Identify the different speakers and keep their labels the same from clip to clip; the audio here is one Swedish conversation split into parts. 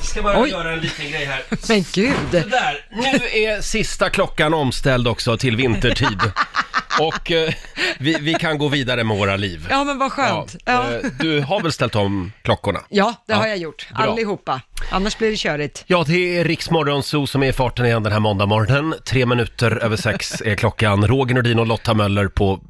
Speaker 1: ska bara
Speaker 2: Oj.
Speaker 1: göra en liten grej här.
Speaker 2: Men gud!
Speaker 1: Där, nu är sista klockan omställd också till vintertid. Och eh, vi, vi kan gå vidare med våra liv.
Speaker 2: Ja, men vad skönt. Ja,
Speaker 1: eh, Du har väl ställt om klockorna?
Speaker 2: ja det
Speaker 1: Ja,
Speaker 2: har jag gjort.
Speaker 1: bra.
Speaker 2: Allihopa. Annars blir det körigt.
Speaker 1: Ja, det är Riksmorgonzoo som är i farten igen den här måndagmorgonen. Tre minuter över sex är klockan. Roger Nordin och Lotta Möller på,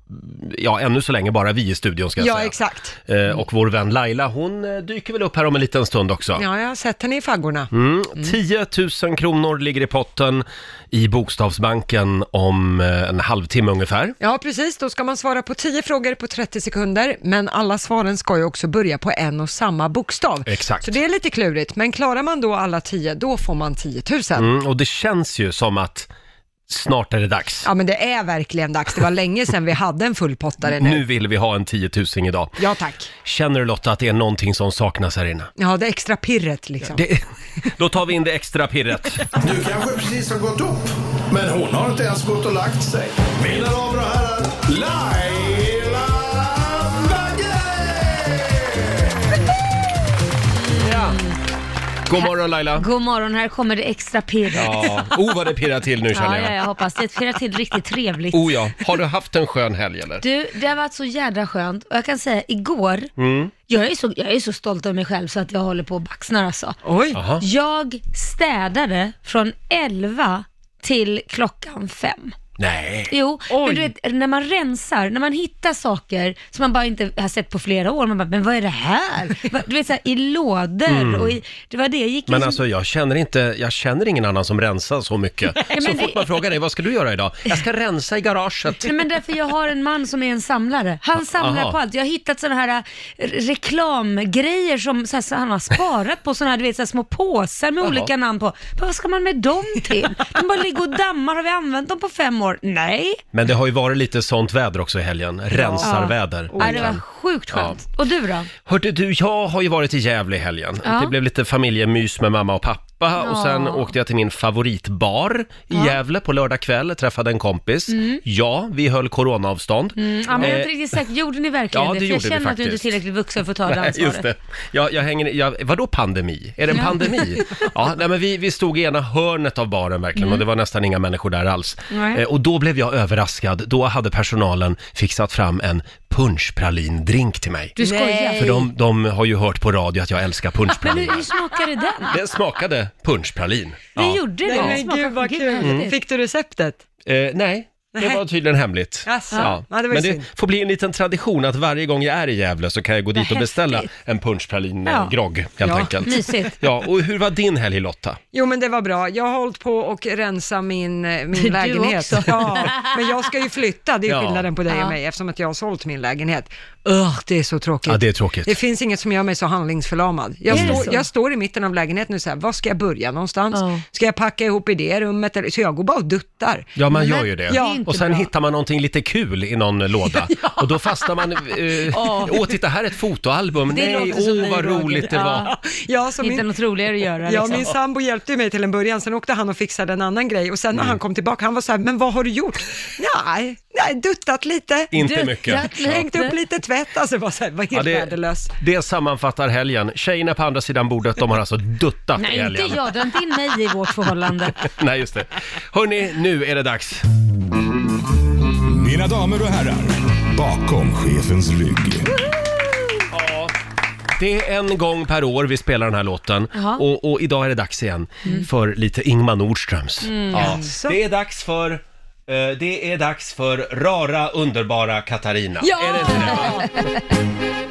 Speaker 1: ja, ännu så länge bara vi i studion ska jag
Speaker 2: Ja,
Speaker 1: säga.
Speaker 2: exakt.
Speaker 1: Eh, och vår vän Laila, hon eh, dyker väl upp här om en liten stund också.
Speaker 2: Ja, jag har sett henne i faggorna.
Speaker 1: Mm. 10 000 kronor ligger i potten i Bokstavsbanken om eh, en halvtimme ungefär.
Speaker 2: Ja, precis. Då ska man svara på 10 frågor på 30 sekunder, men alla svaren ska ju också börja på en och samma bokstav.
Speaker 1: Exakt.
Speaker 2: Så det är lite klurigt, men klarar man då alla 10, då får man 10 000.
Speaker 1: Mm, och det känns ju som att snart är det dags.
Speaker 2: Ja, men det är verkligen dags. Det var länge sedan vi hade en fullpottare nu.
Speaker 1: Nu vill vi ha en 10 000 idag.
Speaker 2: Ja, tack.
Speaker 1: Känner du Lotta att det är någonting som saknas här inne?
Speaker 2: Ja, det extra pirret liksom.
Speaker 1: Det, då tar vi in det extra pirret.
Speaker 3: Du kanske precis har gått upp, men hon har inte ens gått och lagt sig. Mina damer och herrar, Laila Bagge!
Speaker 1: God morgon Laila!
Speaker 4: God morgon, här kommer det extra pirr. Ja,
Speaker 1: Ja, oh vad det pirrar till nu känner
Speaker 4: ja,
Speaker 1: jag.
Speaker 4: jag hoppas det pirrar till riktigt trevligt.
Speaker 1: Oh ja, har du haft en skön helg eller?
Speaker 4: Du, det har varit så jädra skönt och jag kan säga igår,
Speaker 1: Mm.
Speaker 4: jag, är så, jag är så stolt över mig själv så att jag håller på och baxnar alltså.
Speaker 2: Oj!
Speaker 1: Jaha.
Speaker 4: Jag städade från 11 till klockan 5.
Speaker 1: Nej.
Speaker 4: Jo,
Speaker 2: Oj.
Speaker 4: men du vet, när man rensar, när man hittar saker som man bara inte har sett på flera år, man bara, men vad är det här? Va- Du vet, så här, i lådor och i, det var det jag gick
Speaker 1: Mm. Men
Speaker 4: liksom-
Speaker 1: alltså jag känner inte, jag känner ingen annan som rensar så mycket. Så
Speaker 4: men
Speaker 1: fort
Speaker 4: det-
Speaker 1: man frågar dig, vad ska du göra idag? Jag ska rensa i garaget.
Speaker 4: Nej, men därför jag har en man som är en samlare. Han samlar
Speaker 1: aha.
Speaker 4: på allt. Jag har hittat sådana här eh, reklamgrejer som så här, så han har sparat på, sådana här, du vet, så här små påsar med olika namn på. Men vad ska man med dem till? De bara ligger och dammar. Har vi använt dem på fem år? Nej.
Speaker 1: Men det har ju varit lite sånt väder också i helgen, rensarväder.
Speaker 4: Ja, det var sjukt skönt. Och du då? Mm,
Speaker 1: Hörde du, jag har ju varit i Gävle i helgen.
Speaker 4: Ja.
Speaker 1: Det blev lite familjemys med mamma och pappa och sen åkte jag till min favoritbar i Gävle på lördag kväll, träffade en kompis. Ja, vi höll coronaavstånd.
Speaker 4: Mm, ja, men jag är
Speaker 1: Eh,
Speaker 4: inte riktigt säker. Gjorde ni verkligen
Speaker 1: ja,
Speaker 4: det?
Speaker 1: det
Speaker 4: För jag
Speaker 1: gjorde vi
Speaker 4: känner att du inte är
Speaker 1: faktiskt.
Speaker 4: tillräckligt vuxen för att ta det
Speaker 1: Nej,
Speaker 4: ansvaret.
Speaker 1: just det. Jag, jag hänger, jag, vadå pandemi? Är det en pandemi? ja, nej, men vi, vi stod i ena hörnet av baren verkligen och det var nästan inga människor där alls.
Speaker 4: Mm. Nej.
Speaker 1: Eh, och då blev jag överraskad. Då hade personalen fixat fram en punschpralindrink till mig.
Speaker 4: Du skojar.
Speaker 1: För de, de har ju hört på radio att jag älskar
Speaker 4: Men
Speaker 1: punschpralin.
Speaker 4: hur, hur smakade den?
Speaker 1: Den smakade punschpralin.
Speaker 4: Det
Speaker 1: Ja.
Speaker 4: gjorde
Speaker 2: Nej,
Speaker 4: den.
Speaker 2: men
Speaker 4: Smakade-
Speaker 2: gud vad
Speaker 4: Gud,
Speaker 2: kul!
Speaker 4: häftigt.
Speaker 2: Mm. Fick du receptet?
Speaker 1: Eh, nej, det
Speaker 2: Nej.
Speaker 1: var tydligen hemligt.
Speaker 2: Jaså? Ja, det var ju
Speaker 1: Men det
Speaker 2: synd.
Speaker 1: får bli en liten tradition att varje gång jag är i Gävle så kan jag gå dit och beställa
Speaker 4: häftigt.
Speaker 1: en punschpralin
Speaker 4: Ja.
Speaker 1: ja. grogg helt
Speaker 2: Ja,
Speaker 1: enkelt.
Speaker 4: mysigt.
Speaker 1: Ja, och hur var din helg Lotta?
Speaker 2: Jo, men det var bra. Jag har hållit på och rensa min, eh, min
Speaker 4: Du
Speaker 2: lägenhet.
Speaker 4: också.
Speaker 2: Ja, men jag ska ju flytta, det är
Speaker 1: Ja.
Speaker 2: skillnaden på dig
Speaker 4: Ja.
Speaker 2: och mig, eftersom att jag har sålt min lägenhet. Ugh, det är så tråkigt.
Speaker 1: Ja, det är tråkigt.
Speaker 2: Det finns inget som gör mig så handlingsförlamad. Jag,
Speaker 4: Är det
Speaker 2: står-
Speaker 4: så?
Speaker 2: jag står i mitten av lägenheten nu så här, var ska jag börja någonstans?
Speaker 4: Ja.
Speaker 2: Ska jag packa ihop i det rummet? Eller- Så jag går bara och duttar.
Speaker 1: Ja, man gör ju det.
Speaker 2: det är
Speaker 4: inte
Speaker 1: och sen
Speaker 4: bra.
Speaker 1: hittar man någonting lite kul i någon låda. Och då fastnar man... eh, Åh, titta här är ett fotoalbum.
Speaker 4: Det
Speaker 1: Nej,
Speaker 4: låter
Speaker 1: åh
Speaker 4: som vi,
Speaker 1: vad
Speaker 4: Roger.
Speaker 1: roligt det
Speaker 4: Ja.
Speaker 1: var.
Speaker 2: Ja, så
Speaker 4: Hitta
Speaker 2: min,
Speaker 4: något roligare att göra
Speaker 2: Ja,
Speaker 4: liksom.
Speaker 2: min sambo hjälpte ju mig till en början, sen åkte han och fixade en annan grej och sen när
Speaker 1: Mm.
Speaker 2: han kom tillbaka, han var så här, men vad har du gjort? Nej, nej duttat lite,
Speaker 1: Inte
Speaker 4: Du-
Speaker 1: mycket.
Speaker 4: Ja.
Speaker 2: hängt upp lite tvätt, alltså bara så här, var helt
Speaker 1: Ja,
Speaker 2: värdelös.
Speaker 1: det, det sammanfattar helgen. Tjejerna på andra sidan bordet, de har alltså duttat i
Speaker 4: Nej, inte
Speaker 1: helgen.
Speaker 4: jag. Dra inte in mig i vårt förhållande.
Speaker 1: Nej, just det. Hörni, nu är det dags.
Speaker 3: Mina damer och herrar, bakom chefens rygg.
Speaker 1: Det är en gång per år vi spelar den här låten
Speaker 4: Jaha. Mm.
Speaker 1: och, och idag är det dags igen för lite Ingmar Nordströms. Ja.
Speaker 2: Jaså.
Speaker 1: Det är dags för eh, det är dags för rara, underbara Katarina.
Speaker 4: Ja!
Speaker 1: Är det inte det?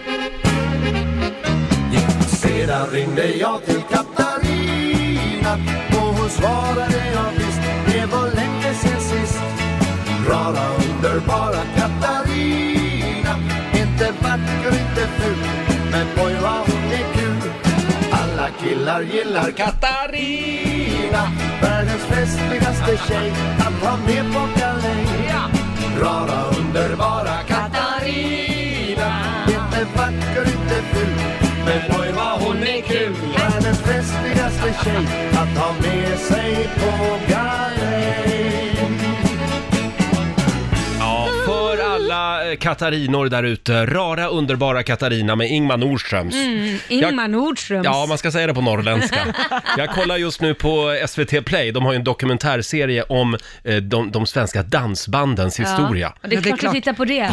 Speaker 3: Sedan ringde jag till Katarina och hon svarade jag visst. Det var länge sen sist. Rara underbara Katarina. Inte vacker, inte ful. Men oj vad hon är kul. Alla killar gillar Katarina. Världens festligaste tjej att ha med på galej. Rara underbara Katarina. Inte vacker, inte ful. Men oj vad hon är kul. Världens festligaste tjej att ha med sig på galej.
Speaker 1: Ja, för alla eh, eh, Katarinor där ute. Rara, underbara Katarina med Ingmar Nordströms.
Speaker 4: Mm, Ingmar
Speaker 1: Jag-
Speaker 4: Nordströms.
Speaker 1: Ja, man ska säga det på norrländska. Jag kollar just nu på SVT Play, de har ju en dokumentärserie om eh, de, de svenska dansbandens historia.
Speaker 4: Och det är klart att titta på det.
Speaker 1: Jag,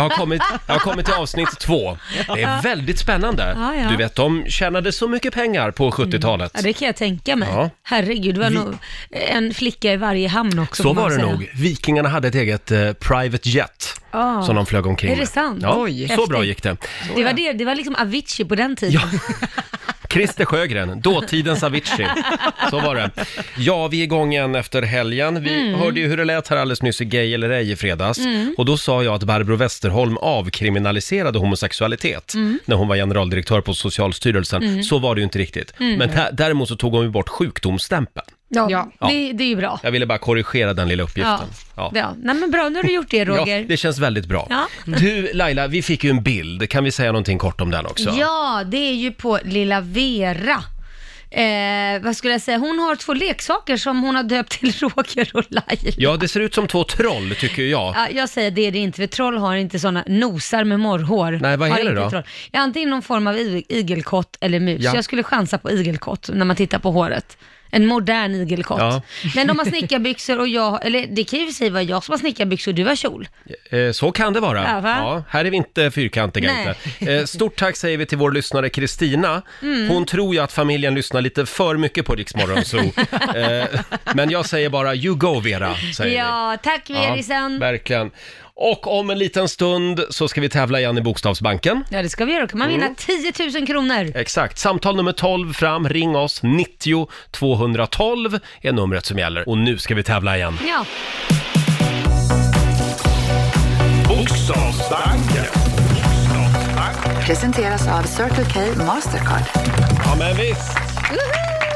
Speaker 1: har kommit, jag har kommit till avsnitt två. Det är väldigt spännande.
Speaker 4: Ja, ja. Mm.
Speaker 1: Du vet, de tjänade så mycket pengar på 70-talet.
Speaker 4: Ja, det kan jag tänka mig.
Speaker 1: Ja.
Speaker 4: Herregud, det var nog en flicka i varje hamn också.
Speaker 1: Så
Speaker 4: får man
Speaker 1: var det
Speaker 4: säga.
Speaker 1: nog. Vikingarna hade ett eget eh, private jet
Speaker 4: Ja.
Speaker 1: som de flög omkring
Speaker 4: Är det
Speaker 1: med.
Speaker 4: sant?
Speaker 1: Ja,
Speaker 4: Oj.
Speaker 1: så bra
Speaker 4: Häftigt.
Speaker 1: gick det.
Speaker 4: Det var, det, det var liksom Avicii på den tiden.
Speaker 1: Christer Sjögren, dåtidens Avicii. Så var det. Ja, vi är igång igen efter helgen. Vi
Speaker 4: Mm.
Speaker 1: hörde ju hur det lät här alldeles nyss i Gay eller ej i fredags.
Speaker 4: Mm.
Speaker 1: Och då sa jag att Barbro Westerholm avkriminaliserade homosexualitet
Speaker 4: Mm.
Speaker 1: när hon var generaldirektör på Socialstyrelsen.
Speaker 4: Mm.
Speaker 1: Så var det ju inte riktigt.
Speaker 4: Mm.
Speaker 1: Men dä- däremot så tog hon ju bort sjukdomsstämpeln.
Speaker 4: Ja,
Speaker 1: Ja.
Speaker 4: Det, det är ju bra.
Speaker 1: Jag ville bara korrigera den lilla uppgiften.
Speaker 4: Ja. Ja. Nej, men bra, nu har du gjort det Roger.
Speaker 1: Ja, det känns väldigt bra.
Speaker 4: Ja.
Speaker 1: Du Laila, vi fick ju en bild. Kan vi säga någonting kort om den också?
Speaker 4: Ja, det är ju på lilla Vera. Eh, vad skulle jag säga? Hon har två leksaker som hon har döpt till Roger och Laila.
Speaker 1: Ja, det ser ut som två troll tycker jag.
Speaker 4: Ja, jag säger det är det inte, för troll har inte sådana nosar med morrhår.
Speaker 1: Nej, vad
Speaker 4: har
Speaker 1: är det
Speaker 4: inte
Speaker 1: då?
Speaker 4: Troll. Ja, antingen någon form av i- igelkott eller mus.
Speaker 1: Ja.
Speaker 4: Jag skulle chansa på igelkott när man tittar på håret. En modern igelkott.
Speaker 1: Ja.
Speaker 4: Men de har snickarbyxor och jag, eller det kan ju i och för sig vara jag som har snickarbyxor och du har kjol.
Speaker 1: Eh, så kan det vara.
Speaker 4: Ja, va?
Speaker 1: här är vi inte fyrkantiga
Speaker 4: Nej.
Speaker 1: inte. Eh, stort tack säger vi till vår lyssnare Kristina.
Speaker 4: Mm.
Speaker 1: Hon tror ju att familjen lyssnar lite för mycket på Rix Morgon Zoo. eh, men jag säger bara you go Vera, säger vi.
Speaker 4: Ja, tack Verisen. Ja,
Speaker 1: verkligen. Och om en liten stund så ska vi tävla igen i Bokstavsbanken.
Speaker 4: det ska vi göra. Då kan man vinna
Speaker 1: Mm.
Speaker 4: 10 000 kronor.
Speaker 1: Exakt. Samtal nummer 12 fram, ring oss. 90 212 är numret som gäller. Och nu ska vi tävla igen.
Speaker 4: Ja.
Speaker 1: Bokstavsbanken.
Speaker 5: Presenteras av Circle K Mastercard.
Speaker 1: Ja, men visst.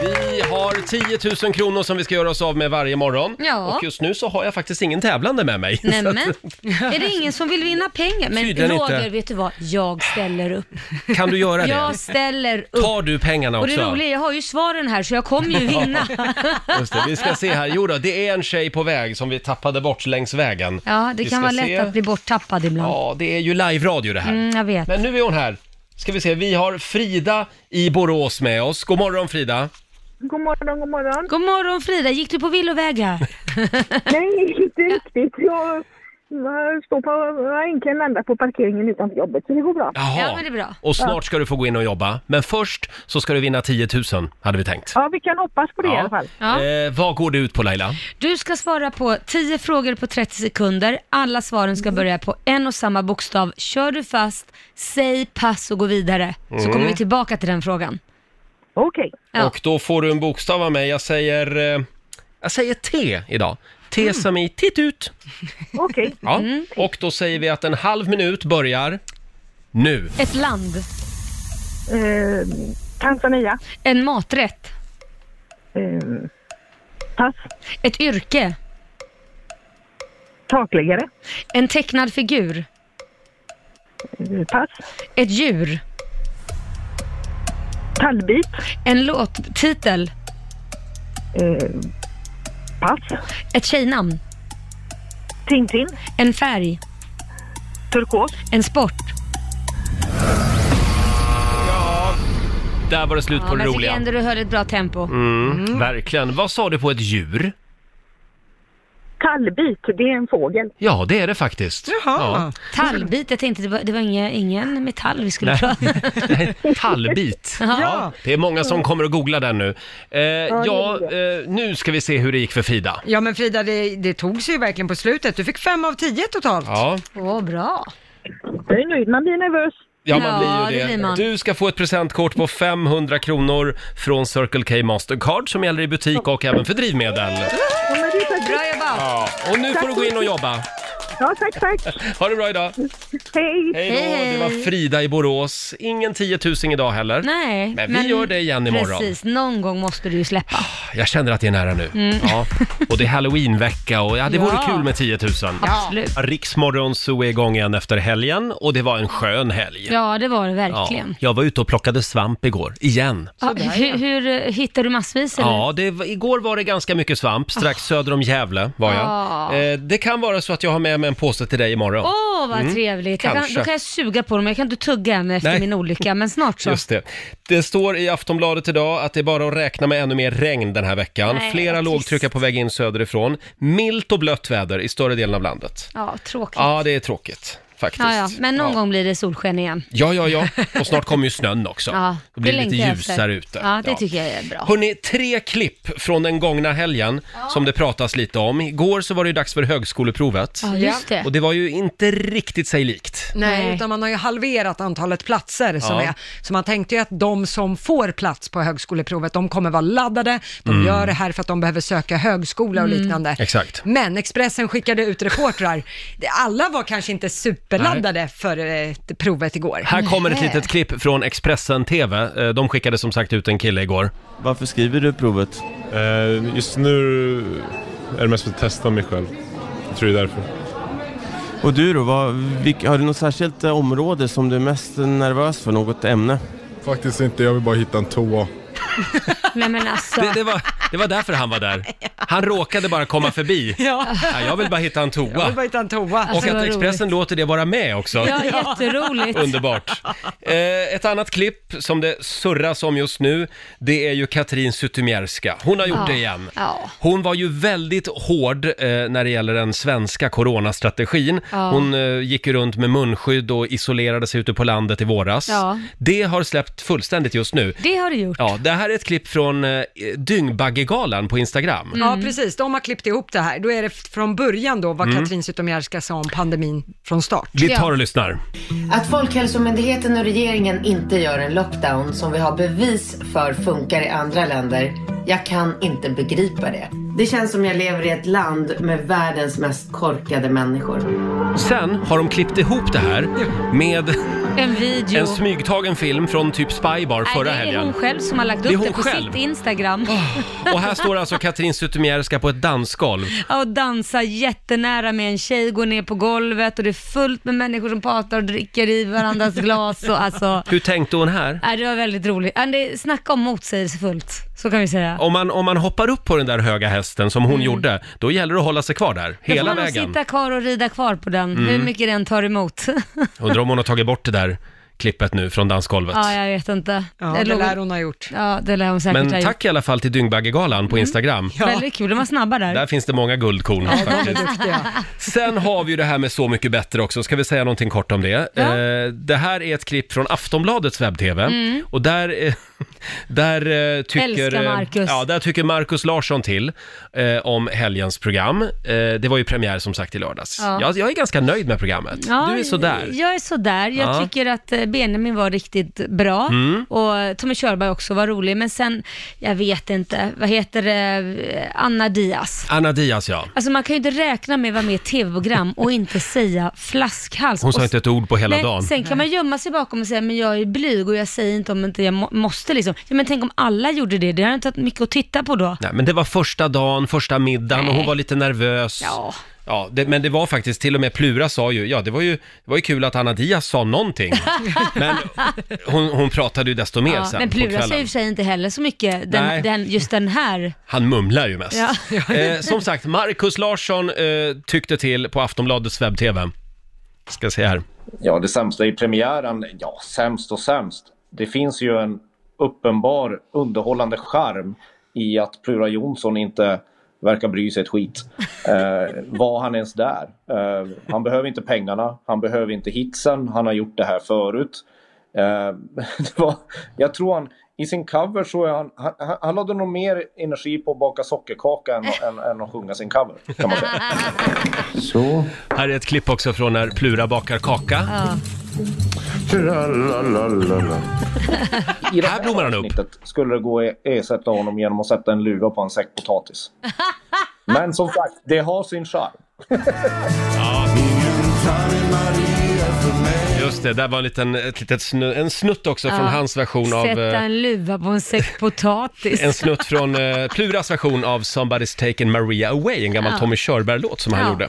Speaker 1: Vi har 10 000 kronor som vi ska göra oss av med varje morgon.
Speaker 4: Ja.
Speaker 1: Och just nu så har jag faktiskt ingen tävlande med mig.
Speaker 4: Nämen,
Speaker 1: Så att-
Speaker 4: är det ingen som vill vinna pengar? Men
Speaker 1: Tydligen inte.
Speaker 4: Roger, vet du vad? Jag ställer upp.
Speaker 1: Kan du göra det?
Speaker 4: Jag ställer upp.
Speaker 1: Tar du pengarna
Speaker 4: Och det
Speaker 1: också?
Speaker 4: roliga är, jag har ju svaren här så jag kommer ju vinna.
Speaker 1: Just det, vi ska se här. Jo då, det är en tjej på väg som vi tappade bort längs vägen.
Speaker 4: Ja, det
Speaker 1: Vi
Speaker 4: kan
Speaker 1: ska
Speaker 4: vara lätt
Speaker 1: se.
Speaker 4: att bli borttappad ibland.
Speaker 1: Ja, det är ju live-radio det här.
Speaker 4: Mm, jag vet.
Speaker 1: Men nu är hon här. Ska vi se, vi har Frida i Borås med oss. God morgon Frida!
Speaker 6: God morgon, god morgon.
Speaker 4: God morgon Frida, gick du på villovägar?
Speaker 6: Nej, inte riktigt. Jag jag står på enkeln ända på parkeringen utanför jobbet, så det går bra.
Speaker 1: Jaha.
Speaker 4: Ja, men det är bra.
Speaker 1: Och snart ska du få gå in och jobba. Men först så ska du vinna 10 000, hade vi tänkt.
Speaker 6: Ja, vi kan hoppas på det i alla fall.
Speaker 4: Ja.
Speaker 1: Eh, vad går det ut på Laila?
Speaker 4: Du ska svara på 10 frågor på 30 sekunder. Alla svaren
Speaker 6: Mm.
Speaker 4: ska börja på en och samma bokstav. Kör du fast, säg pass och gå vidare. Så
Speaker 1: Mm.
Speaker 4: kommer vi tillbaka till den frågan.
Speaker 6: Okej.
Speaker 4: Ja.
Speaker 1: Och då får du en bokstav av mig. Jag säger... Eh, jag säger T idag. T som i titt ut.
Speaker 6: Okej.
Speaker 1: Ja. Och då säger vi att en halv minut börjar nu.
Speaker 4: Ett land,
Speaker 6: Eh, Tanzania.
Speaker 4: en maträtt,
Speaker 6: Eh, pass.
Speaker 4: ett yrke,
Speaker 6: Takläggare.
Speaker 4: en tecknad figur,
Speaker 6: Eh, pass.
Speaker 4: ett djur,
Speaker 6: Tallbit.
Speaker 4: en låttitel,
Speaker 6: Eh, pass.
Speaker 4: ett tjejnamn,
Speaker 6: Tintin.
Speaker 4: en färg,
Speaker 6: Turkos.
Speaker 4: en sport.
Speaker 1: Där var det slut
Speaker 4: Ja,
Speaker 1: på
Speaker 4: men
Speaker 1: det
Speaker 4: jag tycker
Speaker 1: roliga.
Speaker 4: ändå du höll ett bra tempo.
Speaker 1: Mm, Verkligen. Vad sa du på ett djur?
Speaker 6: Tallbit, det är en fågel.
Speaker 1: Ja, det är det faktiskt.
Speaker 2: Jaha.
Speaker 4: Tallbit, jag tänkte det var, det var inga, ingen metall vi skulle
Speaker 1: Nej.
Speaker 4: prata om.
Speaker 1: Ja. Tallbit.
Speaker 4: Ja.
Speaker 1: Det är många som kommer att googla den nu. Eh,
Speaker 2: det
Speaker 1: ja,
Speaker 2: är
Speaker 1: eh, nu ska vi se hur det gick för Frida.
Speaker 2: Ja men Frida, det, det tog sig ju verkligen på slutet. Du fick fem av tio totalt.
Speaker 1: Ja.
Speaker 4: Åh, bra.
Speaker 6: Jag är nöjd, man blir nervös.
Speaker 1: Ja, man
Speaker 4: Ja,
Speaker 1: blir ju
Speaker 4: det
Speaker 1: det.
Speaker 4: blir man.
Speaker 1: du ska få ett presentkort på 500 kronor från Circle K Mastercard som gäller i butik och även för drivmedel.
Speaker 6: Ja, men det är
Speaker 4: Bra
Speaker 6: tack.
Speaker 4: jobbat.
Speaker 1: Ja, och nu får du gå in och jobba.
Speaker 6: Ja, tack, tack.
Speaker 1: Ha det bra idag.
Speaker 6: Hej.
Speaker 1: Hej då.
Speaker 4: Hej, hej.
Speaker 1: Det var Frida i Borås. Ingen 10 000 idag heller.
Speaker 4: Nej,
Speaker 1: Men vi gör det igen imorgon.
Speaker 4: Precis, någon gång måste du ju släppa.
Speaker 1: Jag känner att det är nära nu. Ja. Och det är halloweenvecka och ja, det vore
Speaker 4: Ja.
Speaker 1: kul med 10 000.
Speaker 4: Absolut.
Speaker 1: Riksmorgon så är igång igen efter helgen och det var en skön helg.
Speaker 4: Ja, det var det
Speaker 1: Ja,
Speaker 4: verkligen.
Speaker 1: jag var ute och plockade svamp igår, igen.
Speaker 4: Ja, hur, hur eh, hittar du massvis? Eller?
Speaker 1: Ja, det, var- igår var det ganska mycket svamp, strax söder om Gävle var jag.
Speaker 4: Ah.
Speaker 1: Eh, det kan vara så att jag har med med en påse till dig imorgon. Mm.
Speaker 4: Åh, vad trevligt. Jag kan,
Speaker 1: kanske.
Speaker 4: då kan jag suga på dem. Jag kan inte tugga än efter
Speaker 1: Nej.
Speaker 4: min olycka, men snart så.
Speaker 1: Just det. Det står i Aftonbladet idag att det är bara att räkna med ännu mer regn den här veckan.
Speaker 4: Nej,
Speaker 1: Flera
Speaker 4: vad trist.
Speaker 1: lågtryck är på väg in söderifrån. Milt och blött väder i större delen av landet.
Speaker 4: Ja, tråkigt. Ja,
Speaker 1: Ja, det är tråkigt faktiskt.
Speaker 4: Ah, ja, men någon
Speaker 1: ja.
Speaker 4: gång blir det solsken igen.
Speaker 1: Ja, ja, ja. Och snart kommer ju snön också.
Speaker 4: Ja,
Speaker 1: Då blir
Speaker 4: det
Speaker 1: det lite
Speaker 4: längtar jag efter.
Speaker 1: ljusare ute.
Speaker 4: Ja, det tycker jag är bra.
Speaker 1: Hörrni, tre klipp från den gångna helgen som det pratas lite om. Igår så var det ju dags för högskoleprovet.
Speaker 4: Ja, just det.
Speaker 1: Och det var ju inte riktigt sig likt.
Speaker 2: Nej,
Speaker 4: Nej.
Speaker 2: utan man har ju halverat antalet platser som
Speaker 1: Ja.
Speaker 2: är. Så man tänkte ju att de som får plats på högskoleprovet, de kommer vara laddade. De gör det här för att de behöver söka högskola
Speaker 4: Mm.
Speaker 2: och liknande.
Speaker 1: Mm. Exakt.
Speaker 2: Men Expressen skickade ut reportrar. Det- Alla var kanske inte superladdade för eh, det- provet igår.
Speaker 1: Här kommer ett litet klipp från Expressen TV. Eh, De skickade som sagt ut en kille igår.
Speaker 7: Varför skriver du provet?
Speaker 8: Eh, Just nu är det mest för att testa mig själv. Jag tror det är därför.
Speaker 7: Och du då, vad, vilk, har du något särskilt eh, område som du är mest nervös för? Något ämne?
Speaker 8: Faktiskt inte, jag vill bara hitta en toa.
Speaker 4: Nej, men alltså.
Speaker 1: Det, det, var, det var därför han var där. Han råkade bara komma förbi.
Speaker 2: Ja,
Speaker 1: Ja, jag vill bara hitta en
Speaker 2: jag vill
Speaker 1: toa.
Speaker 2: bara hitta en toa.
Speaker 1: Och
Speaker 4: Alltså,
Speaker 1: att
Speaker 4: vad
Speaker 1: Expressen låter det vara med också.
Speaker 4: Ja, jätteroligt.
Speaker 1: Underbart. Eh, ett annat klipp som det surras om just nu, det är ju Katrin Zytomierska. Hon har gjort det igen.
Speaker 4: Ja.
Speaker 1: Hon var ju väldigt hård eh, när det gäller den svenska coronastrategin.
Speaker 4: Ja.
Speaker 1: Hon eh, gick ju runt med munskydd och isolerade sig ute på landet i våras.
Speaker 4: Ja.
Speaker 1: Det har släppt fullständigt just nu.
Speaker 4: Det har du gjort.
Speaker 1: Ja, det här är ett klipp från eh, Dyngbaggegalan på Instagram.
Speaker 4: Mm.
Speaker 2: Ja, precis. De har klippt ihop det här. Då är det f- från början då vad Katrin Zytomierska sa om pandemin från start.
Speaker 1: Mm. Vi
Speaker 4: Ja.
Speaker 1: tar och lyssnar.
Speaker 9: Att Folkhälsomyndigheten och regeringen inte gör en lockdown som vi har bevis för funkar i andra länder. Jag kan inte begripa det. Det känns som jag lever i ett land med världens mest korkade människor.
Speaker 1: Sen har de klippt ihop det här med
Speaker 4: En video.
Speaker 1: en smygtagen film från typ Spybar
Speaker 4: Nej,
Speaker 1: förra
Speaker 4: det är hon
Speaker 1: helgen.
Speaker 4: själv som har lagt upp
Speaker 1: Det är
Speaker 4: det,
Speaker 1: hon
Speaker 4: på
Speaker 1: själv.
Speaker 4: sitt Instagram.
Speaker 1: Och här står alltså Katrin Zytomierska på ett dansgolv.
Speaker 4: Ja, Och dansar jättenära med en tjej, går ner på golvet och det är fullt med människor som pratar och dricker i varandras glas och alltså.
Speaker 1: Hur tänkte hon här?
Speaker 4: Nej, Äh, det var väldigt roligt. Ja, det- Snacka om motsägelsefullt, så kan vi säga.
Speaker 1: Om man, om man hoppar upp på den där höga hästen som hon gjorde, då gäller det att hålla sig kvar där,
Speaker 4: Mm. Då får
Speaker 1: hela
Speaker 4: man nog
Speaker 1: vägen. Mm.
Speaker 4: sitta kvar och rida kvar på den, hur mycket den tar emot.
Speaker 1: Undrar om hon har tagit bort det där klippet nu från dansgolvet.
Speaker 4: ja, jag vet inte.
Speaker 2: Ja, det lär hon ha gjort.
Speaker 4: Ja, det lär hon säkert ha
Speaker 1: Men
Speaker 4: gjort.
Speaker 1: tack i alla fall till Dyngbaggegalan på Instagram.
Speaker 4: Väldigt kul, de var snabba där.
Speaker 1: Där finns det många guldkorn faktiskt.
Speaker 2: Duktiga.
Speaker 1: Sen har vi ju det här med Så mycket bättre också. Ska vi säga någonting kort om det?
Speaker 4: Ja.
Speaker 1: Eh, det här är ett klipp från Aftonbladets webb-tv. Och där, eh, där, eh, tycker,
Speaker 4: Mm. Älskar
Speaker 1: eh,
Speaker 4: Marcus.
Speaker 1: Ja, där tycker Marcus Larsson till eh, om helgens program. Eh, det var ju premiär som sagt i lördags.
Speaker 4: Ja.
Speaker 1: Jag, jag är ganska nöjd med programmet.
Speaker 4: Ja,
Speaker 1: du är sådär.
Speaker 4: Jag är sådär. Jag
Speaker 1: Ja. Mm.
Speaker 4: tycker att eh, Benjamin var riktigt bra och Tommy Körberg också var rolig. Men sen, jag vet inte, vad heter det, Eh, Anna Diaz.
Speaker 1: Anna Diaz ja.
Speaker 4: Alltså man kan ju inte räkna med att vara med i ett tv-program och inte säga flaskhals.
Speaker 1: Hon sa
Speaker 4: Och
Speaker 1: inte ett ord på hela
Speaker 4: Nej,
Speaker 1: dagen.
Speaker 4: Sen kan man gömma sig bakom och säga, men jag är blyg och jag säger inte om inte jag må- måste liksom. Ja, men tänk om alla gjorde det, det hade inte varit mycket att titta på då.
Speaker 1: Nej, men det var första dagen, första middagen och hon
Speaker 4: Nej.
Speaker 1: var lite nervös.
Speaker 4: Ja.
Speaker 1: Ja, det, men det var faktiskt, till och med Plura sa ju, ja det var ju, det var ju kul att Anna Diaz sa någonting. men hon, hon pratade ju desto mer
Speaker 4: Ja,
Speaker 1: sen
Speaker 4: men
Speaker 1: på
Speaker 4: Plura
Speaker 1: kvällen.
Speaker 4: säger i och för sig inte heller så mycket, den,
Speaker 1: Nej.
Speaker 4: den, just den här.
Speaker 1: Han mumlar ju mest.
Speaker 4: Ja.
Speaker 1: eh, som sagt, Markus Larsson eh, tyckte till på Aftonbladets webb-tv. Ska se här.
Speaker 10: Ja, det sämsta i premiären, ja sämst och sämst. Det finns ju en uppenbar underhållande charm i att Plura Jonsson inte verkar bry sig ett skit. Eh, var han ens där? Eh, han behöver inte pengarna, han behöver inte hitsen, han har gjort det här förut. Eh, det var, jag tror han, i sin cover så är han, han, han- han hade nog mer energi på att baka sockerkaka än, än, än att sjunga sin cover. Kan man säga.
Speaker 3: Så.
Speaker 1: Här är ett klipp också från när Plura bakar kaka.
Speaker 3: Tralalalala.
Speaker 10: I det
Speaker 1: Här blommar han upp.
Speaker 10: avsnittet skulle det gå att ersätta honom genom att sätta en luva på en säck potatis. Men som sagt, det har sin charm.
Speaker 1: Just Just det, där var en liten ett litet snu, en snutt också
Speaker 4: Ja.
Speaker 1: från hans version av...
Speaker 4: Sätta
Speaker 1: eh,
Speaker 4: en luva på en säck potatis.
Speaker 1: En snutt från eh, Pluras version av Somebody's Taken Maria Away, en gammal
Speaker 4: Ja.
Speaker 1: Tommy Körberg-låt som han
Speaker 4: Ja. Ah.
Speaker 1: gjorde.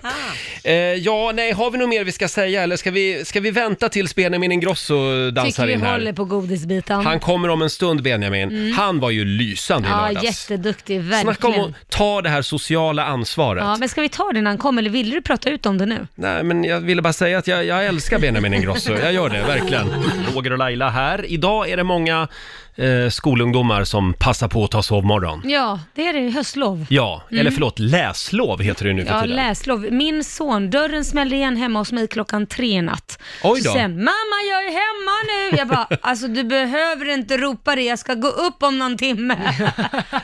Speaker 1: Eh, ja, nej, har vi något mer vi ska säga eller ska vi, ska vi vänta tills Benjamin Ingrosso
Speaker 4: Tycker
Speaker 1: dansar
Speaker 4: vi
Speaker 1: in här?
Speaker 4: håller på godisbiten.
Speaker 1: Han kommer om en stund, Benjamin.
Speaker 4: Mm.
Speaker 1: Han var ju lysande i
Speaker 4: Ja,
Speaker 1: lördags.
Speaker 4: jätteduktig,
Speaker 1: Snacka om
Speaker 4: verkligen.
Speaker 1: att ta det här sociala ansvaret.
Speaker 4: Ja, men ska vi ta det när han kommer eller vill du prata ut om det nu?
Speaker 1: Nej, men jag ville bara säga att jag, jag älskar Benjamin Ingrosso. Jag gör det, verkligen. Roger och Laila här. Idag är det många eh, skolungdomar som passar på att ta sovmorgon.
Speaker 4: Ja, det är det. Höstlov.
Speaker 1: Ja,
Speaker 4: Mm.
Speaker 1: eller förlåt, läslov heter det nu för
Speaker 4: Ja,
Speaker 1: tiden.
Speaker 4: läslov. Min son, dörren smällde igen hemma hos mig klockan tre i natt.
Speaker 1: Oj då.
Speaker 4: Så sen, mamma jag är hemma nu! Jag bara, alltså du behöver inte ropa det, jag ska gå upp om någon timme.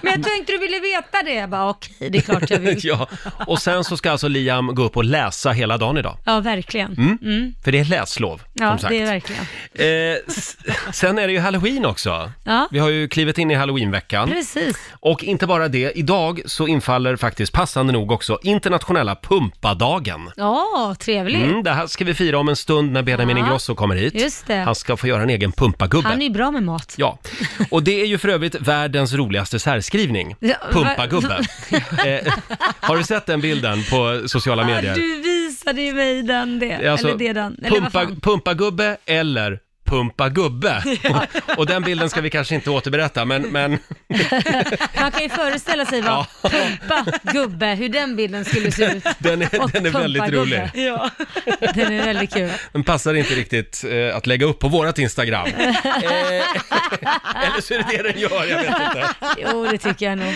Speaker 4: Men jag tänkte du ville veta det. Jag bara, okej, det är klart jag vill.
Speaker 1: ja, och sen så ska alltså Liam gå upp och läsa hela dagen idag.
Speaker 4: Ja, verkligen.
Speaker 1: Mm.
Speaker 4: Mm.
Speaker 1: För det är läslov,
Speaker 4: Ja,
Speaker 1: som sagt.
Speaker 4: det är verkligen.
Speaker 1: Eh, s- sen är det ju halloween också.
Speaker 4: Ja.
Speaker 1: Vi har ju klivit in i halloweenveckan.
Speaker 4: Precis.
Speaker 1: Och inte bara det, idag så infaller faktiskt passande nog också internationella pumpadagen.
Speaker 4: Ja, trevligt.
Speaker 1: Mm, det här ska vi fira om en stund när Benjamin
Speaker 4: Ja,
Speaker 1: Ingrosso kommer hit.
Speaker 4: just det.
Speaker 1: Han ska få göra en egen pumpagubbe.
Speaker 4: Han är ju bra med mat.
Speaker 1: Ja, och det är ju för övrigt världens roligaste särskrivning.
Speaker 4: Ja,
Speaker 1: Pumpagubbe.
Speaker 4: va-
Speaker 1: eh, har du sett den bilden på sociala medier?
Speaker 4: Du visade ju mig den, det.
Speaker 1: Alltså,
Speaker 4: eller det den. Eller vad
Speaker 1: pumpa,
Speaker 4: fan.
Speaker 1: pumpagubbe eller pumpagubbe. och den bilden ska vi kanske inte återberätta, men, men
Speaker 4: Man kan ju föreställa sig vad pumpa gubbe, hur den bilden skulle se ut.
Speaker 1: den
Speaker 4: Och
Speaker 1: är, den är väldigt
Speaker 4: pumpagubbe.
Speaker 1: rolig.
Speaker 4: Ja. Den är väldigt kul.
Speaker 1: Den passar inte riktigt eh, att lägga upp på vårat Instagram. Eller så är det det den gör, jag vet inte.
Speaker 4: Jo, det tycker jag nog.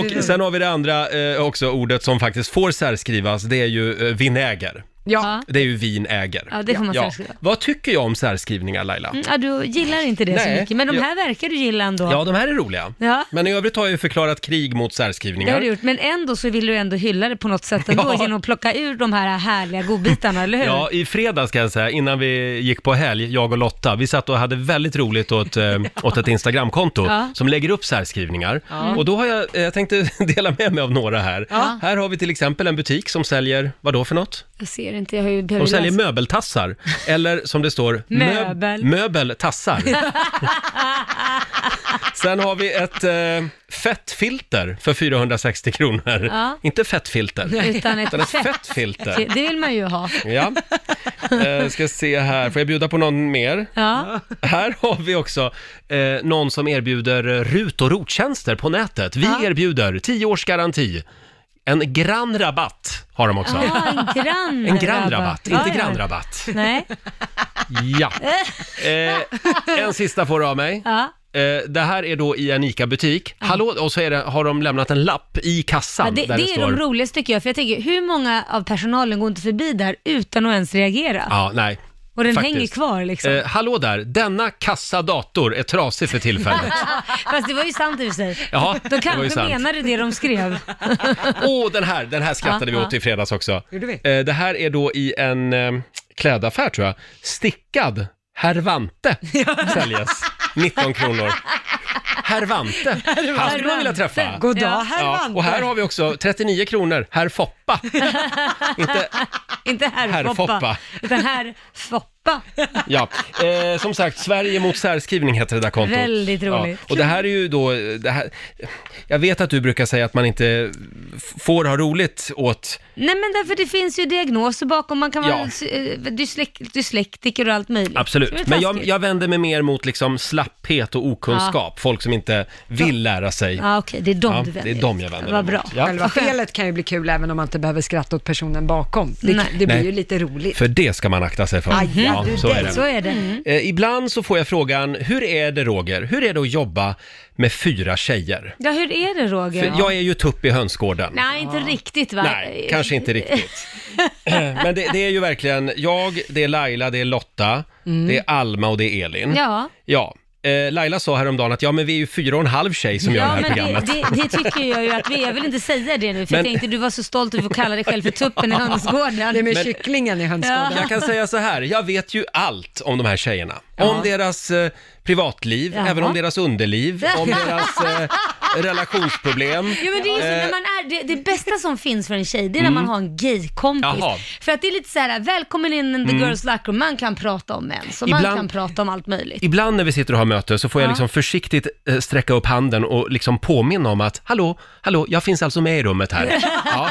Speaker 1: Och sen har vi det andra eh, också ordet som faktiskt får särskrivas, det är ju eh, vinäger.
Speaker 4: Ja.
Speaker 1: Det är ju vinäger.
Speaker 4: Ja, det får man särskriva.
Speaker 1: Vad tycker jag om särskrivningar Laila?
Speaker 4: Mm, ja, du gillar inte det
Speaker 1: Nej.
Speaker 4: så mycket, men de här verkar du gilla ändå.
Speaker 1: Ja, de här är roliga.
Speaker 4: Ja.
Speaker 1: Men i övrigt har jag ju förklarat krig mot
Speaker 4: Det
Speaker 1: särskrivningar.
Speaker 4: har du gjort, men ändå så vill du ändå hylla det på något sätt ändå
Speaker 1: Ja.
Speaker 4: genom att plocka ur de här härliga godbitarna, eller hur?
Speaker 1: Ja, i fredags kan jag säga, innan vi gick på helg, jag och Lotta, vi satt och hade väldigt roligt åt, eh, åt ett Instagramkonto
Speaker 4: Ja.
Speaker 1: som lägger upp särskrivningar.
Speaker 4: Ja.
Speaker 1: Och då har jag, eh, jag tänkte dela med mig av några här.
Speaker 4: Ja.
Speaker 1: Här har vi till exempel en butik som säljer, vad då för något?
Speaker 4: Jag ser inte, jag har ju
Speaker 1: De
Speaker 4: behövt
Speaker 1: säljer
Speaker 4: läsa.
Speaker 1: möbeltassar, eller som det står, möb-
Speaker 4: Möbel.
Speaker 1: möbeltassar. Sen har vi ett eh, fettfilter för 460 kronor.
Speaker 4: Ja.
Speaker 1: Inte fettfilter,
Speaker 4: Utan ett fett.
Speaker 1: fettfilter.
Speaker 4: Det det vill man ju ha.
Speaker 1: Ja. Eh, ska se här, får jag bjuda på någon mer?
Speaker 4: Ja.
Speaker 1: Här har vi också eh, någon som erbjuder eh, RUT och ROT-tjänster på nätet. Vi erbjuder 10 års garanti. En grann rabatt har de också.
Speaker 4: Ja, Ah, en grann
Speaker 1: En grann rabatt,
Speaker 4: Ja,
Speaker 1: inte
Speaker 4: ja.
Speaker 1: grannrabatt.
Speaker 4: Nej.
Speaker 1: Ja. Eh, en sista får du av mig.
Speaker 4: Ja.
Speaker 1: Eh, det här är då i en ICA-butik. Hallå, och så är det, har de lämnat en lapp i kassan
Speaker 4: Ja, det,
Speaker 1: där
Speaker 4: det,
Speaker 1: det,
Speaker 4: är
Speaker 1: står...
Speaker 4: de roligaste tycker jag, för jag tänker hur många av personalen går inte förbi där utan att ens reagera?
Speaker 1: Ja, nej.
Speaker 4: Och den
Speaker 1: Faktiskt.
Speaker 4: hänger kvar liksom.
Speaker 1: Eh, hallå där, denna kassadator är trasig för tillfället.
Speaker 4: Fast det var ju sant i och för sig.
Speaker 1: Ja, det
Speaker 4: de
Speaker 1: var ju
Speaker 4: kanske
Speaker 1: sant.
Speaker 4: menade det de skrev.
Speaker 1: Åh, den här, den här skrattade
Speaker 4: Ja,
Speaker 1: vi
Speaker 4: ja.
Speaker 1: åt i fredags också.
Speaker 4: Gjorde vi?
Speaker 1: Eh, det här är då i en eh, klädaffär tror jag. Stickad Hervante säljes. 19 kronor. Hervante, han skulle man vilja träffa.
Speaker 2: God dag, herr Vante.
Speaker 1: och här har vi också 39 kronor, herr Foppa. inte
Speaker 4: Inte herr
Speaker 1: Herr
Speaker 4: Foppa,
Speaker 1: Foppa.
Speaker 4: utan herr Foppa.
Speaker 1: Ja, eh, som sagt, Sverige mot särskrivning heter det där kontot.
Speaker 4: Väldigt roligt.
Speaker 1: Och det här är ju då, eh, det här, jag vet att du brukar säga att man inte f- får ha roligt åt,
Speaker 4: Nej men därför det finns ju diagnoser bakom, man kan vara
Speaker 1: Ja.
Speaker 4: eh, dyslek- dyslektiker och allt möjligt. Så det
Speaker 1: absolut,
Speaker 4: är
Speaker 1: men jag,
Speaker 4: taskigt.
Speaker 1: jag vänder mig mer mot liksom slapphet och okunskap, folk som inte vill lära sig.
Speaker 4: Ja Ah, okej, det är de
Speaker 1: Ja,
Speaker 4: du
Speaker 1: det
Speaker 4: vänder
Speaker 1: är de jag vänder
Speaker 4: Vad
Speaker 1: mig
Speaker 4: bra.
Speaker 1: mot. Ja.
Speaker 2: Själva felet kan ju bli kul även om man inte behöver skratta åt personen bakom. Det,
Speaker 4: Nej.
Speaker 2: det blir
Speaker 1: Nej.
Speaker 2: ju lite roligt.
Speaker 1: För det ska man akta sig för.
Speaker 2: Aj,
Speaker 1: Ja,
Speaker 2: du
Speaker 1: så är det.
Speaker 4: Så är det.
Speaker 1: Eh, ibland så får jag frågan, hur är det Roger, hur är det att jobba med fyra tjejer?
Speaker 4: Ja hur är det Roger?
Speaker 1: För jag är ju tupp i hönsgården.
Speaker 4: Nej inte riktigt va?
Speaker 1: Nej, kanske inte riktigt. Men det, det är ju verkligen jag, det är Laila, det är Lotta, det är Alma och det är Elin.
Speaker 4: Mm. Ja.
Speaker 1: ja. Eh, Laila sa häromdagen att ja, men vi är ju fyra och en halv tjej som gör det
Speaker 4: Ja,
Speaker 1: här
Speaker 4: men det,
Speaker 1: programmet.
Speaker 4: det, det tycker jag ju att vi är. Jag vill inte säga det nu, för jag
Speaker 1: Men-
Speaker 4: tänkte du var så stolt över att kalla dig själv för tuppen i hönsgården.
Speaker 2: Det är med
Speaker 1: Men-
Speaker 2: kycklingen i hönsgården.
Speaker 1: Jag kan säga så här, jag vet ju allt om de här tjejerna. Om deras eh, privatliv,
Speaker 4: Jaha.
Speaker 1: även om deras underliv, om deras eh, relationsproblem.
Speaker 4: Jo men det är ju så,
Speaker 1: Eh,
Speaker 4: när man är, det, det bästa som finns för en tjej, det är när
Speaker 1: Mm.
Speaker 4: man har en gay-kompis.
Speaker 1: Jaha.
Speaker 4: För att det är lite så här: välkommen in in the
Speaker 1: Mm.
Speaker 4: girls locker room, man kan prata om män, så man
Speaker 1: Ibland-
Speaker 4: kan prata om allt möjligt.
Speaker 1: Ibland när vi sitter och har möte så får jag
Speaker 4: Ja.
Speaker 1: liksom försiktigt eh, sträcka upp handen och liksom påminna om att hallå, hallå, jag finns alltså med i rummet här. Ja,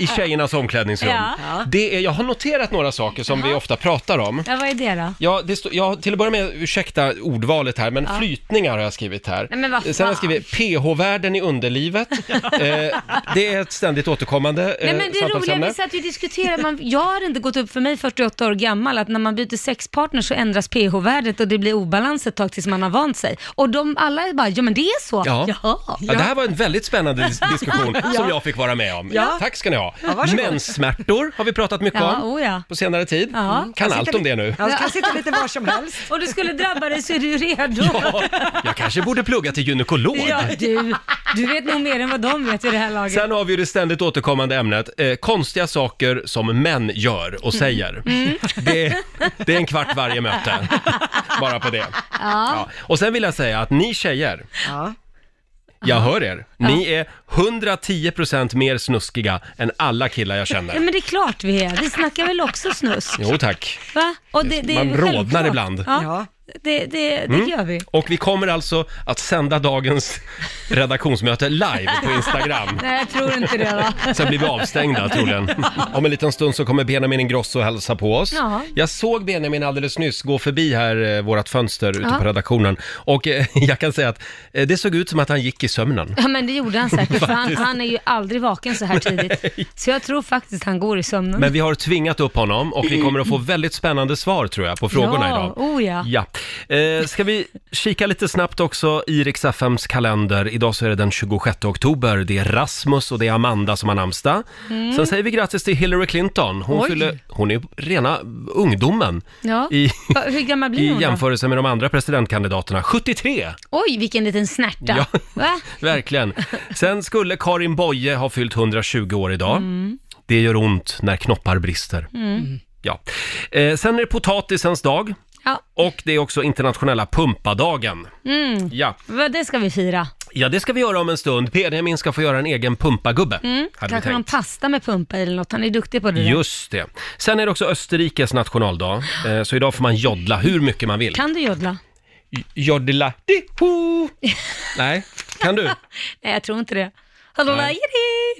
Speaker 1: I tjejernas omklädningsrum.
Speaker 4: Ja.
Speaker 1: Det är, jag har noterat några saker som vi ofta pratar om.
Speaker 4: Ja, vad är det då?
Speaker 1: Ja, det stå, ja, till att börja med, ursäkta ordvalet här, men
Speaker 4: Ja.
Speaker 1: flytningar har jag skrivit här.
Speaker 4: Nej, men vad fan.
Speaker 1: Sen har jag skrivit PH-värden i underlivet. eh, det är ett ständigt återkommande eh,
Speaker 4: Nej men det roliga,
Speaker 1: samtalsämne.
Speaker 4: vi satt ju och diskuterade, man, jag har inte gått upp för mig 48 år gammal att när man byter sexpartner så ändras pH-värdet och det blir obalans ett tag tills man har vant sig. Och de alla är bara, ja men det är så.
Speaker 1: Ja.
Speaker 4: Jaha.
Speaker 1: Ja, det här var en väldigt spännande dis- diskussion
Speaker 4: Ja.
Speaker 1: som jag fick vara med om.
Speaker 4: Ja.
Speaker 1: Tack ska ni ha.
Speaker 4: Ja, varsågod.
Speaker 1: Menssmärtor har vi pratat mycket
Speaker 4: Ja,
Speaker 1: om
Speaker 4: oh ja.
Speaker 1: på senare tid.
Speaker 4: Ja.
Speaker 1: Kan allt om det nu.
Speaker 2: Jag kan sitta lite var som helst.
Speaker 4: Om du skulle drabba dig så är du ju redo.
Speaker 1: Jag kanske borde plugga till gynekolog.
Speaker 4: Ja, du, du vet nog mer än vad de vet i det här laget.
Speaker 1: Sen har vi ju det ständigt återkommande ämnet, eh, konstiga saker som män gör och säger.
Speaker 4: Mm.
Speaker 1: Det, det är en kvart varje möte, bara på det.
Speaker 4: Ja.
Speaker 1: Ja. Och sen vill jag säga att ni tjejer, jag hör er, ni är 110% mer snuskiga än alla killar jag
Speaker 4: Ja,
Speaker 1: känner.
Speaker 4: men det är klart vi är. Vi snackar väl också snusk?
Speaker 1: Jo tack.
Speaker 4: Va? Och det, det är
Speaker 1: Man
Speaker 4: väl
Speaker 1: rodnar
Speaker 4: självklart.
Speaker 1: ibland.
Speaker 4: Ja, det, det, det
Speaker 1: Mm.
Speaker 4: gör vi.
Speaker 1: Och vi kommer alltså att sända dagens redaktionsmöte live på Instagram.
Speaker 4: Nej, jag tror inte det va?
Speaker 1: Sen blir vi avstängda troligen. Om en liten stund så kommer Benjamin Ingrosso och hälsa på oss.
Speaker 4: Ja.
Speaker 1: Jag såg Benjamin alldeles nyss gå förbi här, eh, vårat fönster ute
Speaker 4: Ja.
Speaker 1: på redaktionen. Och eh, jag kan säga att eh, det såg ut som att han gick i sömnen.
Speaker 4: Ja, men det gjorde han säkert, för han,
Speaker 1: Faktiskt.
Speaker 4: han är ju aldrig vaken så här tidigt. Så jag tror faktiskt han går i sömnen.
Speaker 1: Men vi har tvingat upp honom och vi kommer att få väldigt spännande svar tror jag på frågorna
Speaker 4: ja,
Speaker 1: idag.
Speaker 4: Oh ja.
Speaker 1: Ja. Eh, ska vi kika lite snabbt också i Rix FMs kalender. Idag så är det den 26 oktober. Det är Rasmus och det är Amanda som har namnsdag.
Speaker 4: Mm.
Speaker 1: Sen säger vi grattis till Hillary Clinton. Hon,
Speaker 4: Oj.
Speaker 1: fyller, hon är rena ungdomen
Speaker 4: ja.
Speaker 1: i,
Speaker 4: Va, Hur gammal blir
Speaker 1: i
Speaker 4: hon då?
Speaker 1: jämförelse med de andra presidentkandidaterna. 73!
Speaker 4: Oj, vilken liten snärta.
Speaker 1: Ja.
Speaker 4: Va?
Speaker 1: Verkligen. Sen skulle Karin Boye ha fyllt 120 år idag.
Speaker 4: Mm.
Speaker 1: Det gör ont när knoppar brister.
Speaker 4: Mm.
Speaker 1: Ja. Eh, sen är det potatisens dag.
Speaker 4: Ja.
Speaker 1: Och det är också internationella pumpadagen.
Speaker 4: Mm.
Speaker 1: Ja.
Speaker 4: Va, Det ska vi fira.
Speaker 1: ja, det ska vi göra om en stund. Benjamin ska få göra en egen pumpagubbe.
Speaker 4: Mm.
Speaker 1: hade vi
Speaker 4: Kanske någon
Speaker 1: tänkt.
Speaker 4: pasta med pumpa i eller något. Han är duktig på det där.
Speaker 1: Just det. Sen är det också Österrikes nationaldag. Eh, så idag får man joddla hur mycket man vill.
Speaker 4: Kan du joddla?
Speaker 1: Joddla. Diho! Nej, kan du?
Speaker 4: Nej, jag tror inte det. Hallå,
Speaker 1: Nej.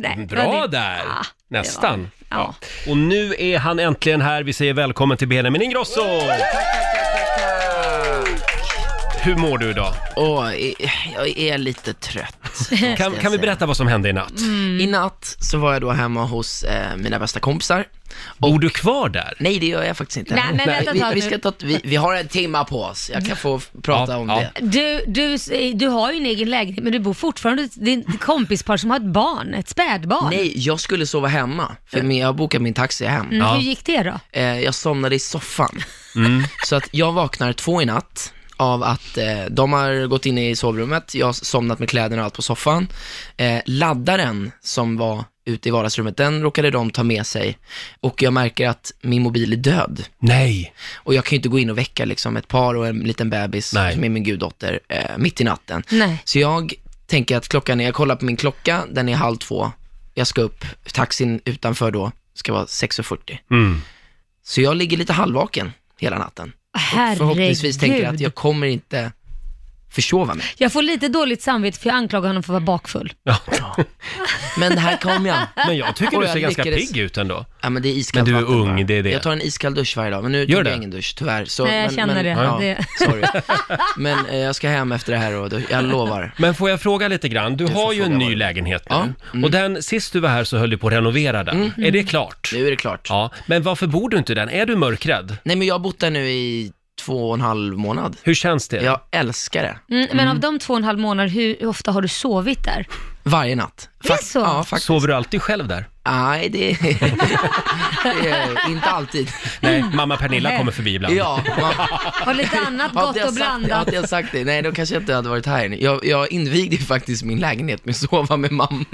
Speaker 4: Nej.
Speaker 11: Eh,
Speaker 4: Nej, det
Speaker 1: Bra
Speaker 4: var det.
Speaker 1: där! Nästan. Ja. Och nu är han äntligen här. Vi säger välkommen till Benjamin Ingrosso! Hur mår du idag?
Speaker 11: Åh, jag är lite trött.
Speaker 1: Kan, kan vi berätta vad som hände i natt?
Speaker 4: Mm.
Speaker 11: I natt så var jag då hemma hos eh, mina bästa kompisar.
Speaker 1: Bor du kvar där?
Speaker 11: Nej, det gör jag faktiskt inte.
Speaker 4: Nej, men vänta ett
Speaker 11: vi,
Speaker 4: tag
Speaker 11: vi,
Speaker 4: nu.
Speaker 11: ska ta, vi, vi har en timma på oss. Jag kan få f- prata om det.
Speaker 4: Du, du, eh, du har ju en egen lägenhet, men du bor fortfarande hos ditt kompispar som har ett barn, ett spädbarn.
Speaker 11: Nej, jag skulle sova hemma, för min- jag bokade min taxi hem.
Speaker 4: Mm, Hur gick det då?
Speaker 11: Eh, jag somnade i soffan. Så att jag vaknar två i natt av att eh, de har gått in i sovrummet, jag har somnat med kläderna och allt på soffan. Eh, laddaren som var ute i vardagsrummet, den råkade de ta med sig och jag märker att min mobil är död.
Speaker 1: Nej.
Speaker 11: Och jag kan ju inte gå in och väcka liksom ett par och en liten bebis som är min guddotter eh, mitt i natten.
Speaker 4: Nej.
Speaker 11: Så jag tänker att klockan är, jag kollar på min klocka, den är halv två. Jag ska upp, taxin utanför då ska vara 6.40.
Speaker 1: Mm.
Speaker 11: Så jag ligger lite halvvaken hela natten.
Speaker 4: Herregud.
Speaker 11: Förhoppningsvis tänker jag att jag kommer inte försova mig.
Speaker 4: Jag får lite dåligt samvete för jag anklagar honom för att vara bakfull.
Speaker 11: Men här kom jag.
Speaker 1: Men jag tycker
Speaker 11: Och
Speaker 1: du ser ganska
Speaker 11: lyckades-
Speaker 1: pigg ut ändå.
Speaker 11: Ja, men det är
Speaker 1: Men
Speaker 11: iskallt
Speaker 1: du är
Speaker 11: vatten bara.
Speaker 1: ung, det är det.
Speaker 11: Jag tar en iskall dusch varje dag, men nu
Speaker 1: Gör
Speaker 11: tog
Speaker 1: det?
Speaker 11: jag ingen dusch tyvärr. Så,
Speaker 4: Nej, jag
Speaker 11: men,
Speaker 4: känner
Speaker 11: men,
Speaker 4: det.
Speaker 11: Ja,
Speaker 4: Det-
Speaker 11: Sorry. Men eh, jag ska hem efter det här och då, jag lovar.
Speaker 1: Men får jag fråga lite grann? Du, har ju en ny lägenhet nu.
Speaker 11: mm.
Speaker 1: Och den, sist du var här så höll du på att renovera den. Är det klart?
Speaker 11: Mm-hmm. Nu är det klart.
Speaker 1: Ja, men varför bor du inte i den? Är du mörkrädd?
Speaker 11: Nej, men jag har bott där nu i två och en halv månad.
Speaker 1: Hur känns det?
Speaker 11: Jag älskar det.
Speaker 4: Mm, men av de två och en halv månader, hur ofta har du sovit där?
Speaker 11: Varje natt.
Speaker 4: Det är så?
Speaker 11: Ja, faktiskt.
Speaker 1: Sover du alltid själv där?
Speaker 11: Nej, det det är inte alltid.
Speaker 1: Nej, mamma Pernilla kommer förbi ibland.
Speaker 11: Ja, man,
Speaker 4: Har lite annat
Speaker 11: Hade
Speaker 4: gott
Speaker 11: jag
Speaker 4: och
Speaker 11: sagt-
Speaker 4: blandat?
Speaker 11: Hade jag sagt det, nej då kanske jag inte hade varit här inne. Jag, jag invigde ju faktiskt min lägenhet med att sova med mamma.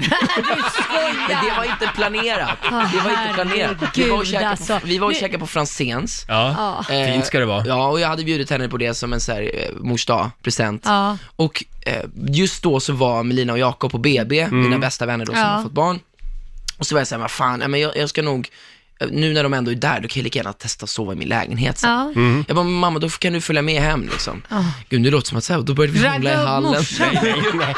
Speaker 11: Men det var inte planerat. Det var inte planerat. Vi var och
Speaker 4: Herregud,
Speaker 11: käkade
Speaker 4: alltså.
Speaker 11: på, vi var och
Speaker 4: Nu-
Speaker 11: käkade på Franzéns.
Speaker 4: Ja. Ja. Fint
Speaker 1: ska det vara.
Speaker 11: Ja, och jag hade bjudit henne på det som en så här eh, mors dag, eh, present.
Speaker 4: Ja.
Speaker 11: Och eh, just då så var Melina och Jakob på BB, mina bästa vänner då som
Speaker 12: Ja.
Speaker 11: har fått barn. Och så var jag såhär, vad fan, nej, men jag, jag ska nog, eh, nu när de ändå är där, då kan jag lika gärna testa att sova i min lägenhet sen.
Speaker 12: Ja. Mm.
Speaker 11: Jag bara, men mamma, då kan du följa med hem liksom.
Speaker 12: Ja.
Speaker 11: Gud, nu låter det som att så här, då började vi
Speaker 12: Ragga
Speaker 11: hångla i
Speaker 12: upp
Speaker 11: hallen.
Speaker 12: morsan. Nej, nej,
Speaker 11: nej.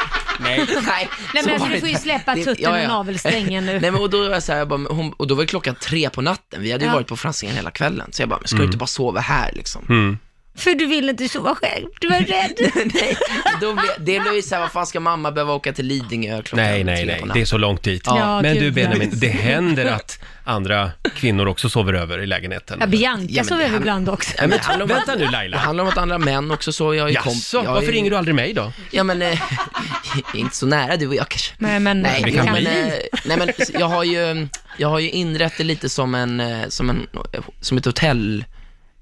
Speaker 4: Nej, men
Speaker 11: Så
Speaker 4: alltså,
Speaker 11: var
Speaker 4: du
Speaker 11: det
Speaker 4: får ju
Speaker 11: inte.
Speaker 4: släppa
Speaker 11: Det-
Speaker 4: tutten och navelsträngen nu.
Speaker 11: Nej, men och då var jag så här, jag bara, men hon, och då var det klockan tre på natten, vi hade ju
Speaker 4: Ja.
Speaker 11: varit på Franzén hela kvällen. Så jag bara, men ska du
Speaker 1: Mm.
Speaker 11: inte bara sova här liksom?
Speaker 4: För du ville inte sova själv, du var rädd.
Speaker 11: nej, då blev, det blev ju såhär, vad fan ska mamma behöva åka till Lidingö klockan
Speaker 1: Nej, nej,
Speaker 11: tre
Speaker 1: nej,
Speaker 11: på
Speaker 1: det är
Speaker 11: natten?
Speaker 1: så långt dit.
Speaker 11: Ja. Ja,
Speaker 1: Men
Speaker 11: gud,
Speaker 1: du Benjamin,
Speaker 11: ja.
Speaker 1: det händer att andra kvinnor också sover över i lägenheten.
Speaker 4: Ja, Bianca
Speaker 11: Ja, men
Speaker 4: sov
Speaker 11: det
Speaker 4: över
Speaker 11: här-
Speaker 4: ibland också.
Speaker 11: Nej, men det handlar om att-
Speaker 1: Vänta nu Laila.
Speaker 11: Det handlar om att andra män också sover, jag är ju komp-
Speaker 1: Jaså,
Speaker 11: jag
Speaker 1: varför
Speaker 11: är-
Speaker 1: ringer du aldrig mig då?
Speaker 11: Ja men, eh, vi är inte så nära du och jag kanske.
Speaker 4: Nej, men-
Speaker 11: nej,
Speaker 4: Vi kan
Speaker 11: men,
Speaker 4: bli.
Speaker 11: eh, nej men jag har ju, jag har ju inrett det lite som en, eh, som en, som ett hotellrum.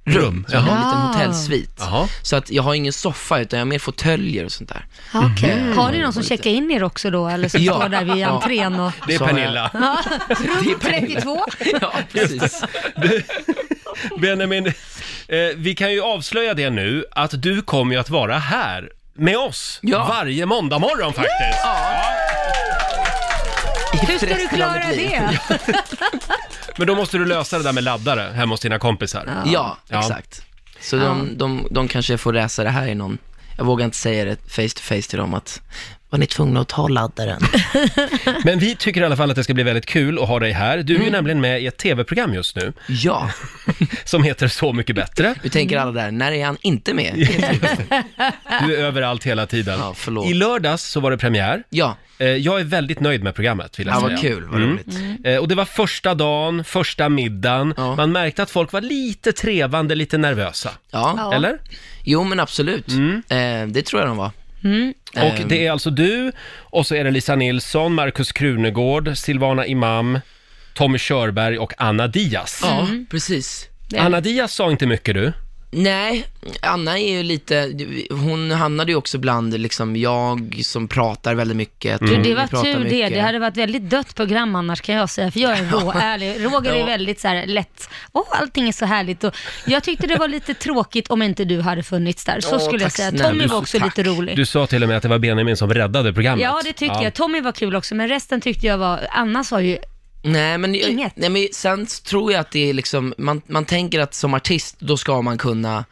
Speaker 11: Rum, som en
Speaker 4: jaha.
Speaker 11: liten
Speaker 4: Ah.
Speaker 11: hotellsvit. Så att jag har ingen soffa utan jag har mer fåtöljer och sånt där.
Speaker 4: Ja, Ah, okej.
Speaker 11: Mm.
Speaker 4: Har ni någon som checkar in er också då, eller som
Speaker 11: Ja.
Speaker 4: står där vid
Speaker 11: Ja.
Speaker 4: entrén och...
Speaker 1: Det är
Speaker 11: Så har jag-
Speaker 1: Pernilla.
Speaker 4: Ja, rum 32.
Speaker 11: Ja, precis.
Speaker 1: Benjamin, eh, vi kan ju avslöja det nu att du kommer ju att vara här med oss varje måndag morgon faktiskt.
Speaker 4: Hur ska du
Speaker 11: resten av
Speaker 4: klara
Speaker 11: mitt liv.
Speaker 4: det?
Speaker 1: Men då måste du lösa det där med laddare hemma hos dina kompisar.
Speaker 11: Ja, exakt. Så de, de, de kanske får läsa det här i någon, jag vågar inte säga det face to face till dem att, var ni tvungna att ta laddaren?
Speaker 1: Men vi tycker i alla fall att det ska bli väldigt kul att ha dig här. Du är ju nämligen med i ett tv-program just nu.
Speaker 11: Mm. Ja.
Speaker 1: Som heter Så mycket bättre.
Speaker 11: Vi tänker alla där, när är han inte med?
Speaker 1: Du är överallt hela tiden.
Speaker 11: Ja, förlåt.
Speaker 1: I lördags så var det premiär. Eh,
Speaker 11: Ja.
Speaker 1: Jag är väldigt nöjd med programmet, vill jag
Speaker 11: Ja,
Speaker 1: säga.
Speaker 11: vad kul, vad roligt.
Speaker 1: Eh, Och det var första dagen, första middagen. Man märkte att folk var lite trevande, lite nervösa.
Speaker 11: Ja.
Speaker 1: Eller? Mm.
Speaker 11: Jo, men absolut. Eh, det tror jag de var.
Speaker 4: Mm.
Speaker 11: Ehm.
Speaker 1: Och det är alltså du, och så är det Lisa Nilsson, Markus Krunegård, Silvana Imam, Tommy Körberg och Anna Diaz.
Speaker 11: Ja,
Speaker 4: Mm.
Speaker 11: precis.
Speaker 1: Anna Diaz sa inte mycket du.
Speaker 11: Nej, Anna är ju lite, hon hamnade ju också bland liksom jag som pratar väldigt mycket.
Speaker 1: Mm.
Speaker 4: Du,
Speaker 11: Mm. Vi
Speaker 4: det var
Speaker 11: pratar
Speaker 4: tur det.
Speaker 11: mycket.
Speaker 4: Det hade varit väldigt dött program annars kan jag säga, för jag är rå, ärlig. Roger är
Speaker 11: Ja.
Speaker 4: väldigt så här lätt, åh allting är så härligt och jag tyckte det var lite tråkigt om inte du hade funnits där, så
Speaker 11: Åh,
Speaker 4: skulle jag
Speaker 11: tack
Speaker 4: säga.
Speaker 11: snälla.
Speaker 4: Tommy
Speaker 11: Du-
Speaker 4: var också
Speaker 11: tack.
Speaker 4: lite rolig.
Speaker 1: Du sa till och med att det var Benjamin som räddade programmet.
Speaker 4: Ja, det tyckte jag. Tommy var kul också, men resten tyckte jag var, Anna sa ju
Speaker 11: Nej men, jag,
Speaker 4: Inget.
Speaker 11: nej, men sen tror jag att det är liksom, man, man tänker att som artist, då ska man kunna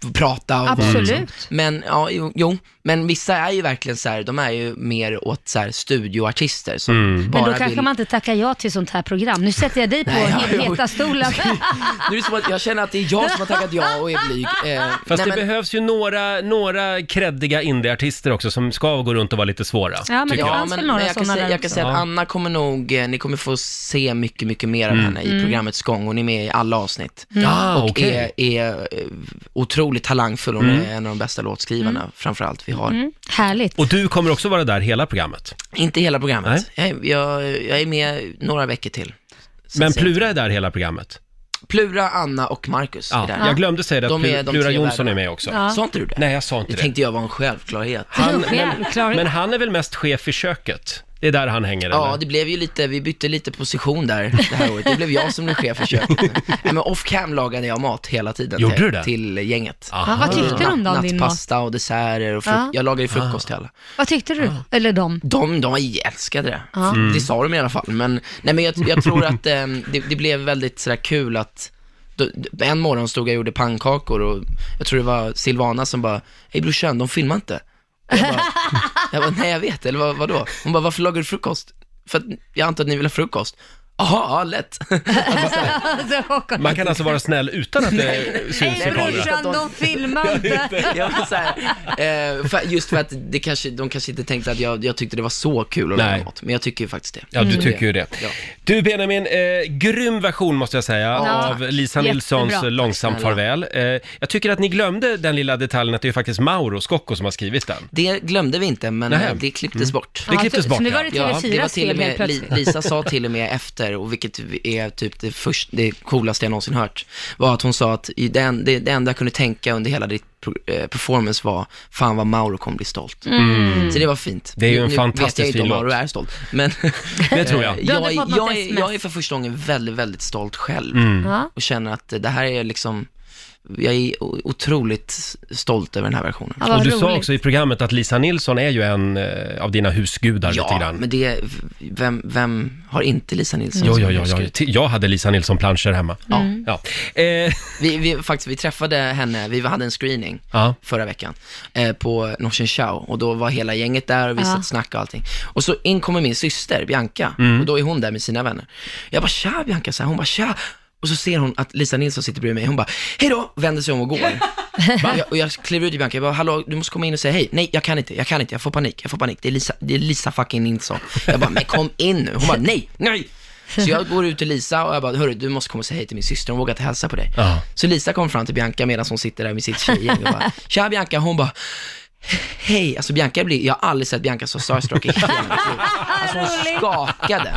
Speaker 11: f- prata och vara
Speaker 4: Absolut.
Speaker 11: liksom. Men, ja, jo, jo, men vissa är ju verkligen så här, de är ju mer åt så här studioartister som
Speaker 1: Mm.
Speaker 11: bara
Speaker 4: men då kanske
Speaker 11: vill...
Speaker 4: man inte tackar ja till sånt här program. Nu sätter jag dig på
Speaker 11: Nej, ja,
Speaker 4: he-
Speaker 11: jo.
Speaker 4: heta stolen.
Speaker 11: Nu är det som att jag känner att det är jag som har tackat ja och är blyg. Eh,
Speaker 1: Fast
Speaker 11: nej,
Speaker 1: det
Speaker 11: men-
Speaker 1: behövs ju några, några creddiga indieartister också som ska gå runt och vara lite svåra. tycker jag.
Speaker 4: väl några
Speaker 11: jag kan,
Speaker 4: sådana
Speaker 11: säga,
Speaker 4: där
Speaker 11: jag kan
Speaker 4: också.
Speaker 11: säga att
Speaker 4: Ja.
Speaker 11: Anna kommer nog, eh, ni kommer få se mycket, mycket mer av
Speaker 1: Mm.
Speaker 11: henne i
Speaker 4: Mm.
Speaker 11: programmets gång. Hon är med i alla avsnitt.
Speaker 1: Mm. Ah,
Speaker 11: och
Speaker 1: okej.
Speaker 11: är, är eh, otroligt talangfull. Hon
Speaker 1: Mm.
Speaker 11: är en av de bästa låtskrivarna, framför allt vi har.
Speaker 4: Mm, härligt.
Speaker 1: Och du kommer också vara där hela programmet.
Speaker 11: Inte hela programmet. Jag, är- jag, jag är med några veckor till. Sen
Speaker 1: Men
Speaker 11: ser jag
Speaker 1: Plura är där hela programmet.
Speaker 11: inte. Plura, Anna och Marcus är
Speaker 1: Ja,
Speaker 11: där.
Speaker 1: jag glömde säga det att
Speaker 11: De är
Speaker 1: Plu-
Speaker 11: de
Speaker 1: Plura
Speaker 11: tre
Speaker 1: Jonsson
Speaker 11: värdarna.
Speaker 1: är med också.
Speaker 4: Ja.
Speaker 11: Sa inte du det?
Speaker 1: Nej, jag sa inte
Speaker 11: Det
Speaker 1: det.
Speaker 11: tänkte jag var en självklarhet.
Speaker 1: Han,
Speaker 4: Självklart.
Speaker 1: men, men han är väl mest chef i köket? Det är där han hänger
Speaker 11: Ja,
Speaker 1: eller?
Speaker 11: det blev ju lite, vi bytte lite position där det här året. Det blev jag som blev chef i köket. Nej, men off cam lagade jag mat hela tiden
Speaker 1: Gjorde
Speaker 11: till,
Speaker 1: du det?
Speaker 11: till gänget.
Speaker 4: Ja, vad tyckte de då om din mat?
Speaker 11: Nattpasta och desserter och fruk-
Speaker 4: Ja.
Speaker 11: Jag lagade ju
Speaker 1: Ah.
Speaker 11: frukost till alla.
Speaker 4: Vad tyckte du? Eller de?
Speaker 11: De, de älskade det.
Speaker 4: Ja. Mm.
Speaker 11: Det sa de i alla fall. Men, nej, men jag, jag tror att eh, det, det blev väldigt sådär kul att då- en morgon stod jag och gjorde pannkakor och jag tror det var Silvana som bara, hej brorsan, de filmar inte. Och Jag bara, jag bara, nej jag vet, eller vad, vadå? Hon bara, varför lagar du frukost? För att jag antar att ni vill ha frukost. Jaha, ja, lätt.
Speaker 4: Mm.
Speaker 1: Alltså, Man kan alltså vara snäll utan att det syns i
Speaker 4: Nej
Speaker 1: kameran.
Speaker 4: brorsan, de filmar inte.
Speaker 11: Jag var så här, eh, för, just för att det kanske, de kanske inte tänkte att jag, jag tyckte det var så kul att laga
Speaker 1: Nej.
Speaker 11: mat, men jag tycker ju faktiskt det.
Speaker 1: Ja, du
Speaker 4: Mm.
Speaker 11: Så
Speaker 1: tycker ju det.
Speaker 11: Mm. Ja.
Speaker 1: Du Benjamin, eh, grym version måste jag säga
Speaker 11: Ja,
Speaker 1: av
Speaker 11: tack.
Speaker 1: Lisa
Speaker 11: Jättebra.
Speaker 1: Nilssons
Speaker 11: Tack
Speaker 1: Långsam
Speaker 11: snälla.
Speaker 1: farväl. Eh, jag tycker att ni glömde den lilla detaljen att det är ju faktiskt Mauro Scocco som har skrivit den.
Speaker 11: Det glömde vi inte, men
Speaker 1: Nähä. Mm.
Speaker 11: eh, det klipptes bort.
Speaker 1: Det klipptes bort ja.
Speaker 11: Ja, det var till och
Speaker 4: fel
Speaker 11: med,
Speaker 4: helt
Speaker 11: Li-
Speaker 4: plötsligt.
Speaker 11: Lisa sa till och med efter, och vilket är typ det, först, det coolaste jag någonsin hört, var att hon sa att i den, det, det enda jag kunde tänka under hela ditt pro- eh, performance var, fan vad Mauro kommer bli stolt.
Speaker 1: Mm.
Speaker 11: Så det var fint.
Speaker 1: Det är ju en
Speaker 11: Nu- nu
Speaker 1: fantastisk
Speaker 11: vet jag ju inte
Speaker 1: fin
Speaker 11: om
Speaker 1: låt.
Speaker 11: Mauro är stolt, men
Speaker 1: Det tror jag.
Speaker 11: eh,
Speaker 1: Du hade
Speaker 11: jag, är-
Speaker 1: fått något
Speaker 11: jag, är-
Speaker 1: SMS.
Speaker 11: jag är för första gången väldigt, väldigt stolt själv
Speaker 1: Mm.
Speaker 4: Ja.
Speaker 11: och känner att eh, det här är liksom jag är o- otroligt stolt över den här versionen.
Speaker 4: Ja, vad
Speaker 1: Och du sa
Speaker 4: roligt.
Speaker 1: också i programmet att Lisa Nilsson är ju en eh, av dina husgudar
Speaker 11: Ja,
Speaker 1: lite grann.
Speaker 11: men det, vem, vem har inte Lisa Nilsson
Speaker 1: Jo,
Speaker 11: som
Speaker 1: jo, jo, jo.
Speaker 11: husgud?
Speaker 1: Ti- Jag hade Lisa Nilsson-planscher hemma.
Speaker 11: Ja.
Speaker 1: Ja.
Speaker 11: Vi, vi, faktiskt, vi träffade henne, vi hade en screening
Speaker 1: Ja.
Speaker 11: förra veckan eh, på Norsen Show och då var hela gänget där och vi
Speaker 12: Ja.
Speaker 11: satt och snackade och allting. Och så in kommer min syster Bianca och då är hon där med sina vänner. Jag bara tja Bianca, så här. hon bara tja. Och så ser hon att Lisa Nilsson sitter bredvid mig, hon bara hej då, vänder sig om och går. Och jag, och jag kliver ut till Bianca, jag bara hallå, du måste komma in och säga hej. Nej, jag kan inte, jag kan inte, jag får panik, jag får panik. Det är Lisa, det är Lisa fucking Nilsson. Jag bara, men kom in nu. Hon bara, nej, nej. Så jag går ut till Lisa och jag bara, hörru, du måste komma och säga hej till min syster, hon vågar inte hälsa på dig.
Speaker 1: Ja.
Speaker 11: Så Lisa kom fram till Bianca medan hon sitter där med sitt tjejgäng och bara, tja Bianca, hon bara, hej. Alltså Bianca blir, jag har aldrig sett Bianca så starstruck i hela mitt liv. Alltså hon skakade.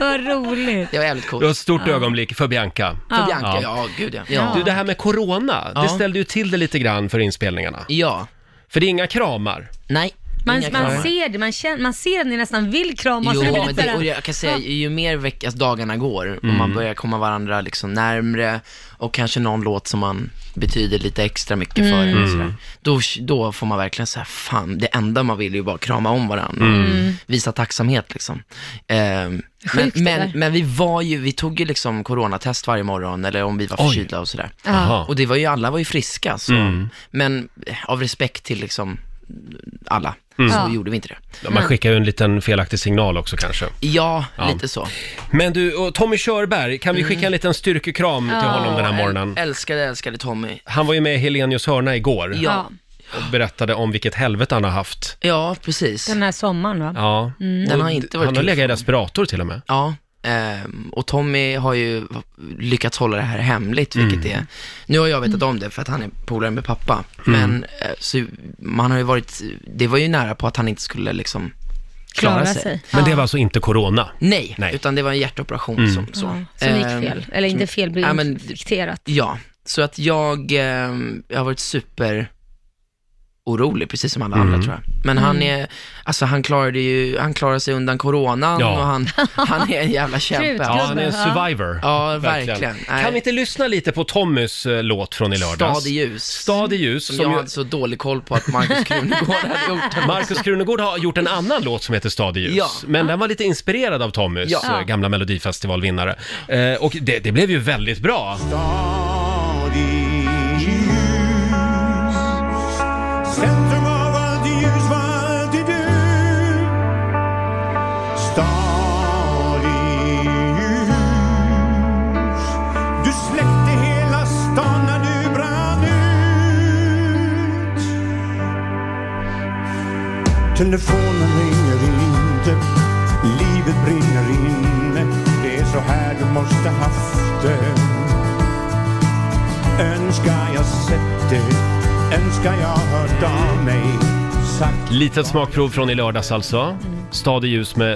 Speaker 4: Vad roligt.
Speaker 11: Det var jävligt coolt.
Speaker 1: Det var ett stort
Speaker 11: Ja.
Speaker 1: ögonblick för Bianca.
Speaker 11: För Bianca, ja, gud ja. Ja.
Speaker 1: Du, det här med corona,
Speaker 11: Ja.
Speaker 1: det ställde ju till det lite grann för inspelningarna.
Speaker 11: Ja.
Speaker 1: För det är inga kramar.
Speaker 11: Nej.
Speaker 4: Man,
Speaker 11: Inga kramar.
Speaker 4: man ser det, man, känner, man ser att ni nästan vill kramas.
Speaker 11: Jo,
Speaker 4: så det blir
Speaker 11: men
Speaker 4: lite
Speaker 11: det,
Speaker 4: såhär-
Speaker 11: och jag kan säga, ju mer veckas dagarna går
Speaker 1: Mm.
Speaker 11: och man börjar komma varandra liksom närmre och kanske någon låt som man betyder lite extra mycket för
Speaker 4: Mm.
Speaker 11: en och
Speaker 4: Mm.
Speaker 11: sådär, då, då får man verkligen säga fan, det enda man vill är ju bara krama om varandra
Speaker 4: Mm.
Speaker 11: och visa tacksamhet liksom. Ehm, men,
Speaker 4: Sjukt det
Speaker 11: men,
Speaker 4: där.
Speaker 11: men vi var ju, vi tog ju liksom coronatest varje morgon eller om vi var
Speaker 1: Oj.
Speaker 11: förkylda och sådär.
Speaker 4: Jaha.
Speaker 11: Och det var ju, alla var ju friska så,
Speaker 1: Mm.
Speaker 11: men eh, av respekt till liksom alla,
Speaker 1: Mm.
Speaker 11: så
Speaker 1: Ja.
Speaker 11: gjorde vi inte det.
Speaker 1: Ja, Man skickar ju en liten felaktig signal också kanske.
Speaker 11: Ja,
Speaker 1: Ja.
Speaker 11: lite så.
Speaker 1: Men du, och Tommy Körberg, kan vi
Speaker 11: Mm.
Speaker 1: skicka en liten styrkekram till honom den här morgonen?
Speaker 11: Äl- Älskade, älskade Tommy.
Speaker 1: Han var ju med i Helenius hörna igår
Speaker 11: Ja.
Speaker 1: och berättade om vilket helvete han har haft.
Speaker 11: Ja, precis.
Speaker 4: Den här sommaren va?
Speaker 1: Ja.
Speaker 4: Mm.
Speaker 11: Den
Speaker 1: Och
Speaker 11: har
Speaker 1: d-
Speaker 11: inte varit
Speaker 1: han har
Speaker 11: till
Speaker 1: legat i respirator till och med.
Speaker 11: Ja, ehm, och Tommy har ju lyckats hålla det här hemligt,
Speaker 1: Mm.
Speaker 11: vilket är... Nu har jag vetat om det för att han är polare med pappa,
Speaker 1: Mm.
Speaker 11: men eh, så, man har ju varit... Det var ju nära på att han inte skulle liksom klara, sig.
Speaker 1: Men det var alltså inte corona?
Speaker 11: Nej,
Speaker 1: Nej.
Speaker 11: utan det var en hjärtoperation
Speaker 1: Mm.
Speaker 11: som så.
Speaker 4: Ja, som gick
Speaker 11: Ehm,
Speaker 4: fel. Eller inte fel, blev
Speaker 11: ja, men-
Speaker 4: infekterat.
Speaker 11: Ja, så att jag, ehm, jag har varit super orolig, precis som alla
Speaker 1: Mm.
Speaker 11: andra tror jag. Men han
Speaker 4: Mm.
Speaker 11: är, alltså han klarade ju, han klarade sig undan coronan
Speaker 1: Ja.
Speaker 11: och han, han är en jävla kämpe.
Speaker 1: Ja, han är en survivor.
Speaker 11: Ja, verkligen. Nej.
Speaker 1: Kan vi inte lyssna lite på Tommys eh, låt från i lördags?
Speaker 11: Stad i ljus.
Speaker 1: Stad i ljus.
Speaker 11: Som,
Speaker 1: Som
Speaker 11: jag
Speaker 1: ju-
Speaker 11: hade så dålig koll på att Markus Krunegård hade gjort den.
Speaker 1: Markus Krunegård har gjort en annan låt som heter Stad i ljus.
Speaker 11: Ja.
Speaker 1: Men den var lite inspirerad av Tommys
Speaker 11: Ja.
Speaker 1: eh, gamla melodifestivalvinnare. Eh, och det, det blev ju väldigt bra.
Speaker 3: Centrum av allt ljus, vad alltid du Stad i ljus Du släckte hela stan när du brann ut Telefonen ringer inte Livet brinner inne Det är så här du måste haft det Önskar jag sett det, önskar jag hört av mig. Sagt
Speaker 1: Litet smakprov från i lördags alltså. Stad i ljus med,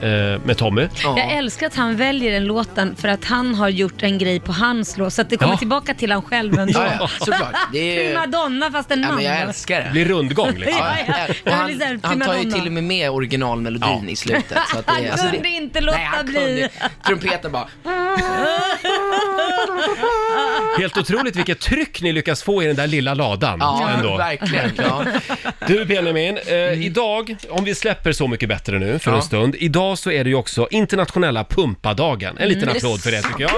Speaker 1: eh, med Tommy.
Speaker 4: Jag älskar att han väljer den låten för att han har gjort en grej på hans låt. Så att det kommer
Speaker 1: Ja.
Speaker 4: tillbaka till han själv ändå.
Speaker 11: Ja, ja, såklart. Det är,
Speaker 4: Primadonna fast en
Speaker 11: ja,
Speaker 4: man.
Speaker 11: men jag
Speaker 4: va?
Speaker 11: älskar det.
Speaker 1: Det blir rundgång liksom.
Speaker 4: Ja, ja.
Speaker 11: Och
Speaker 4: Jag
Speaker 11: han,
Speaker 4: blir så här
Speaker 11: han tar ju
Speaker 4: primadonna.
Speaker 11: till och med med originalmelodin i slutet. Så att det,
Speaker 4: Han
Speaker 11: är- alltså,
Speaker 4: kunde
Speaker 11: det,
Speaker 4: inte låta
Speaker 11: nej, han
Speaker 4: bli.
Speaker 11: kunde. Trumpeten bara.
Speaker 1: Helt otroligt vilket tryck ni lyckas få i den där lilla ladan.
Speaker 11: Ja,
Speaker 1: ändå.
Speaker 11: verkligen. Ja.
Speaker 1: Du Benjamin, eh, idag, om vi släpper Så mycket bättre nu för
Speaker 11: Ja.
Speaker 1: en stund, idag så är det ju också internationella pumpadagen. En liten
Speaker 11: Mm, det är
Speaker 1: applåd för det tycker jag.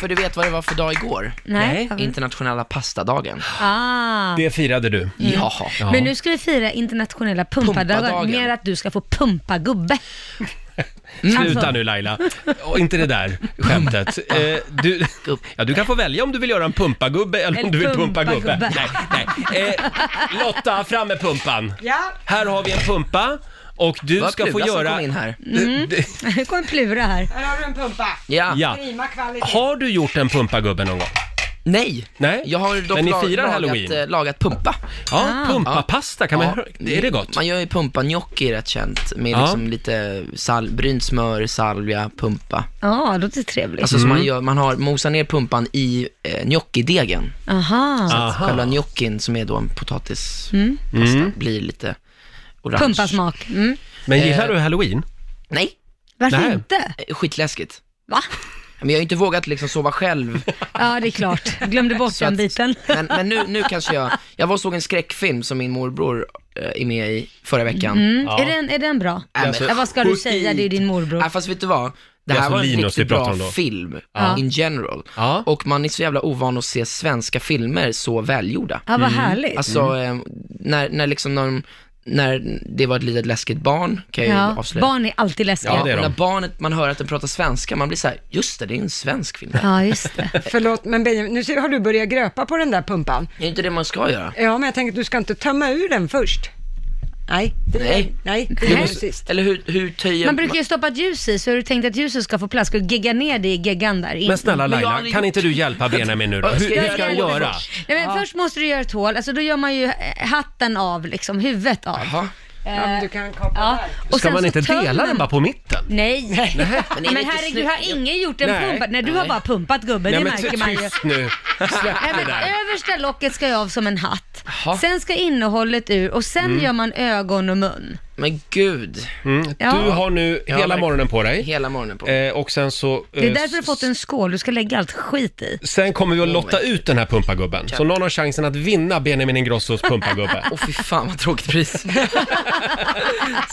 Speaker 11: För du vet vad det var för dag igår?
Speaker 4: Mm. Nej. Nej.
Speaker 11: Internationella pastadagen.
Speaker 4: Ah.
Speaker 1: Det firade du.
Speaker 11: Ja.
Speaker 4: Men nu ska vi fira internationella pumpadagen
Speaker 11: Pumpadagen.
Speaker 4: med att du ska få pumpa gubbe.
Speaker 1: Sluta
Speaker 11: Mm.
Speaker 4: Alltså.
Speaker 1: nu Laila, och inte det där skämtet. Eh, du, ja, du kan få välja om du vill göra en pumpagubbe eller om
Speaker 4: Eller
Speaker 1: du vill pumpa
Speaker 4: pumpagubbe.
Speaker 1: gubbe. Nej, nej. Eh, Lotta, fram med pumpan.
Speaker 2: Ja.
Speaker 1: Här har vi en pumpa och du
Speaker 11: Vad
Speaker 1: ska få
Speaker 11: Plura som
Speaker 1: göra...
Speaker 11: kom in här.
Speaker 1: Du- du-
Speaker 4: Nu kommer Plura här.
Speaker 2: Här har du en pumpa.
Speaker 11: Ja.
Speaker 1: Ja.
Speaker 2: Prima kvalitet.
Speaker 1: Har du gjort en pumpagubbe någon gång?
Speaker 11: Nej.
Speaker 1: Nej,
Speaker 11: Jag har dock
Speaker 1: men ni
Speaker 11: lag-
Speaker 1: firar
Speaker 11: lagat,
Speaker 1: halloween.
Speaker 11: eh, lagat pumpa.
Speaker 1: Ja, pumpapasta, kan man
Speaker 11: Ja.
Speaker 1: Är det gott?
Speaker 11: Man gör ju pumpa gnocchi rätt känt med
Speaker 1: Ja.
Speaker 11: liksom lite sal, brynt smör, salvia, pumpa.
Speaker 4: Ja, det låter trevligt.
Speaker 11: Alltså
Speaker 1: Mm.
Speaker 11: som man gör, man har mosar ner pumpan i eh, gnocchidegen. Så
Speaker 4: Aha.
Speaker 11: att
Speaker 1: Aha.
Speaker 11: Alltså, själva gnocchin som är då en potatis
Speaker 4: Mm.
Speaker 11: pasta,
Speaker 1: Mm.
Speaker 11: blir lite orange. Eh.
Speaker 4: Pumpasmak. Mm.
Speaker 1: Men gillar du halloween?
Speaker 11: Nej,
Speaker 4: Varför
Speaker 1: Nej.
Speaker 4: inte?
Speaker 11: eh, skitläskigt.
Speaker 4: Va?
Speaker 11: Men jag har ju inte vågat liksom sova själv.
Speaker 4: Ja, det är klart. Glömde bort
Speaker 11: Så
Speaker 4: den
Speaker 11: att-
Speaker 4: biten.
Speaker 11: Men, men nu, nu kanske jag, jag var och såg en skräckfilm som min morbror eh, är med i förra veckan.
Speaker 4: Mm. Är, den, är den bra? ja, vad ska du säga? Det är ju din morbror.
Speaker 11: Ja, fast vet du vad?
Speaker 4: Det
Speaker 11: Det
Speaker 4: är
Speaker 11: här
Speaker 4: alltså
Speaker 11: var en
Speaker 4: Linus
Speaker 11: riktigt
Speaker 4: vi pratar
Speaker 11: bra
Speaker 4: om då.
Speaker 11: film uh,
Speaker 4: Ja.
Speaker 11: in general. Och man är så jävla ovan att se svenska filmer så välgjorda.
Speaker 4: Ja, vad Mm. härligt.
Speaker 11: Alltså, eh, när, när liksom när, när det var ett litet läskigt barn, kan jag ju
Speaker 4: Ja.
Speaker 11: avslöja.
Speaker 4: Barn är alltid läskiga.
Speaker 11: Ja, och när barnet, man hör att den pratar svenska, man blir så här, just det, det är en svensk film.
Speaker 4: Ja, just det.
Speaker 2: Förlåt, men Benjamin, nu ser- har du börjat gröpa på den där pumpan.
Speaker 11: Det är inte det man ska göra.
Speaker 2: Ja, men jag tänker att du ska inte tömma ur den först. Nej, det
Speaker 11: Nej.
Speaker 2: Nej, det
Speaker 11: Du
Speaker 2: är
Speaker 11: måste-
Speaker 2: sist.
Speaker 11: Eller hur, hur töjer
Speaker 4: Man brukar ju stoppa ett ljus i, så har du tänkt att ljuset ska få plats, ska du gegga ner det i geggan där? in-
Speaker 1: Men snälla Laila, kan inte du hjälpa Benjamin nu då? Hur, hur ska jag göra?
Speaker 4: Nej, men Först måste du göra ett hål, alltså då gör man ju eh, hatten av, liksom huvudet av. Eh,
Speaker 2: Ja, men du kan kapa
Speaker 4: ja. Och
Speaker 1: Ska
Speaker 4: sen
Speaker 1: man
Speaker 4: så
Speaker 1: inte
Speaker 4: tömmer
Speaker 1: dela
Speaker 4: man-
Speaker 1: den bara på mitten?
Speaker 4: Nej,
Speaker 1: Men
Speaker 4: men,
Speaker 1: är det inte
Speaker 4: herregud,
Speaker 1: snyggt?
Speaker 4: har ingen gjort en
Speaker 1: Nej.
Speaker 4: pumpa? Nej, du har
Speaker 1: Nej.
Speaker 4: bara pumpat gubben, det
Speaker 1: men
Speaker 4: märker
Speaker 1: ty-
Speaker 4: man ju.
Speaker 1: tyst nu. Släpp
Speaker 4: Nej,
Speaker 1: det
Speaker 4: men eh.
Speaker 1: där.
Speaker 4: översta locket ska ju av som en hatt. Sen ska innehållet ur och sen
Speaker 1: Mm.
Speaker 4: gör man ögon och mun.
Speaker 11: Men gud.
Speaker 4: Ja.
Speaker 1: Du har nu
Speaker 11: Ja,
Speaker 1: hela
Speaker 11: verkligen.
Speaker 1: morgonen på dig.
Speaker 11: Hela morgonen på
Speaker 1: eh, Och sen så... eh,
Speaker 4: Det är därför du har fått en skål, du ska lägga allt skit i.
Speaker 1: Sen kommer vi att lotta ut den här pumpagubben. Så någon har chansen att vinna Benjamin Ingrossos pumpagubbe.
Speaker 11: Åh fy fan vad tråkigt pris.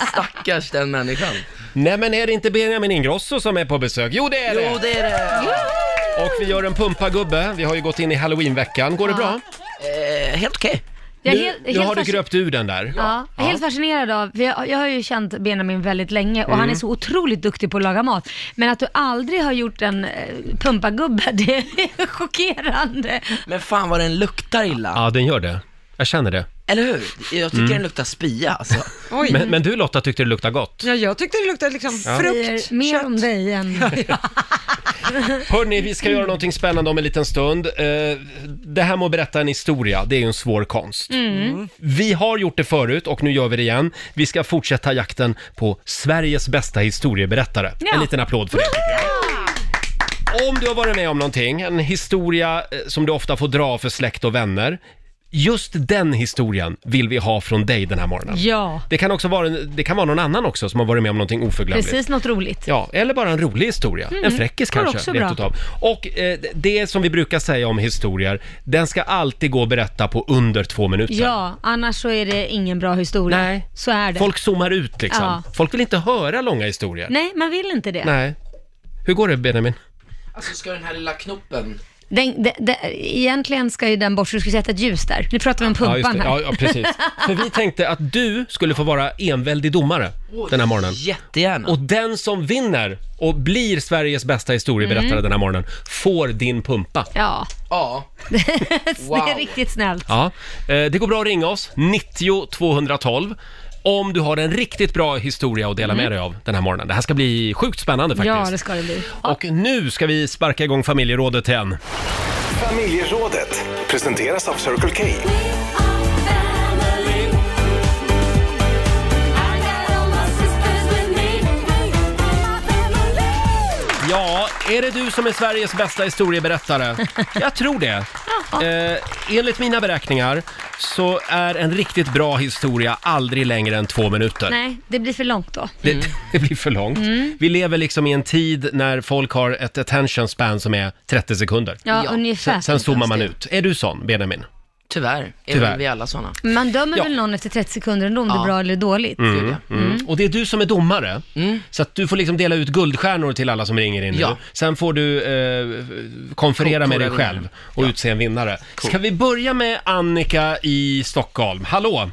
Speaker 11: Stackars den människan.
Speaker 1: Nej men är det inte Benjamin Ingrosso som är på besök? Jo det är det!
Speaker 11: Jo, det är det.
Speaker 1: Och vi gör en pumpagubbe. Vi har ju gått in i halloweenveckan. Går det bra?
Speaker 11: Eh, helt okej.
Speaker 4: Jag är
Speaker 1: Nu,
Speaker 4: helt-
Speaker 1: nu
Speaker 4: helt
Speaker 1: har du
Speaker 4: fascin-
Speaker 1: gröpt ur den där.
Speaker 4: Ja, jag är helt fascinerad av, för jag, jag har ju känt Benjamin väldigt länge och
Speaker 1: Mm.
Speaker 4: han är så otroligt duktig på att laga mat. Men att du aldrig har gjort en eh, pumpagubbe, det är chockerande.
Speaker 11: Men fan vad den luktar illa.
Speaker 1: Ja, den gör det. Jag känner det.
Speaker 11: Eller hur? Jag tycker
Speaker 1: Mm.
Speaker 11: den luktar spia alltså.
Speaker 2: Oj.
Speaker 1: Men, men du Lotta tyckte det luktade gott.
Speaker 2: Ja, jag tyckte det luktade liksom
Speaker 1: Ja.
Speaker 2: frukt.
Speaker 4: Mer om dig än...
Speaker 1: Hörni, vi ska göra någonting spännande om en liten stund. Eh, Det här med att berätta en historia, det är ju en svår konst.
Speaker 4: Mm.
Speaker 1: Vi har gjort det förut och nu gör vi det igen. Vi ska fortsätta jakten på Sveriges bästa historieberättare.
Speaker 3: Ja.
Speaker 1: En liten applåd för det. Om du har varit med om någonting, en historia eh, som du ofta får dra för släkt och vänner. Just den historien vill vi ha från dig den här morgonen.
Speaker 4: Ja,
Speaker 1: Det kan också vara, en- det kan vara någon annan också som har varit med om någonting oförglömligt.
Speaker 4: precis något roligt.
Speaker 1: Ja, eller bara en rolig historia.
Speaker 4: Mm.
Speaker 1: En fräckis
Speaker 4: Går
Speaker 1: kanske.
Speaker 4: också
Speaker 1: rent
Speaker 4: bra.
Speaker 1: utav. Och eh, det som vi brukar säga om historier, den ska alltid gå att berätta på under två minuter.
Speaker 4: Ja, annars så är det ingen bra historia. Nej. Så är det.
Speaker 1: Folk zoomar ut liksom.
Speaker 4: Ja.
Speaker 1: Folk vill inte höra långa historier.
Speaker 4: Nej, man vill inte det.
Speaker 1: Nej. Hur går det Benjamin?
Speaker 11: Alltså ska den här lilla knoppen...
Speaker 4: Den, de, de, egentligen ska ju den bort, så du ska sätta ett ljus där. Nu pratar vi om
Speaker 1: Ja, just
Speaker 4: pumpan
Speaker 1: det.
Speaker 4: här.
Speaker 1: Ja, ja, precis. För vi tänkte att du skulle få vara enväldig domare
Speaker 11: Åh,
Speaker 1: den här morgonen.
Speaker 11: Jättegärna.
Speaker 1: Och den som vinner och blir Sveriges bästa historieberättare
Speaker 4: Mm.
Speaker 1: den här morgonen får din pumpa.
Speaker 4: Ja.
Speaker 11: Ja.
Speaker 4: Det är riktigt snällt.
Speaker 1: Ja, eh, det går bra att ringa oss, 90 212. Om du har en riktigt bra historia att dela
Speaker 4: Mm.
Speaker 1: med dig av den här morgonen. Det här ska bli sjukt spännande faktiskt.
Speaker 4: Ja, det ska det bli.
Speaker 1: Och nu ska vi sparka igång familjerådet igen.
Speaker 12: Familjerådet presenteras av Circle K.
Speaker 1: Ja, är det du som är Sveriges bästa historieberättare? Jag tror det. Eh, enligt mina beräkningar så är en riktigt bra historia aldrig längre än två minuter.
Speaker 4: Nej, det blir för långt då.
Speaker 11: Mm.
Speaker 1: Det, det blir för långt.
Speaker 4: Mm.
Speaker 1: Vi lever liksom i en tid när folk har ett attention span som är 30 sekunder.
Speaker 4: Ja, Ja. ungefär.
Speaker 1: Sen, sen zoomar man ut. Är du sån, Benjamin?
Speaker 11: Tyvärr, är
Speaker 1: Tyvärr.
Speaker 11: väl vi alla sådana.
Speaker 4: Man dömer
Speaker 1: Ja.
Speaker 4: väl någon efter 30 sekunder ändå om det
Speaker 1: Ja.
Speaker 4: är bra eller dåligt.
Speaker 1: Mm, mm. Och det är du som är domare, så att du får liksom dela ut guldstjärnor till alla som ringer in nu.
Speaker 11: Mm. Ja.
Speaker 1: Sen får du eh, konferera
Speaker 11: Ko-
Speaker 1: med dig
Speaker 11: kora
Speaker 1: själv
Speaker 11: vinnaren.
Speaker 1: och utse en vinnare. Ska vi börja med Annika i Stockholm? Hallå!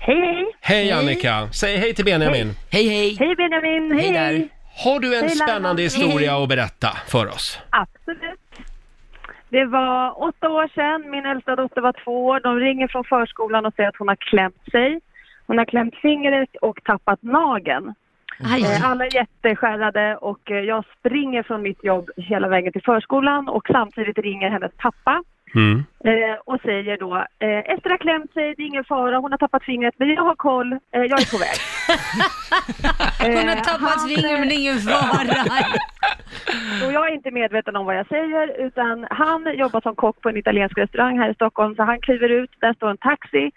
Speaker 13: Hej, hej!
Speaker 1: Hej Annika! Säg hej till Benjamin.
Speaker 11: Hej, hej!
Speaker 13: Hej Benjamin! Hej, hej!
Speaker 1: Har du En
Speaker 13: Hej, Laila.
Speaker 1: spännande historia att berätta för oss.
Speaker 13: Absolut. Det var åtta år sedan, min äldsta dotter var två år. De ringer från förskolan och säger att hon har klämt sig. Hon har klämt fingret och tappat nageln.
Speaker 4: Aj.
Speaker 13: Eh, Alla är jätteskärrade och eh, jag springer från mitt jobb hela vägen till förskolan och samtidigt ringer hennes pappa
Speaker 3: Mm.
Speaker 13: eh, och säger då eh, Ester har klämt sig, det är ingen fara, hon har tappat fingret men jag har koll, eh, jag är på väg.
Speaker 4: Hon har
Speaker 13: Eh,
Speaker 4: tappat
Speaker 13: han-
Speaker 4: fingret men det är ingen fara.
Speaker 13: Eh, Och jag är inte medveten om vad jag säger utan han jobbar som kock på en italiensk restaurang här i Stockholm så han kliver ut, där står en taxi.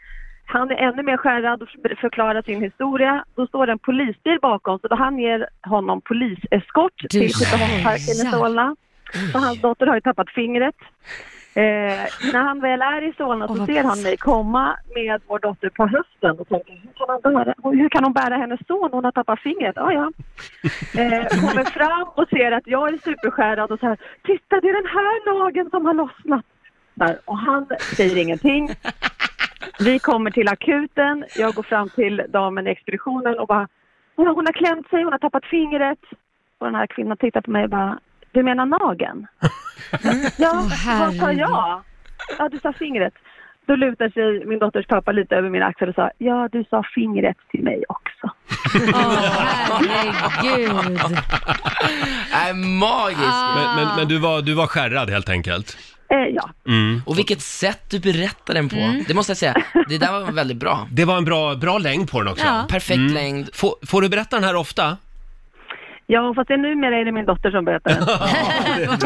Speaker 13: Han är ännu mer skärrad och förklarar sin historia. Då står det en polisbil bakom, så då han ger honom poliseskort
Speaker 6: Du
Speaker 13: till Skytteholmsparken i
Speaker 6: skojar.
Speaker 13: Solna. För hans dotter har ju tappat fingret. Eh, när han väl är i Solna
Speaker 6: Åh,
Speaker 13: så
Speaker 6: vad
Speaker 13: ser han
Speaker 6: pinsamt.
Speaker 13: mig komma med vår dotter på hösten och tänker, hur kan, han bära, hur kan hon bära hennes son? Hon har tappat fingret. Ja, ja. Eh, kommer fram och ser att jag är superskärrad och så här, titta det är den här nageln som har lossnat. Så här, och han säger ingenting. Vi kommer till akuten, jag går fram till damen i expeditionen och bara, hon har, hon har klämt sig, hon har tappat fingret. Och den här kvinnan tittar på mig och bara, du menar nageln?
Speaker 1: Mm.
Speaker 13: ja, vad sa jag? Ja, du sa fingret. Då lutar sig min dotters pappa lite över min axel och sa, ja du sa fingret till mig också.
Speaker 4: Herregud.
Speaker 11: Äh, magisk.
Speaker 13: Ah.
Speaker 1: Men, men, men du, var, du var skärrad helt enkelt.
Speaker 13: ja.
Speaker 11: Och vilket sätt du berättar den på.
Speaker 1: Mm.
Speaker 11: Det måste jag säga, det där var väldigt bra.
Speaker 1: Det var en bra, bra längd på den också. Mm.
Speaker 13: Ja.
Speaker 11: Perfekt längd.
Speaker 1: Får, får du berätta den här ofta?
Speaker 13: Ja, fast det är numera är det min dotter som berättar den.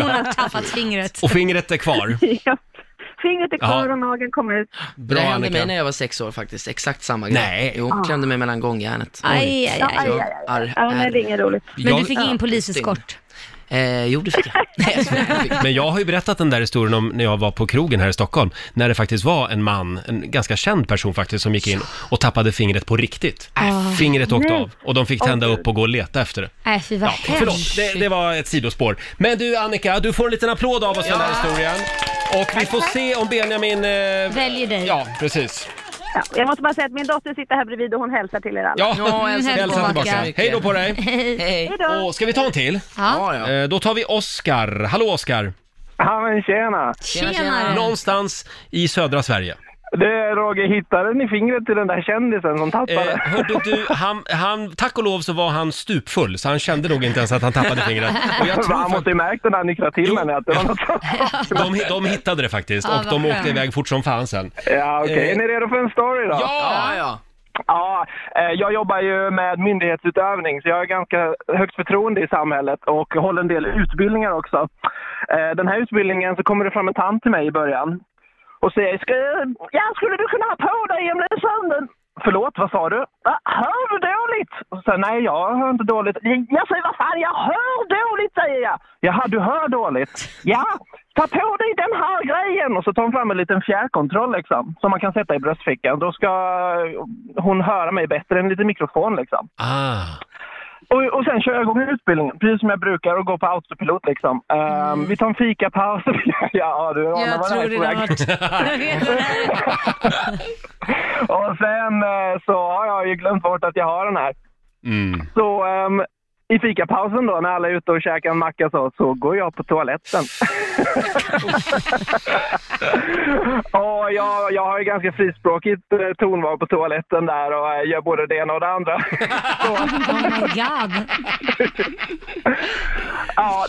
Speaker 4: Hon har tappat fingret.
Speaker 1: Och fingret är kvar.
Speaker 13: Ja. Fingret är kvar
Speaker 11: Ja.
Speaker 13: och nageln kommer ut.
Speaker 11: det hände
Speaker 1: Annika.
Speaker 11: mig när jag var sex år faktiskt, exakt samma grej. Nej. Jo,
Speaker 13: Ah.
Speaker 11: klämde mig mellan gångjärnet.
Speaker 13: Aj, aj, aj.
Speaker 11: Så,
Speaker 13: Aj, aj, aj.
Speaker 11: arr-
Speaker 13: Ja, nej, det är inget roligt.
Speaker 11: Men du fick ingen
Speaker 4: poliseskort?
Speaker 11: Eh, jo, det fick jag.
Speaker 1: Men jag har ju berättat den där historien om när jag var på krogen här i Stockholm, när det faktiskt var en man, en ganska känd person faktiskt, som gick in och tappade fingret på riktigt. Äh,
Speaker 4: Ah.
Speaker 1: Fingret åkte
Speaker 4: Nej.
Speaker 1: av och de fick tända upp och gå och leta efter det.
Speaker 11: Äh,
Speaker 4: Nej, fy vad
Speaker 1: Ja, förlåt,
Speaker 4: hemskt.
Speaker 1: det, det var ett sidospår. Men du Annika, du får en liten applåd av oss för den här historien. Och vi får se om Benjamin... Eh...
Speaker 4: Väljer dig.
Speaker 1: Ja, precis.
Speaker 13: Ja, jag måste bara säga att min dotter sitter här bredvid och hon hälsar till er alla.
Speaker 1: Ja, hälsa tillbaka. Hej då på dig.
Speaker 11: Hej.
Speaker 1: Och ska vi ta en till?
Speaker 4: Ja.
Speaker 1: Eh, Då tar vi Oskar. Hallå Oskar!
Speaker 14: Ja men tjena!
Speaker 4: Tjena, tjena.
Speaker 1: Någonstans i södra Sverige.
Speaker 14: Du Roger, hittade ni fingret till den där kändisen som tappade?
Speaker 1: Eh, hörde du, han, han, tack och lov så var han stupfull, så han kände nog inte ens att han tappade fingret. Och jag tror
Speaker 14: han måste ju märkt när han nycklade till henne att det var något sånt.
Speaker 1: de, de hittade det faktiskt
Speaker 14: Ja,
Speaker 1: och
Speaker 14: vad
Speaker 1: de åkte
Speaker 14: skönt.
Speaker 1: iväg fort som fan sen.
Speaker 14: Ja, okej. Är ni redo för en story då?
Speaker 1: Ja!
Speaker 11: Eh. ja.
Speaker 14: eh, jag jobbar ju med myndighetsutövning så jag har ganska högt förtroende i samhället och håller en del utbildningar också. Eh, Den här utbildningen så kommer det fram en tant till mig i början och säger Ska jag... Ja, skulle du kunna ha på dig sönden? Förlåt, vad sa du? Va, hör du dåligt? Och så, Nej, jag hör inte dåligt. Jag säger vad fan, jag hör dåligt säger jag! Jaha, du hör dåligt? Ja, ta på dig den här grejen! Och så tar hon fram en liten fjärrkontroll liksom, som man kan sätta i bröstfickan. Då ska hon höra mig bättre, en liten mikrofon liksom.
Speaker 3: Ah.
Speaker 14: Och, och sen kör jag igång utbildningen, precis som jag brukar, och går på autopilot liksom. Ehm, Vi tar en fikapaus. ja, du anar
Speaker 6: Mm. Jag
Speaker 14: vad det här
Speaker 6: tror
Speaker 14: är på
Speaker 6: redan
Speaker 14: väg.
Speaker 6: vart... Jag vet vad det här är.
Speaker 14: Och sen eh, så har jag ju glömt bort att jag har den här. Så ehm, i fikapausen då, när alla är ute och käkar en macka så, så går jag på toaletten. och jag, jag har ju ganska frispråkigt eh, tonval på toaletten där och eh, gör både det ena och det andra.
Speaker 4: Oh my god.
Speaker 14: ja,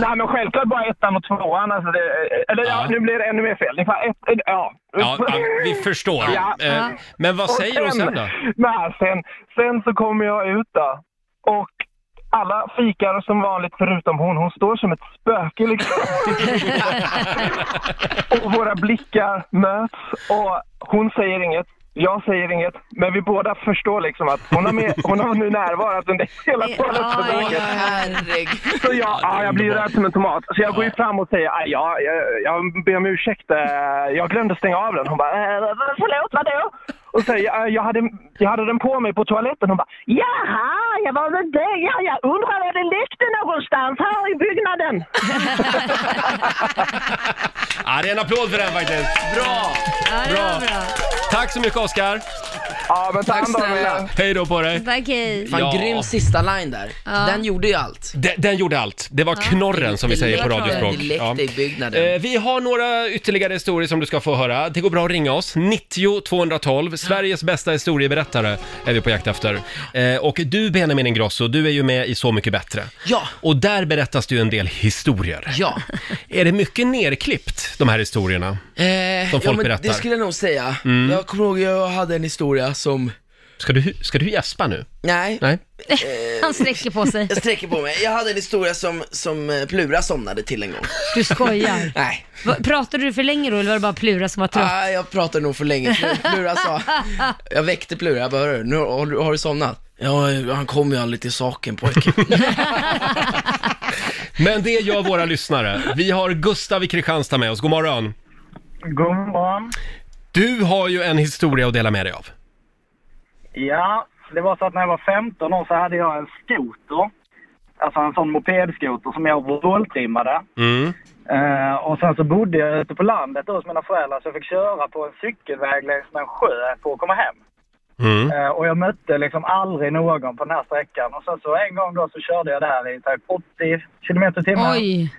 Speaker 14: nej, men självklart bara ettan och tvåan. Alltså det, eller ja. nu blir det ännu mer fel. Ni får ett, ett, ja.
Speaker 1: Ja, ja, vi förstår.
Speaker 14: Ja.
Speaker 1: Eh, Men vad
Speaker 14: Och
Speaker 1: säger hon sen då?
Speaker 14: Nej, sen, sen så kommer jag ut då. Och alla fikar som vanligt förutom hon. Hon står som ett spöke liksom. och våra blickar möts och hon säger inget. Jag säger inget, men vi båda förstår liksom att hon har, med, hon har nu närvarat under hela toalettbesöket. Så jag, ja, jag blir ju rädd som en tomat. Så jag går ju fram och säger, "Aj, ja, jag, jag ber om ursäkt, eh, jag glömde stänga av den. Hon bara, "Eh, förlåt vadå? Och säger, "Eh, jag hade, jag hade den på mig på toaletten. Hon bara, jaha, jag var väl det. Ja, jag undrar var det läckte någonstans här i byggnaden.
Speaker 1: Ja, det är en applåd för den faktiskt. Bra! Bra. Tack så mycket Oskar!
Speaker 14: Ja, men
Speaker 11: ta Tack hand om snälla. er.
Speaker 1: Hej då på dig!
Speaker 4: Tack, hej.
Speaker 11: Fan, grym sista line där.
Speaker 4: Ja.
Speaker 11: Den gjorde ju allt.
Speaker 1: Den, den gjorde allt. Det var knorren som vi
Speaker 11: Det
Speaker 1: säger på
Speaker 11: lekte-
Speaker 1: radiospråk.
Speaker 11: det lekte i byggnaden.
Speaker 1: Eh, Vi har några ytterligare historier som du ska få höra. Det går bra att ringa oss. 90 212. Sveriges bästa historieberättare är vi på jakt efter. Eh, Och du Benjamin Ingrosso, du är ju med i Så mycket bättre.
Speaker 11: Ja.
Speaker 1: Och där berättas det ju en del historier.
Speaker 11: Ja.
Speaker 1: Är det mycket nerklippt, de här historierna?
Speaker 11: Eh,
Speaker 1: Som folk
Speaker 11: ja, men
Speaker 1: berättar.
Speaker 11: Det skulle jag nog säga.
Speaker 1: Mm.
Speaker 11: Jag kommer ihåg, jag hade en historia som
Speaker 1: Ska du, ska du gäspa nu?
Speaker 15: Nej.
Speaker 1: Nej.
Speaker 11: Eh,
Speaker 4: Han sträcker på sig.
Speaker 15: Jag sträcker på mig. Jag hade en historia som, som eh, Plura somnade till en gång.
Speaker 4: Du skojar.
Speaker 15: Nej.
Speaker 4: Va- Pratade du för länge då eller var det bara Plura som var trött?
Speaker 15: Ah, jag pratade nog för länge. Plura- Plura sa, jag väckte Plura, jag bara, "Hörru, nu har du, har du somnat? Ja, han kom ju aldrig till saken pojken.
Speaker 1: Men det gör våra lyssnare. Vi har Gustav i Kristianstad med oss. God morgon.
Speaker 16: God morgon.
Speaker 1: Du har ju en historia att dela med dig av.
Speaker 16: Ja, det var så att när jag var 15 år så hade jag en skoter. Alltså en sån mopedskoter som jag vråltrimmade.
Speaker 3: Mm.
Speaker 16: Eh, och sen så bodde jag ute på landet då hos mina föräldrar så jag fick köra på en cykelväg längs med en sjö för att komma hem.
Speaker 3: Mm.
Speaker 16: Eh, och jag mötte liksom aldrig någon på den här sträckan. Och sen så en gång då så körde jag där i typ 80 kilometer i timmen.
Speaker 4: Oj.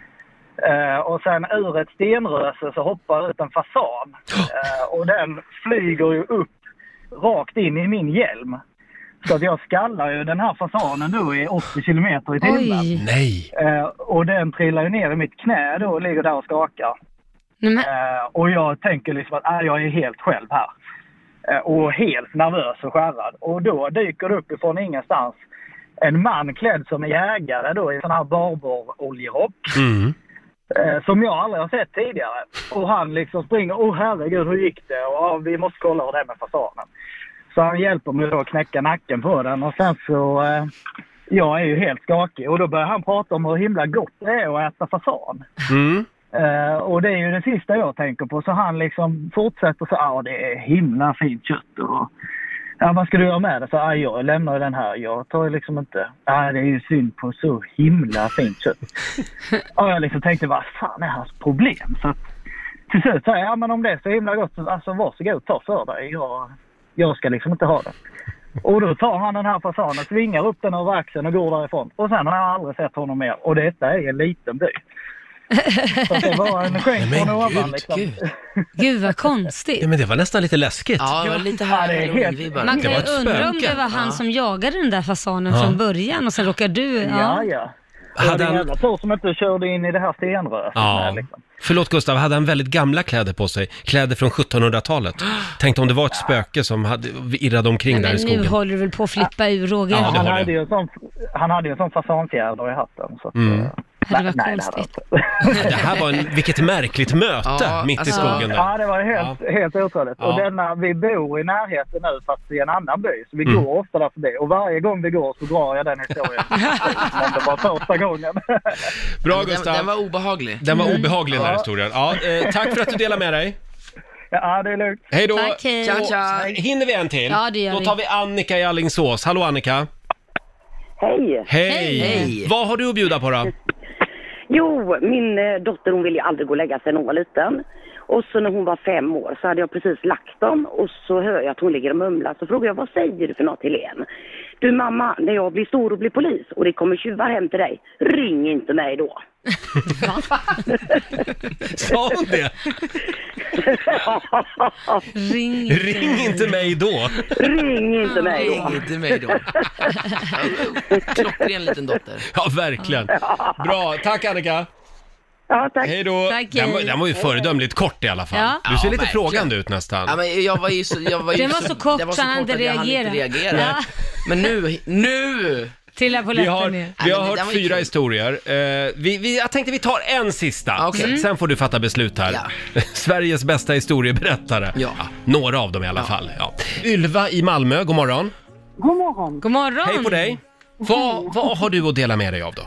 Speaker 16: Eh, och sen ur ett stenröse så hoppar ut en fasan. Eh, och den flyger ju upp rakt in i min hjälm. Så att jag skallar ju den här fasanen då i 80 kilometer i timmen.
Speaker 1: Nej.
Speaker 16: Eh, och den trillar ju ner i mitt knä då och ligger där och skakar. Eh, och jag tänker liksom att äh, jag är helt själv här. Eh, och helt nervös och skärrad. Och då dyker det upp ifrån ingenstans en man klädd som jägare då i sån här barboroljerock.
Speaker 3: Mm.
Speaker 16: Eh, som jag aldrig har sett tidigare. Och han liksom springer. Åh herregud, hur gick det? Och, ja, vi måste kolla hur det är med fasanen. Så han hjälper mig då att knäcka nacken på den och sen så... Eh, jag är ju helt skakig och då börjar han prata om hur himla gott det är att äta fasan.
Speaker 3: Mm.
Speaker 16: Eh, och det är ju det sista jag tänker på. Så han liksom fortsätter så ja ah, det är himla fint kött och... Ja, vad ska du göra med det? Så, ah, jag lämnar ju den här. Jag tar ju liksom inte... Ah, det är ju synd på så himla fint kött. och jag liksom tänkte, vad fan är
Speaker 6: alltså,
Speaker 16: hans problem? Så att, till slut sa jag, ja men om det är så himla gott, så, alltså varsågod ta för dig. Jag, jag ska liksom inte ha det. Och då tar han den här fasanen, svingar upp den över axeln och går därifrån. Och sen har jag aldrig sett honom mer. Och detta är en liten by. Så att det var en skänk från ovan liksom.
Speaker 4: Gud vad konstigt.
Speaker 1: Ja, men det var nästan lite läskigt.
Speaker 11: Ja, det var lite
Speaker 16: det är
Speaker 11: här
Speaker 16: helt-
Speaker 4: Man kan
Speaker 1: Det
Speaker 4: ju
Speaker 1: var ett
Speaker 4: undra om
Speaker 1: spöke.
Speaker 4: det var han
Speaker 1: Ja.
Speaker 4: som jagade den där fasanen
Speaker 1: Ja.
Speaker 4: från början och sen råkar du...
Speaker 16: Ja, ja. Det var
Speaker 1: Hade
Speaker 16: en
Speaker 1: han,
Speaker 16: jävla tur som inte körde in i det här liksom. stenröret.
Speaker 1: ja. Förlåt Gustav, hade han väldigt gamla kläder på sig? Kläder från 1700-talet? Tänkte om det var ett spöke som hade, irrade omkring där
Speaker 4: Men
Speaker 1: i
Speaker 4: nu
Speaker 1: skogen.
Speaker 4: håller du väl på att flippa ur Roger?
Speaker 1: Ja, det
Speaker 16: han,
Speaker 1: har
Speaker 16: hade ju en sån, han hade ju en sån fasanfjäder i hatten. Så att,
Speaker 1: Mm.
Speaker 16: nej, nej, det hade han inte.
Speaker 1: Det här var en, vilket märkligt möte mitt
Speaker 11: alltså-
Speaker 1: i skogen där.
Speaker 16: Ja, det var helt, helt otroligt.
Speaker 1: Ja.
Speaker 16: Och denna, vi bor i närheten nu fast i en annan by, så vi
Speaker 1: Mm.
Speaker 16: går ofta där förbi. Och varje gång vi går så drar jag den historien. Men det var första gången.
Speaker 1: Bra
Speaker 11: den,
Speaker 1: Gustav.
Speaker 11: den var obehaglig.
Speaker 1: Den var obehaglig den här
Speaker 11: Ja.
Speaker 1: historien. Ja, eh, tack för att du delade med dig.
Speaker 16: Ja, det är lugnt.
Speaker 1: Hej då! eh,
Speaker 4: Tack, hej. Tja, tja.
Speaker 1: Hinner vi en till?
Speaker 4: Ja, det gör
Speaker 1: Då
Speaker 4: vi.
Speaker 1: tar vi Annika i Alingsås. Hallå Annika!
Speaker 17: Hej!
Speaker 1: Hej!
Speaker 17: Hej.
Speaker 1: Vad har du att bjuda på då?
Speaker 17: Jo, min eh, dotter hon ville ju aldrig gå och lägga sig när hon var liten. Och så när hon var fem år så hade jag precis lagt dem och så hör jag att hon ligger och mumlar. Så frågar jag vad säger du för något Helene? Du mamma, när jag blir stor och blir polis och det kommer tjuvar hem till dig, ring inte mig då.
Speaker 1: Sa hon det?
Speaker 4: Ring,
Speaker 1: Ring inte mig då!
Speaker 17: Ring inte mig då.
Speaker 11: Ring inte mig då. Klockren liten dotter.
Speaker 1: Ja, verkligen. Bra, tack Annika!
Speaker 17: Ja, tack.
Speaker 1: Hej då!
Speaker 11: Tack,
Speaker 1: Den, var-
Speaker 11: hej.
Speaker 1: den var ju fördömligt kort i alla fall.
Speaker 11: Ja.
Speaker 1: Du ser
Speaker 11: Ja,
Speaker 1: lite
Speaker 11: verkligen.
Speaker 1: frågande ut nästan.
Speaker 11: Ja, men jag var ju så, jag var ju
Speaker 4: Den var
Speaker 15: liksom-
Speaker 4: så kort
Speaker 11: den
Speaker 4: så han
Speaker 11: kort
Speaker 4: inte
Speaker 11: att jag hann inte
Speaker 4: reagera.
Speaker 11: reagera.
Speaker 4: Ja.
Speaker 11: Men nu, nu!
Speaker 4: Trilla på
Speaker 1: Vi
Speaker 4: läppen
Speaker 1: har,
Speaker 4: ner.
Speaker 1: vi har hört fyra historier. Eh, vi, vi, jag tänkte vi tar en sista,
Speaker 4: Okej.
Speaker 1: sen,
Speaker 4: Mm.
Speaker 1: sen får du fatta beslut här. Sveriges bästa historieberättare. Ja, Några av dem i alla fall. Ja. Ylva i Malmö, god morgon.
Speaker 18: God morgon.
Speaker 4: God morgon.
Speaker 1: Hej på dig. Vad, vad har du att dela med dig av då?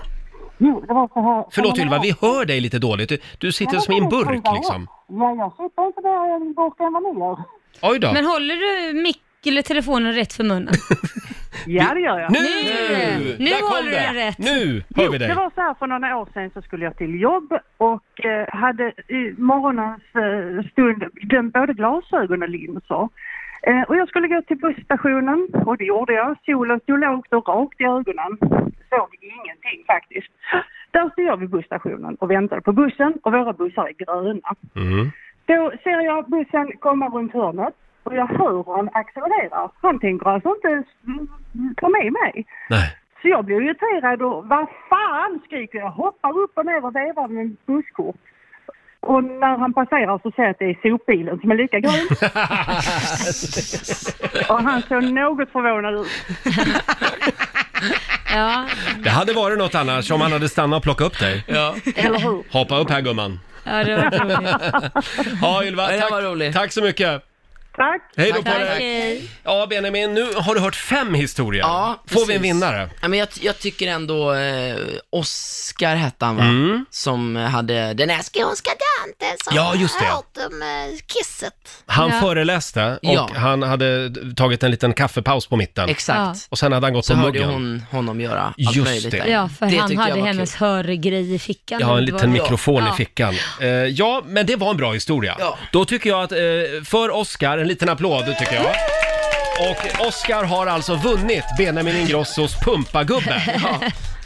Speaker 18: Jo, det var så här.
Speaker 1: Förlåt
Speaker 18: Ja, men-
Speaker 1: Ylva, vi hör dig lite dåligt. Du, du sitter som i en burk liksom.
Speaker 18: Ja, jag sitter inte där i en burk än vad ni gör.
Speaker 1: Oj då.
Speaker 4: Men håller du mick eller telefonen rätt för munnen?
Speaker 18: Ja, det gör jag.
Speaker 1: Nu!
Speaker 4: Nu, nu
Speaker 18: Där kom
Speaker 4: håller du
Speaker 18: det.
Speaker 4: den rätt.
Speaker 1: Nu hör
Speaker 18: Jo,
Speaker 1: vi dig.
Speaker 18: Det var så här för några år sedan så skulle jag till jobb och eh, hade i morgonens eh, stund glömt både glasögon och linser. Eh, och jag skulle gå till busstationen och det gjorde jag. Solen stod lågt och rakt i ögonen. Såg ingenting faktiskt. Där stod jag vid busstationen och väntade på bussen och våra bussar är gröna. Då ser jag bussen komma runt hörnet och jag hör hur han accelererar. Han tänker alltså inte ens mm, ta med mig. Så jag blir irriterad och vad fan skriker jag. Hoppar upp och ner och vevar med mitt busskort.
Speaker 13: Och när han passerar så ser jag att det är sopbilen som är lika grön. och han såg något förvånad ut.
Speaker 4: Ja,
Speaker 1: Det hade varit något annars om han hade stannat och plockat upp dig.
Speaker 13: eller hur?
Speaker 1: Hoppa upp här gumman.
Speaker 4: ja det var roligt.
Speaker 1: Ja, Ylva, tack, tack så mycket.
Speaker 13: Tack!
Speaker 1: Hej då på dig. Ja, Benjamin, nu har du hört fem historier. Får vi en
Speaker 11: precis.
Speaker 1: vinnare?
Speaker 11: Ja, men jag, jag tycker ändå eh, Oscar hette han va? Som hade den här
Speaker 19: Ska hon ska Dante som
Speaker 1: Mm. Ja, just det.
Speaker 19: har hört om eh, kisset.
Speaker 1: Han
Speaker 19: ja.
Speaker 1: föreläste och
Speaker 11: Ja.
Speaker 1: han hade tagit en liten kaffepaus på mitten.
Speaker 11: Exakt. Ja.
Speaker 1: Och sen hade han gått
Speaker 11: Så
Speaker 1: på
Speaker 11: hörde
Speaker 1: muggen.
Speaker 11: hon honom göra allt
Speaker 1: Just
Speaker 11: möjligt
Speaker 1: det.
Speaker 11: där.
Speaker 4: Ja, för
Speaker 11: det
Speaker 4: han
Speaker 11: tyckte jag
Speaker 4: hörde
Speaker 11: var
Speaker 4: hennes hörgrej i fickan.
Speaker 1: Jag har en
Speaker 4: Det var-
Speaker 1: liten mikrofon
Speaker 4: Ja.
Speaker 1: i fickan. Eh, ja, men det var en bra historia. Då tycker jag att, eh, för Oscar, en liten applåd tycker jag. Och Oscar har alltså vunnit Benjamin Ingrossos pumpagubbe.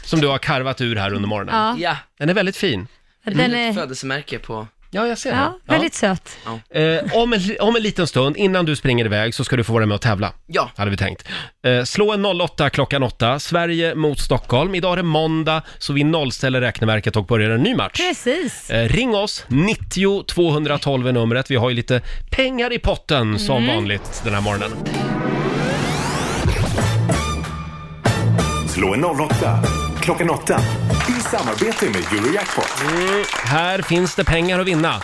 Speaker 1: Som du har karvat ur här under morgonen.
Speaker 4: Ja. Ja.
Speaker 1: Den är väldigt fin. Mm.
Speaker 11: kul.
Speaker 4: Den
Speaker 11: Ett
Speaker 4: är-
Speaker 11: födelsemärke på...
Speaker 1: Ja, jag ser
Speaker 4: Ja, väldigt söt.
Speaker 1: Eh, om, en, om en liten stund, innan du springer iväg, så ska du få vara med och tävla.
Speaker 11: Ja.
Speaker 1: Hade vi tänkt. Eh, slå en 08 klockan 8, Sverige mot Stockholm. Idag är det måndag, så vi nollställer räkneverket och börjar en ny match.
Speaker 4: Precis.
Speaker 1: Eh, ring oss, 90 212 är numret. Vi har ju lite pengar i potten som
Speaker 4: Mm.
Speaker 1: vanligt den här morgonen.
Speaker 12: Slå en 08 klockan 8 i samarbete med Eurojackpot.
Speaker 1: Mm, här finns det pengar att vinna.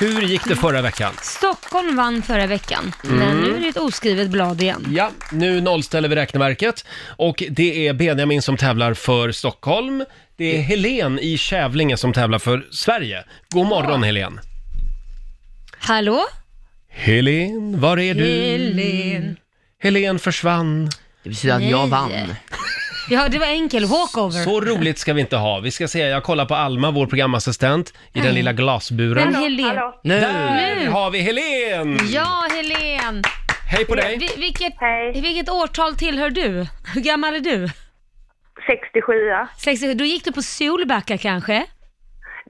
Speaker 1: Hur gick det förra veckan?
Speaker 4: Stockholm vann förra veckan, men
Speaker 1: Mm.
Speaker 4: nu är det ett oskrivet blad igen.
Speaker 1: Ja, nu nollställer vi räkneverket och det är Benjamin som tävlar för Stockholm. Det är Helen i Kävlinge som tävlar för Sverige. God morgon Helen!
Speaker 4: Hallå?
Speaker 1: Helen, var är du?
Speaker 4: Helen.
Speaker 1: Helen försvann.
Speaker 11: Det betyder
Speaker 4: att jag Nej. vann. Ja, det var enkel walkover.
Speaker 1: Så roligt ska vi inte ha. Vi ska se, jag kollar på Alma, vår programassistent, i den
Speaker 4: Mm.
Speaker 1: lilla
Speaker 4: Men
Speaker 1: glasburen.
Speaker 4: Helen.
Speaker 1: Nu.
Speaker 4: Nu.
Speaker 1: Där har vi Helen!
Speaker 4: Ja, Helen.
Speaker 1: Hej på dig!
Speaker 4: Vi, vilket, vilket årtal tillhör du? Hur gammal är du?
Speaker 6: 67
Speaker 4: 67. Då gick du på Solbacka kanske?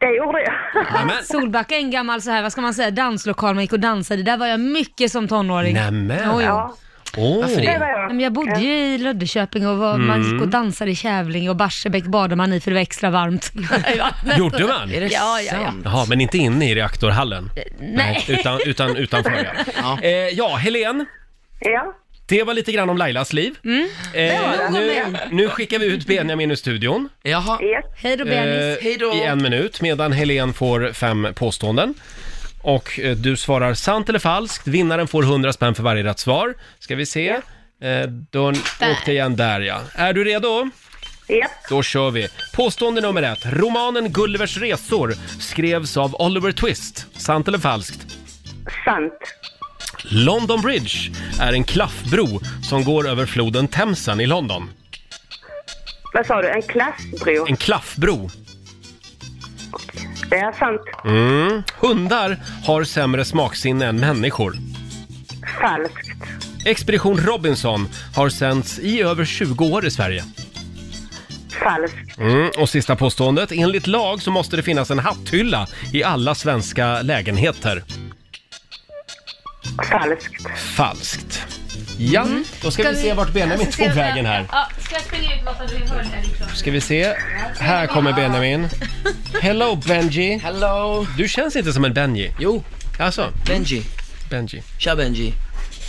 Speaker 6: Det gjorde jag.
Speaker 4: Solbacka är en gammal så här, vad ska man säga, danslokal man gick och dansade. Där var jag mycket som tonåring.
Speaker 1: Nämen.
Speaker 4: Jo, jo.
Speaker 1: Ja. Åh.
Speaker 4: Nej, Men jag bodde ju i Löddeköping och var, man
Speaker 1: Mm.
Speaker 4: gick och dansade i Kävlinge och Barsebäck badade man i för det var extra varmt. i vattnet.
Speaker 1: Gjorde man?
Speaker 4: Ja, ja, ja.
Speaker 1: Jaha, men inte inne i reaktorhallen?
Speaker 4: Nej.
Speaker 1: utan, utan utanför ja. Ja, eh, ja Helen.
Speaker 6: Ja.
Speaker 1: Det var lite grann om Lailas liv. Eh,
Speaker 6: Det var
Speaker 1: nu,
Speaker 6: det.
Speaker 1: nu skickar vi ut Benjamin ur studion.
Speaker 11: Jaha.
Speaker 4: Hej då
Speaker 1: Eh,
Speaker 4: Bennis.
Speaker 1: I en minut, medan Helen får fem påståenden. Och eh, du svarar sant eller falskt. Vinnaren får 100 spänn för varje rätt svar. Ska vi se. Eh, då åkte igen där ja. Är du redo?
Speaker 6: Ja.
Speaker 1: Då kör vi. Påstående nummer ett. Romanen Gullivers resor skrevs av Oliver Twist. Sant eller falskt?
Speaker 6: Sant.
Speaker 1: London Bridge är en klaffbro som går över floden Themsen i London.
Speaker 6: Vad sa du? En klassbro?
Speaker 1: En klaffbro.
Speaker 6: Det är sant.
Speaker 1: Mm. Hundar har sämre smaksinne än människor.
Speaker 6: Falskt.
Speaker 1: Expedition Robinson har sänts i över 20 år i Sverige.
Speaker 6: Falskt.
Speaker 1: Mm. Och sista påståendet. Enligt lag så måste det finnas en hatthylla i alla svenska lägenheter.
Speaker 6: Falskt.
Speaker 1: Falskt. Ja, då ska, vi se vart Benjamin
Speaker 4: jag Mm. ska se
Speaker 1: tog
Speaker 4: vart jag-
Speaker 1: vägen här.
Speaker 4: Ja, ska jag springa ut Lotta? Du hör det här liksom.
Speaker 1: Ska vi se. Här kommer Benjamin. Hello Benji.
Speaker 11: Hello.
Speaker 1: Du känns inte som en Benji.
Speaker 11: Jo.
Speaker 1: Alltså.
Speaker 11: Benji.
Speaker 1: Benji.
Speaker 11: Tja Benji.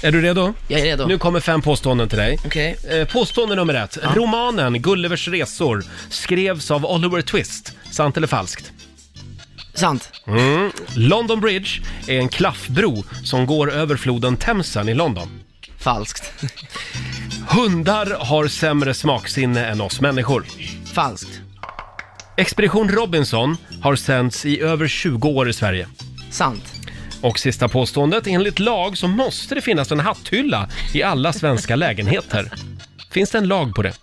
Speaker 1: Är du redo?
Speaker 11: Jag är redo.
Speaker 1: Nu kommer fem påståenden till dig.
Speaker 11: Okej.
Speaker 1: Eh, Påstående nummer ett. Romanen Gullivers resor skrevs av Oliver Twist. Sant eller falskt?
Speaker 11: Sant.
Speaker 1: Mm. London Bridge är en klaffbro som går över floden Themsen i London.
Speaker 11: Falskt.
Speaker 1: Hundar har sämre smaksinne än oss människor.
Speaker 11: Falskt.
Speaker 1: Expedition Robinson har sänts i över 20 år i Sverige.
Speaker 11: Sant.
Speaker 1: Och sista påståendet. Enligt lag så måste det finnas en hatthylla i alla svenska lägenheter. Finns det en lag på det?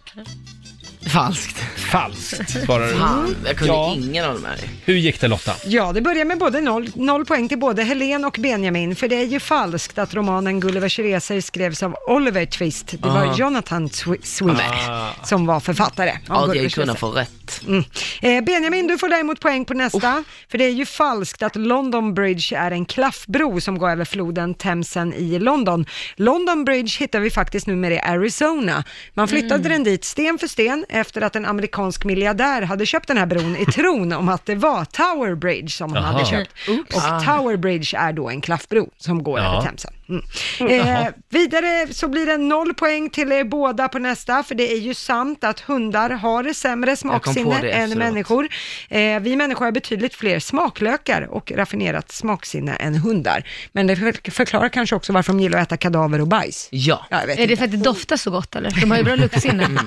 Speaker 11: Falskt.
Speaker 1: Falskt, svarar du.
Speaker 11: Fan, jag kunde
Speaker 1: Ja.
Speaker 11: ingen av de här.
Speaker 1: Hur gick det Lotta?
Speaker 2: Ja, det börjar med både noll, noll poäng till både Helen och Benjamin, för det är ju falskt att romanen Gullivers resor skrevs av Oliver Twist. Det var
Speaker 11: Ah.
Speaker 2: Jonathan Swi- Swift
Speaker 11: Ah.
Speaker 2: som var författare av
Speaker 11: Ja, jag
Speaker 2: Gullivers
Speaker 11: kunde få
Speaker 2: resor.
Speaker 11: rätt.
Speaker 2: Mm. Eh, Benjamin, du får däremot poäng på nästa, för det är ju falskt att London Bridge är en klaffbro som går över floden Themsen i London. London
Speaker 3: Mm.
Speaker 2: Bridge hittar vi faktiskt numera i Arizona. Man flyttade den dit sten för sten efter att en amerikan amerikansk miljardär hade köpt den här bron i tron om att det var Tower Bridge som han
Speaker 3: Jaha.
Speaker 2: hade köpt.
Speaker 3: Oops. Ah.
Speaker 2: Och Tower Bridge är då en klaffbro som går
Speaker 3: Ja.
Speaker 2: över Themsen. Mm.
Speaker 3: Jaha.
Speaker 2: Eh, vidare så blir det noll poäng till er båda på nästa, för det är ju sant att hundar har det sämre smaksinne
Speaker 3: det
Speaker 2: än
Speaker 3: efteråt.
Speaker 2: människor. Eh, vi människor har betydligt fler smaklökar och raffinerat smaksinne än hundar. Men det för- förklarar kanske också varför de gillar att äta kadaver och bajs.
Speaker 11: Ja.
Speaker 2: jag vet
Speaker 4: Är det
Speaker 2: inte. Mm.
Speaker 4: för att det doftar så gott eller? De har ju bra luktsinne.
Speaker 11: Ja, Mm.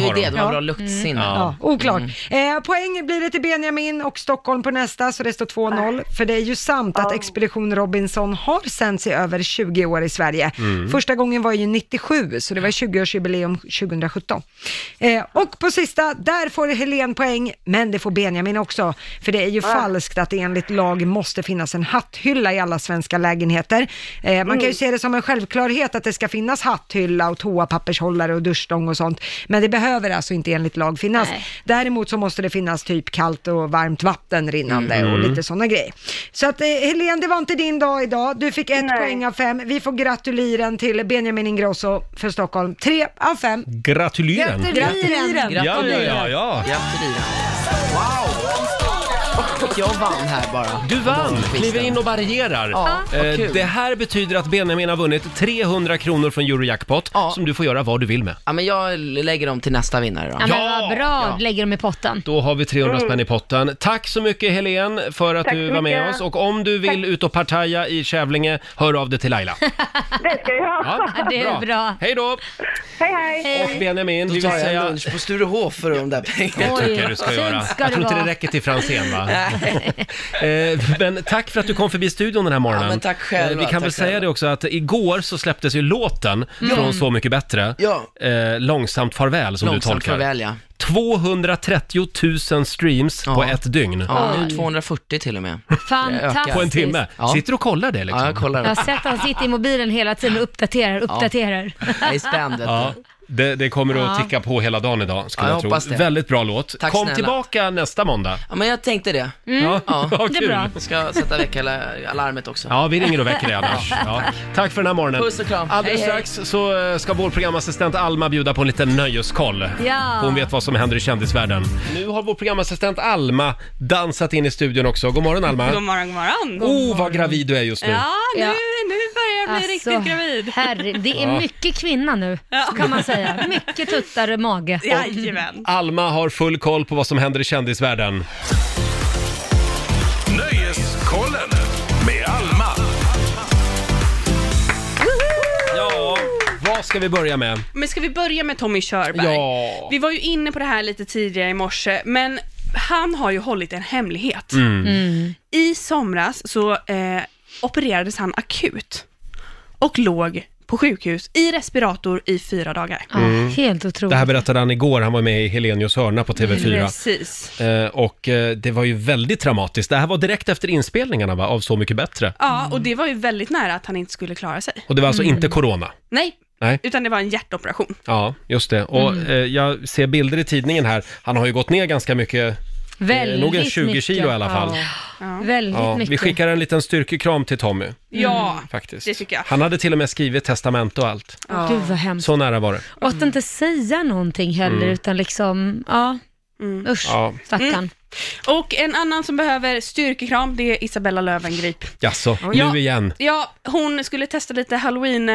Speaker 11: det har
Speaker 4: det,
Speaker 11: de.
Speaker 4: de har bra
Speaker 11: luktsinne.
Speaker 2: Ja, oklart. Eh, poäng blir det till Benjamin och Stockholm på nästa, så det står 2-0. För det är ju sant att Expedition Robinson har sänts i över 20 år i Sverige.
Speaker 3: Mm.
Speaker 2: Första gången var ju 97, så det var 20-årsjubileum 2017. Eh, och på sista, där får Helen poäng, men det får Benjamin också. För det är
Speaker 3: Ah.
Speaker 2: ju falskt att det enligt lag måste finnas en hatthylla i alla svenska lägenheter. Eh, man kan ju
Speaker 3: Mm.
Speaker 2: se det som en självklarhet att det ska finnas hatthylla och toapappershållare och duschstång och sånt. Men det behöver alltså inte enligt lag finnas. Däremot så måste det finnas typ kallt och varmt vatten rinnande
Speaker 3: Mm.
Speaker 2: och lite sådana grejer. Så att eh, Helene, det var inte din dag idag. Du fick ett poäng av fem. Vi får gratuliren till Benjamin Ingrosso för Stockholm. Tre av fem.
Speaker 1: Gratulieren!
Speaker 2: Gratulieren.
Speaker 1: Ja, ja, ja, ja.
Speaker 14: Jag vann här bara.
Speaker 1: Du vann! Kliver in och barrierar.
Speaker 14: Ja, vad
Speaker 1: Eh,
Speaker 14: kul.
Speaker 1: det här betyder att Benjamin har vunnit 300 kronor från Eurojackpot som du får göra vad du vill med.
Speaker 11: Ja, men jag lägger dem till nästa vinnare då.
Speaker 4: Ja, men vad bra, lägger dem i potten.
Speaker 1: Då har vi 300
Speaker 4: Mm.
Speaker 1: spänn i potten. Tack så mycket Helen för att
Speaker 4: Tack
Speaker 1: du
Speaker 4: så
Speaker 1: var med
Speaker 4: mycket.
Speaker 1: oss och om du vill ut och partaja i Kävlinge, hör av dig till Laila.
Speaker 13: Det ska jag
Speaker 1: Ja, Det är bra. bra. Hej då!
Speaker 13: Hej, hej.
Speaker 1: Och Benjamin,
Speaker 14: Då
Speaker 1: vi
Speaker 14: tar
Speaker 1: vill
Speaker 14: jag en
Speaker 1: säga...
Speaker 14: lunch på Sturehof för de där pengarna.
Speaker 1: Det tycker jag du ska göra. Jag tror inte det räcker till Franzén va? Eh, men tack för att du kom förbi studion den här morgonen.
Speaker 14: Ja, men tack själva,
Speaker 1: Eh, Vi kan
Speaker 14: tack
Speaker 1: väl säga
Speaker 14: själva.
Speaker 1: det också att igår så släpptes ju låten
Speaker 11: Mm.
Speaker 14: Ja.
Speaker 1: från Så mycket bättre.
Speaker 14: Ja.
Speaker 1: Eh, långsamt farväl som du
Speaker 14: Långsamt
Speaker 1: tolkar.
Speaker 14: farväl, ja.
Speaker 1: 230 000 streams på ett dygn.
Speaker 11: Ja, nu 240 till och med.
Speaker 4: Fantastiskt.
Speaker 1: På en timme.
Speaker 11: Ja.
Speaker 1: Sitter du och kollar det liksom?
Speaker 11: Ja, jag kollar
Speaker 4: Jag har sett att han sitter i mobilen hela tiden och uppdaterar, uppdaterar.
Speaker 11: Jag är spänd vet du.
Speaker 1: Ja, det, det kommer att
Speaker 4: Ja.
Speaker 1: ticka på hela dagen idag, skulle
Speaker 11: Ja, jag
Speaker 1: jag,
Speaker 11: hoppas
Speaker 1: tro.
Speaker 11: det.
Speaker 1: Väldigt bra låt.
Speaker 11: Tack
Speaker 1: Kom
Speaker 11: snälla.
Speaker 1: tillbaka nästa måndag.
Speaker 11: Ja, men jag tänkte det.
Speaker 1: Mm. Ja, vad kul.
Speaker 11: Ska sätta väck hela alarmet också.
Speaker 1: Ja, vi ringer och väcker dig annars. Ja. Tack för den här morgonen.
Speaker 11: Puss och kram.
Speaker 1: Alldeles
Speaker 11: Hej, hej.
Speaker 1: strax så eh, ska vår programassistent Alma bjuda på en liten nöjeskoll.
Speaker 4: Ja.
Speaker 1: Hon vet vad som händer i kändisvärlden. Nu har vår programassistent Alma dansat in i studion också. God morgon Alma.
Speaker 20: God morgon, god morgon.
Speaker 1: Oh, vad gravid du är just nu.
Speaker 20: Ja, nu, nu börjar jag bli riktigt gravid.
Speaker 4: Alltså, Herre, det
Speaker 1: Ja.
Speaker 4: är mycket kvinna nu, så kan man säga. Mycket tuttar och mage.
Speaker 20: Jajamän.
Speaker 1: Alma har full koll på vad som händer i kändisvärlden.
Speaker 12: Nöjeskollen med Alma.
Speaker 1: Ja, vad ska vi börja med?
Speaker 20: Men ska vi börja med Tommy Körberg?
Speaker 1: Ja.
Speaker 20: Vi var ju inne på det här lite tidigare i morse, men han har ju hållit en hemlighet.
Speaker 3: Mm. Mm.
Speaker 20: I somras så eh, opererades han akut och låg på sjukhus i respirator i fyra dagar.
Speaker 1: Mm.
Speaker 4: Helt otroligt.
Speaker 1: Det här berättade han igår, han var med i Helenius hörna på TV4.
Speaker 20: Precis.
Speaker 1: Eh, och eh, det var ju väldigt dramatiskt. Det här var direkt efter inspelningarna va, av Så mycket bättre.
Speaker 20: Ja, Mm. och det var ju väldigt nära att han inte skulle klara sig.
Speaker 1: Mm. Och det var alltså inte corona?
Speaker 20: Nej,
Speaker 1: Nej.
Speaker 20: utan det var en hjärtoperation.
Speaker 1: Ja, just det. Och
Speaker 20: Mm.
Speaker 1: eh, jag ser bilder i tidningen här. Han har ju gått ner ganska mycket. eh, nog en 20 kilo i alla fall.
Speaker 20: Ja.
Speaker 4: Väldigt
Speaker 1: Ja,
Speaker 4: mycket.
Speaker 1: vi skickar en liten styrkekram till Tommy. Mm.
Speaker 20: Ja,
Speaker 1: Faktiskt.
Speaker 20: det tycker jag.
Speaker 1: Han hade till och med skrivit testament och allt.
Speaker 4: Åh, Gud vad hemskt.
Speaker 1: Så nära var det.
Speaker 4: Och att inte säga någonting heller,
Speaker 1: Mm.
Speaker 4: utan liksom, ja. Usch,
Speaker 1: Ja.
Speaker 4: stackarn.
Speaker 20: Mm. Och en annan som behöver styrkekram, det är Isabella Löwengrip.
Speaker 1: Jaså,
Speaker 20: Ja.
Speaker 1: nu igen.
Speaker 20: Ja, hon skulle testa lite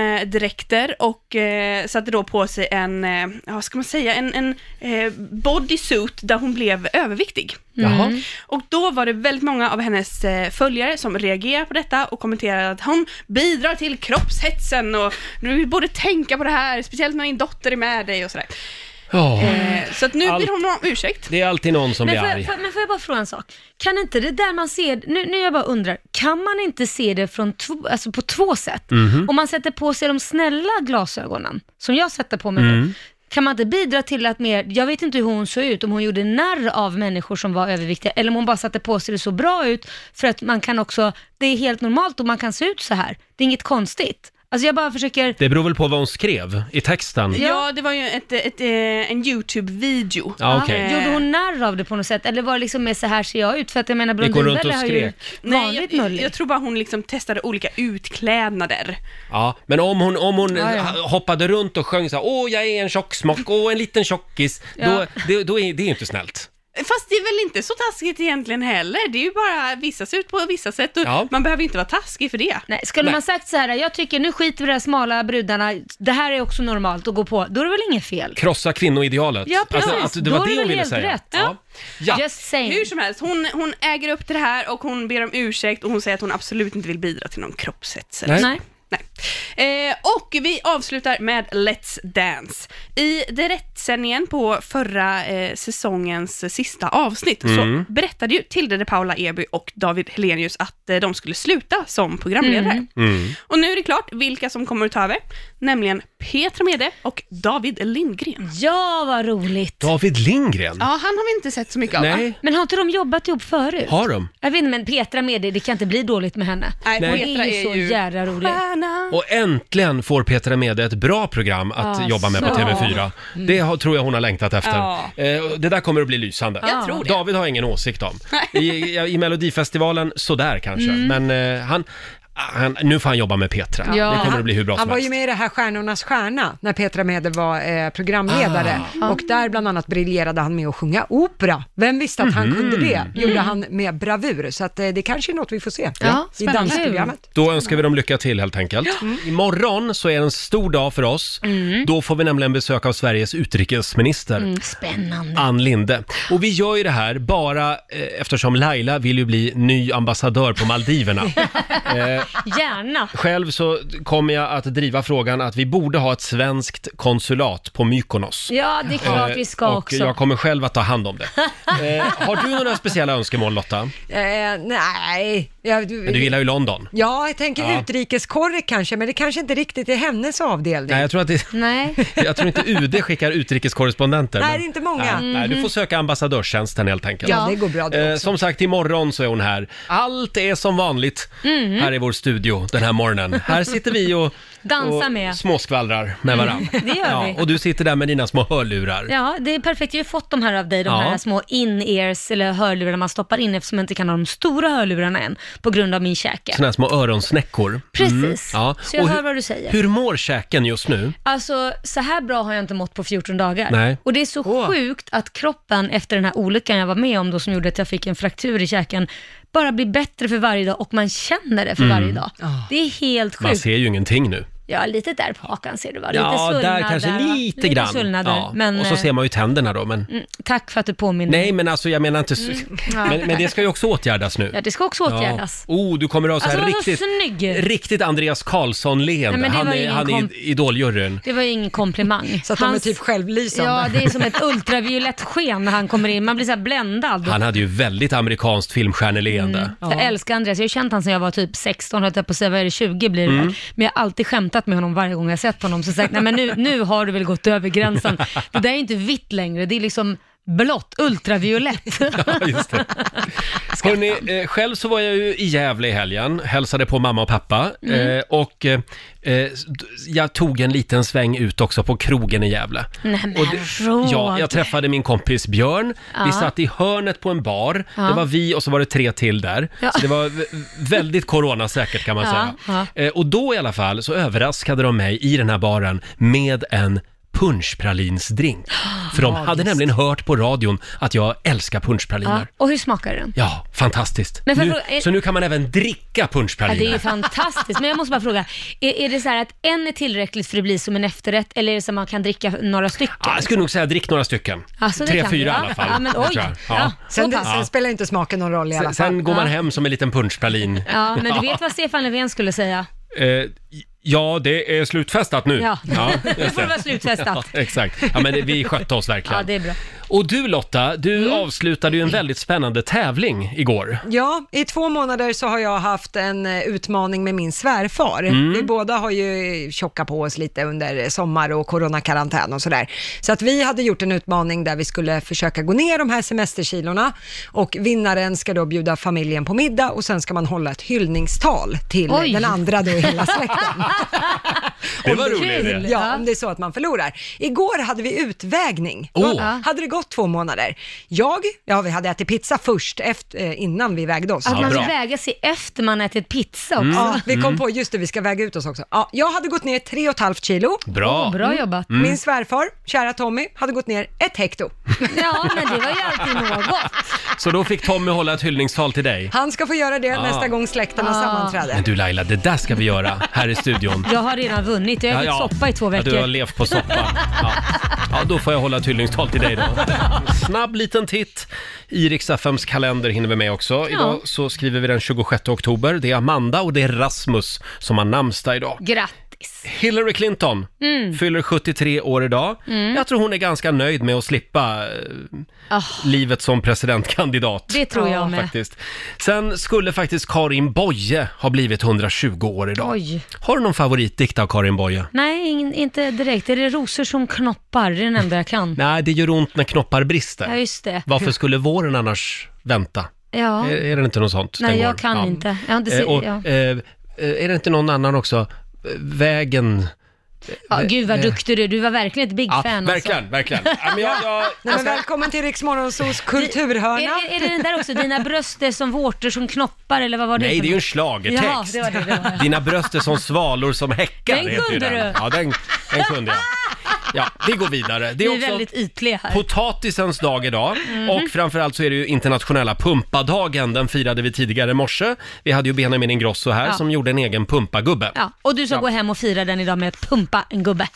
Speaker 20: halloween-dräkter och eh, satte då på sig en, eh, ja, vad ska man säga, en, en eh, bodysuit där hon blev överviktig.
Speaker 3: Jaha. Mm.
Speaker 20: Och då var det väldigt många av hennes eh, följare som reagerade på detta och kommenterade att hon bidrar till kroppshetsen och du borde tänka på det här, speciellt när din dotter är med dig och sådär.
Speaker 1: Ja,
Speaker 20: Eh, så att nu
Speaker 1: Allt-
Speaker 20: ber hon om ursäkt.
Speaker 1: Det är alltid någon som
Speaker 4: men,
Speaker 1: blir
Speaker 4: får
Speaker 1: arg.
Speaker 4: jag, får, men får jag bara fråga en sak? Kan inte det där man ser, nu, nu jag bara undrar, kan man inte se det från två, alltså på två sätt?
Speaker 3: Mhm.
Speaker 4: Om man sätter på sig de snälla glasögonen, som jag sätter på mig
Speaker 3: Mm.
Speaker 4: nu, kan man inte bidra till att mer, jag vet inte hur hon såg ut, om hon gjorde narr av människor som var överviktiga, eller om hon bara satte på sig det så bra ut, för att man kan också, det är helt normalt och man kan se ut så här, det är inget konstigt. Alltså jag bara försöker...
Speaker 1: Det beror väl på vad hon skrev i texten.
Speaker 4: Ja.
Speaker 20: Ja, det var ju ett, ett, eh, en YouTube-video.
Speaker 1: Ja, okej.
Speaker 4: Gjorde hon narr av det på något sätt? Eller var det liksom med så här ser jag ut? För att jag menar
Speaker 1: Gick hon runt och
Speaker 4: Blondinbella har ju
Speaker 1: skrek?
Speaker 4: vanligt
Speaker 20: Nej, jag, jag tror bara hon liksom testade olika utklädnader.
Speaker 1: Ja, men om hon, om hon
Speaker 20: Ja, ja.
Speaker 1: ha- hoppade runt och sjöng så här, åh jag är en tjocksmock, åh en liten tjockis, då,
Speaker 20: Ja.
Speaker 1: det, då är det är ju inte snällt.
Speaker 20: Fast det är väl inte så taskigt egentligen heller. Det är ju bara vissa ser ut på vissa sätt och
Speaker 1: Ja.
Speaker 20: man behöver inte vara taskig för det.
Speaker 4: Nej, skulle man sagt så här, jag tycker nu skiter vi i de här smala brudarna, det här är också normalt att gå på, då är det väl inget fel?
Speaker 1: Krossa kvinnoidealet.
Speaker 4: Ja, precis.
Speaker 1: Alltså, att det var
Speaker 4: Då är
Speaker 1: det
Speaker 4: det
Speaker 1: hon ville
Speaker 4: helt
Speaker 1: säga.
Speaker 4: rätt.
Speaker 1: Ja. Ja.
Speaker 20: Hur som helst, hon, hon äger upp till det här och hon ber om ursäkt och hon säger att hon absolut inte vill bidra till någon kroppshets. eller Nej. så.
Speaker 4: Nej.
Speaker 20: Nej. Eh, och vi avslutar med Let's Dance. I direktsändningen på förra eh, säsongens eh, sista avsnitt
Speaker 11: Mm.
Speaker 20: så berättade ju Tilde de Paula Eby och David Helenius att eh, de skulle sluta som programledare.
Speaker 4: Mm.
Speaker 20: Och nu är det klart vilka som kommer att ta över, nämligen Petra Mede och David Lindgren.
Speaker 4: Ja, vad roligt!
Speaker 1: David Lindgren?
Speaker 20: Ja, han har vi inte sett så mycket av. va?
Speaker 1: Nej.
Speaker 4: Men har inte de jobbat ihop förut?
Speaker 1: Har de?
Speaker 4: Jag vet inte, men Petra med det, det kan inte bli dåligt med henne.
Speaker 20: Nej,
Speaker 1: Nej.
Speaker 4: Hon
Speaker 20: Petra
Speaker 4: är ju
Speaker 20: är
Speaker 4: så
Speaker 20: ju
Speaker 4: jädra rolig.
Speaker 1: Och äntligen får Petra Mede ett bra program att
Speaker 4: Ja,
Speaker 1: jobba med på
Speaker 4: så.
Speaker 1: TV4. Det har, tror jag hon har längtat efter.
Speaker 20: Ja.
Speaker 1: Eh, och Det där kommer att bli lysande.
Speaker 20: Jag tror det.
Speaker 1: David har ingen åsikt om. I, i, i Melodifestivalen, sådär kanske.
Speaker 2: Mm.
Speaker 1: Men eh, han, han, nu får han jobba med Petra. Det kommer att bli hur bra
Speaker 2: Han
Speaker 1: som
Speaker 2: var
Speaker 1: helst.
Speaker 2: ju med i det här Stjärnornas stjärna när Petra Mede var eh, programledare
Speaker 1: Ah.
Speaker 2: och där bland annat briljerade han med att sjunga opera. Vem visste att han
Speaker 1: Mhm.
Speaker 2: kunde det? Gjorde
Speaker 1: Mm.
Speaker 2: han med bravur, så att eh, det kanske är något vi får se
Speaker 1: Ja,
Speaker 2: i
Speaker 1: spännande.
Speaker 2: dansprogrammet.
Speaker 1: Då önskar vi dem lycka till helt enkelt. Imorgon så är det en stor dag för oss.
Speaker 4: Mm.
Speaker 1: Då får vi nämligen besök av Sveriges utrikesminister.
Speaker 4: Mm, spännande.
Speaker 1: Ann Linde. Och vi gör ju det här bara eh, eftersom Laila vill ju bli ny ambassadör på Maldiverna. eh,
Speaker 4: Gärna.
Speaker 1: själv så kommer jag att driva frågan att vi borde ha ett svenskt konsulat på Mykonos.
Speaker 4: Ja, det är klart
Speaker 1: Eh,
Speaker 4: vi ska
Speaker 1: och
Speaker 4: också.
Speaker 1: jag kommer själv att ta hand om det. Eh, har du några speciella önskemål Lotta?
Speaker 2: Eh, nej, jag,
Speaker 1: Men du gillar ju London.
Speaker 2: Ja, jag tänker
Speaker 1: Ja.
Speaker 2: utrikeskorre kanske, men det kanske inte riktigt är hennes avdelning.
Speaker 1: Nej, jag tror att det...
Speaker 4: Nej.
Speaker 1: Jag tror inte UD skickar utrikeskorrespondenter.
Speaker 2: Nej,
Speaker 1: men-
Speaker 2: det är inte många. Mm.
Speaker 1: Nej, nej, du får söka ambassadörstjänsten helt enkelt.
Speaker 2: Ja, det går bra det
Speaker 1: Eh, som sagt, imorgon så är hon här. Allt är som vanligt
Speaker 4: Mhm.
Speaker 3: Mm.
Speaker 1: här i vår studio den här morgonen. Här sitter vi och,
Speaker 4: Dansa
Speaker 1: och
Speaker 4: med.
Speaker 1: småskvallrar med varandra.
Speaker 4: Mm, det gör vi.
Speaker 1: Och du sitter där med dina små hörlurar.
Speaker 4: Ja, det är perfekt. Jag har ju fått de här av dig, de
Speaker 1: Ja.
Speaker 4: här små in-ears eller hörlurar man stoppar in eftersom jag inte kan ha de stora hörlurarna än på grund av min käke.
Speaker 1: Såna här små öronsnäckor. Mm.
Speaker 4: Precis.
Speaker 1: Ja.
Speaker 4: Så jag
Speaker 1: Och
Speaker 4: hör
Speaker 1: hur-
Speaker 4: vad du säger.
Speaker 1: Hur mår käken just nu?
Speaker 4: Alltså, så här bra har jag inte mått på 14 dagar.
Speaker 1: Nej.
Speaker 4: Och det är så sjukt att kroppen efter den här olyckan jag var med om då som gjorde att jag fick en fraktur i käken, bara blir bättre för varje dag och man känner det för
Speaker 1: Mm.
Speaker 4: varje dag.
Speaker 2: Ah.
Speaker 4: Det är helt
Speaker 1: Man
Speaker 4: sjukt.
Speaker 1: ser ju ingenting nu.
Speaker 4: Ja, lite där på hakan ser du va? Lite
Speaker 1: ja,
Speaker 4: svullnader.
Speaker 1: där kanske
Speaker 4: va?
Speaker 1: lite, grann.
Speaker 4: Lite svullnader.
Speaker 1: ja.
Speaker 4: Men, eh,
Speaker 1: Och så ser man ju tänderna då, men...
Speaker 4: Mm, Tack för att du påminner.
Speaker 1: Nej, men alltså jag menar inte... s-
Speaker 4: Mm.
Speaker 1: Men, men det ska ju också åtgärdas nu.
Speaker 4: Ja, det ska också åtgärdas.
Speaker 1: Ja. Oh, du kommer att ha så här
Speaker 4: Alltså, vad
Speaker 1: riktigt,
Speaker 4: snygg.
Speaker 1: riktigt Andreas
Speaker 4: Nej,
Speaker 1: Karlsson-leende.
Speaker 4: men det
Speaker 1: Han
Speaker 4: var
Speaker 1: är,
Speaker 4: ingen
Speaker 1: han
Speaker 4: kom-
Speaker 1: är i idoljuryn.
Speaker 4: Det var ju ingen komplimang.
Speaker 2: Så att de är typ självlysande.
Speaker 4: Ja, det är som ett ultraviolett sken när han kommer in. Man blir så här bländad.
Speaker 1: Han hade ju väldigt amerikanskt filmstjärneleende.
Speaker 4: Jag älskar Andreas, jag har känt honom sedan jag var typ 16, höll jag på att säga, vad är det, 20 blir det
Speaker 1: Mm.
Speaker 4: väl. Men jag har alltid skämtat med honom varje gång jag har sett honom, så sagt, nej men nu, nu har du väl gått över gränsen. Det där är inte vitt längre, det är liksom blått, ultraviolett.
Speaker 1: Hörrni, eh, själv så var jag ju i Gävle i helgen, hälsade på mamma och pappa.
Speaker 4: Mm.
Speaker 1: Eh, och eh, eh, s- d- jag tog en liten sväng ut också på krogen i Gävle.
Speaker 4: nej men Roger.
Speaker 1: Ja, jag träffade min kompis Björn.
Speaker 4: Ja.
Speaker 1: Vi satt i hörnet på en bar.
Speaker 4: Ja.
Speaker 1: Det var vi och så var det tre till där.
Speaker 4: Ja.
Speaker 1: Så det var v- väldigt coronasäkert kan man
Speaker 4: Ja,
Speaker 1: säga.
Speaker 4: ja.
Speaker 1: Eh, Och då i alla fall så överraskade de mig i den här baren med en punschpralinsdrink. För de
Speaker 4: Magiskt.
Speaker 1: hade nämligen hört på radion att jag älskar
Speaker 4: ja.
Speaker 1: punschpraliner.
Speaker 4: Och hur smakar den?
Speaker 1: Ja, fantastiskt.
Speaker 4: Men får jag
Speaker 1: nu,
Speaker 4: fråga, är-
Speaker 1: Så nu kan man även dricka
Speaker 4: Ja, det
Speaker 1: punschpraliner.
Speaker 4: är ju fantastiskt, men jag måste bara fråga, är, är det så här att en är tillräckligt för att det blir som en efterrätt, eller är det så att man kan dricka några stycken?
Speaker 1: Ja, jag skulle nog säga drick några stycken.
Speaker 4: Alltså, det
Speaker 1: Tre,
Speaker 4: kan vi,
Speaker 1: fyra
Speaker 4: ja.
Speaker 1: i alla fall.
Speaker 4: Ja, men
Speaker 1: det
Speaker 4: oj.
Speaker 1: tror jag.
Speaker 4: Ja,
Speaker 2: Sen,
Speaker 4: så pass.
Speaker 2: sen spelar inte smaken någon roll i alla
Speaker 1: Sen,
Speaker 2: fall.
Speaker 1: sen går man
Speaker 2: Ja.
Speaker 1: hem som en liten punschpralin.
Speaker 4: Ja, men du vet vad Stefan Löfven skulle säga?
Speaker 1: Eh, ja, det är slutfestat nu.
Speaker 4: Ja.
Speaker 1: just
Speaker 4: Nu får det vara slutfestat.
Speaker 1: Ja, exakt. Ja, men det, vi skötte oss verkligen.
Speaker 4: Ja, det är bra.
Speaker 1: Och du Lotta, du
Speaker 4: Mm.
Speaker 1: avslutade ju en väldigt spännande tävling igår.
Speaker 2: Ja, i två månader så har jag haft en eh, utmaning med min svärfar.
Speaker 1: Mm.
Speaker 2: Vi båda har ju tjockat på oss lite under sommar och coronakarantän och sådär. Så att vi hade gjort en utmaning där vi skulle försöka gå ner de här semesterkilorna och vinnaren ska då bjuda familjen på middag och sen ska man hålla ett hyllningstal till
Speaker 3: Oj.
Speaker 2: den andra då i hela släkten.
Speaker 3: Det var
Speaker 2: Om
Speaker 3: rolig idé.
Speaker 2: Ja, om det är så att man förlorar. Igår hade vi utvägning. Då
Speaker 3: Oh.
Speaker 2: Hade det gått två månader. Jag, ja vi hade ätit pizza först efter, eh, innan vi vägde oss.
Speaker 4: Att man vill väga sig efter man ätit pizza också.
Speaker 2: Ja, vi kom på, just det, vi ska väga ut oss också. Ja, jag hade gått ner tre och ett halvt kilo.
Speaker 4: Bra. Åh, bra
Speaker 2: Mm.
Speaker 4: jobbat.
Speaker 2: Mm.
Speaker 4: Mm.
Speaker 2: Min svärfar, kära Tommy, hade gått ner ett hekto.
Speaker 4: Ja, men det var ju alltid något.
Speaker 1: Så då fick Tommy hålla ett hyllningstal till dig.
Speaker 2: Han ska få göra det
Speaker 1: Ah.
Speaker 2: nästa gång släkten har sammanträde.
Speaker 1: Men du Laila, det där ska vi göra här i studion.
Speaker 4: Jag har redan vunnit, jag har ätit soppa i två veckor.
Speaker 1: Ja, du har levt på soppa. Ja. ja, då får jag hålla ett hyllningstal till dig då. Snabb liten titt i Rix FMs kalender hinner vi med också. Idag så skriver vi den 26 oktober. Det är Amanda och det är Rasmus som har namnsdag idag.
Speaker 4: Grattis!
Speaker 1: Hillary Clinton
Speaker 4: Mm.
Speaker 1: fyller 73 år idag.
Speaker 4: Mm.
Speaker 1: Jag tror hon är ganska nöjd med att slippa eh,
Speaker 4: Ah.
Speaker 1: livet som presidentkandidat.
Speaker 4: Det tror jag med.
Speaker 1: Faktiskt. Sen skulle faktiskt Karin Boye ha blivit 120 år idag.
Speaker 4: Oj.
Speaker 1: Har du någon favoritdikt av Karin Boye?
Speaker 4: Nej, ingen, inte direkt. Är det rosor som knoppar? Det är den enda jag kan.
Speaker 1: Nej, det gör ont när knoppar brister.
Speaker 4: Ja, just det.
Speaker 1: Varför skulle våren annars vänta?
Speaker 4: Ja.
Speaker 1: Är, är det inte något sånt?
Speaker 4: Nej,
Speaker 1: den
Speaker 4: jag
Speaker 1: går?
Speaker 4: kan
Speaker 1: Ja.
Speaker 4: inte. Jag har inte
Speaker 1: Eh,
Speaker 4: se,
Speaker 1: och,
Speaker 4: ja.
Speaker 1: eh, eh, är det inte någon annan också? Eh, Vägen...
Speaker 4: Ja, gud vad
Speaker 1: eh,
Speaker 4: duktig du är. Du var verkligen ett big
Speaker 1: Ja,
Speaker 4: fan. alltså.
Speaker 1: verkligen, verkligen. Ja, men jag, alltså- jag,
Speaker 2: Nej, men välkommen till Rix Morgonzoos kulturhörna.
Speaker 4: Är, är, är det den där också, dina bröst är som vårtor som knoppar eller vad var det
Speaker 1: Nej,
Speaker 4: för
Speaker 1: det är ju en
Speaker 4: något?
Speaker 1: schlagertext.
Speaker 4: Jaha, det var det, det var det.
Speaker 1: Dina bröst är som svalor som häckar.
Speaker 4: Den
Speaker 1: heter ju
Speaker 4: kunde
Speaker 1: den.
Speaker 4: du.
Speaker 1: Ja, den, den kunde jag. Ja, vi går vidare.
Speaker 4: Vi
Speaker 1: Det
Speaker 4: är
Speaker 1: är också
Speaker 4: väldigt ytliga här.
Speaker 1: potatisens dag idag
Speaker 4: Mhm.
Speaker 1: och framförallt så är det ju internationella pumpadagen. Den firade vi tidigare i morse. Vi hade ju Benjamin Ingrosso här
Speaker 4: Ja.
Speaker 1: som gjorde en egen pumpagubbe.
Speaker 4: Ja, och du ska
Speaker 1: Ja.
Speaker 4: gå hem och fira den idag med att pumpa en gubbe.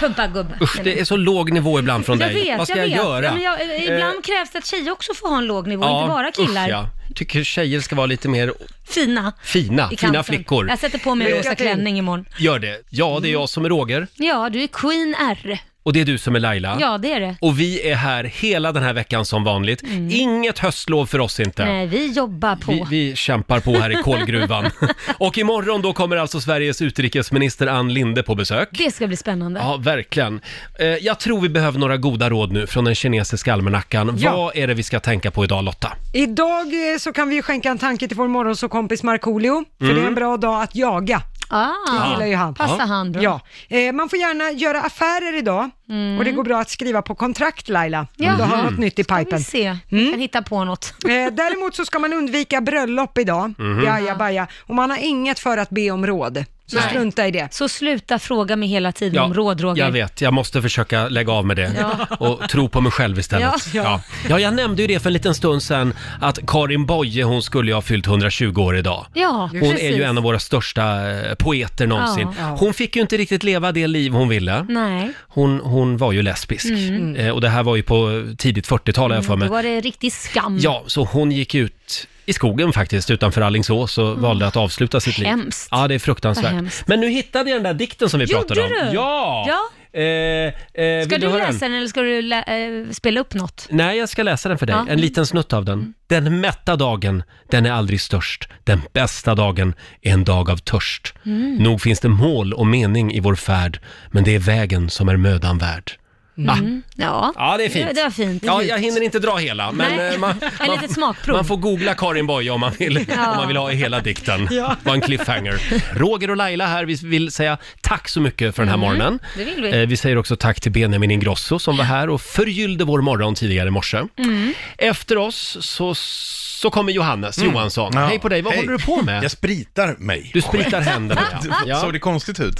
Speaker 4: Pumpa en gubbe.
Speaker 1: Usch, det är så låg nivå ibland från
Speaker 4: jag
Speaker 1: dig.
Speaker 4: vet,
Speaker 1: Vad ska
Speaker 4: jag,
Speaker 1: jag,
Speaker 4: vet.
Speaker 1: göra?
Speaker 4: Ja, men jag, eh, ibland
Speaker 1: Eh,
Speaker 4: krävs det att tjejer också får ha en låg nivå,
Speaker 1: ja,
Speaker 4: inte bara killar.
Speaker 1: Usch, ja. Tycker tjejer ska vara lite mer
Speaker 4: Fina.
Speaker 1: fina,
Speaker 4: I
Speaker 1: fina
Speaker 4: kanten.
Speaker 1: flickor.
Speaker 4: Jag sätter på mig en
Speaker 1: Lycka
Speaker 4: rosa
Speaker 1: till.
Speaker 4: klänning imorgon.
Speaker 1: Gör det. Ja, det är jag som är Roger
Speaker 4: Ja, du är Queen R.
Speaker 1: och det är du som är Laila.
Speaker 4: Ja, det är det.
Speaker 1: Och vi är här hela den här veckan som vanligt.
Speaker 4: Mm.
Speaker 1: Inget höstlov för oss inte.
Speaker 4: Nej, vi jobbar på.
Speaker 1: Vi, vi kämpar på här i kolgruvan. och imorgon då kommer alltså Sveriges utrikesminister Ann Linde på besök.
Speaker 4: Det ska bli spännande.
Speaker 1: Ja, verkligen. Eh, Jag tror vi behöver några goda råd nu från den kinesiska almanackan.
Speaker 2: Ja.
Speaker 1: Vad är det vi ska tänka på idag Lotta?
Speaker 2: Idag eh, så kan vi ju skänka en tanke till vår morgonsåkompis Markoolio, för
Speaker 1: Mm.
Speaker 2: det är en bra dag att jaga.
Speaker 4: Ah,
Speaker 2: Det gillar ju han.
Speaker 4: Passar han bra.
Speaker 2: Ja. Eh, man får gärna göra affärer idag och det går bra att skriva på kontrakt Laila, om du har
Speaker 4: Mm. Jaha.
Speaker 2: något nytt i pipen. Mm.
Speaker 4: Ska vi se. Jag kan hitta på något.
Speaker 2: Eh, däremot så ska man undvika bröllop idag,
Speaker 4: Mhm.
Speaker 2: jajabaja, och man har inget för att be om råd. Så
Speaker 4: Nej.
Speaker 2: strunta i det.
Speaker 4: Så sluta fråga mig hela tiden om råd, Roger.
Speaker 1: jag vet. Jag måste försöka lägga av med det
Speaker 4: Ja.
Speaker 1: och tro på mig själv istället.
Speaker 4: Ja.
Speaker 1: Ja. ja, jag nämnde ju det för en liten stund sedan att Karin Boye, hon skulle ju ha fyllt 120 år idag.
Speaker 4: Ja,
Speaker 1: Hon
Speaker 4: precis.
Speaker 1: är ju en av våra största eh, poeter någonsin.
Speaker 4: Ja.
Speaker 1: Hon fick ju inte riktigt leva det liv hon ville.
Speaker 4: Nej.
Speaker 1: Hon, hon var ju lesbisk
Speaker 4: Mm.
Speaker 1: Eh, och det här var ju på tidigt 40-tal har jag för
Speaker 4: Då
Speaker 1: mig.
Speaker 4: var Mm, det riktig skam.
Speaker 1: Ja, Eh, så hon gick ut i skogen faktiskt utanför Alingsås och valde att avsluta sitt liv.
Speaker 4: Mm. Hemskt.
Speaker 1: Ja, det är
Speaker 4: Vad
Speaker 1: fruktansvärt.
Speaker 4: hemskt.
Speaker 1: Men nu hittade jag den där dikten som vi
Speaker 4: Gjorde
Speaker 1: pratade om.
Speaker 4: du?
Speaker 1: Ja!
Speaker 4: Ja.
Speaker 1: Eh, eh,
Speaker 4: Ska
Speaker 1: vill
Speaker 4: du
Speaker 1: höra
Speaker 4: läsa den eller ska du lä- eh, spela upp något?
Speaker 1: Nej, jag ska läsa den för dig.
Speaker 4: Ja. Mm.
Speaker 1: En liten snutt av den. Den mätta dagen, den är aldrig störst. Den bästa dagen är en dag av törst.
Speaker 3: Mm.
Speaker 1: Nog finns det mål och mening i vår färd, men det är vägen som är mödan värd.
Speaker 4: Mm. Ja.
Speaker 1: Ja, det är fint.
Speaker 4: Det, det var fint.
Speaker 1: Ja, jag hinner inte dra hela, men
Speaker 4: Nej.
Speaker 1: eh, man,
Speaker 4: En litet smakprov.
Speaker 1: man får googla Karin Boye om man vill,
Speaker 4: Ja.
Speaker 1: om man vill ha hela dikten.
Speaker 4: Ja.
Speaker 1: Det var en cliffhanger. Roger och Laila här, vi vill säga tack så mycket för den här
Speaker 4: Mm,
Speaker 1: morgonen.
Speaker 4: det vill vi.
Speaker 1: Eh, vi säger också tack till Benjamin Ingrosso som var här och förgyllde vår morgon tidigare i morse.
Speaker 3: Mm.
Speaker 1: Efter oss så, så kommer Johannes
Speaker 5: Mm.
Speaker 1: Johansson.
Speaker 5: Ja.
Speaker 1: Hej på dig, vad
Speaker 5: Hej.
Speaker 1: håller du på med?
Speaker 5: Jag spritar mig.
Speaker 1: Du spritar händerna, ja. Mm.
Speaker 5: Du- Såg det konstigt ut?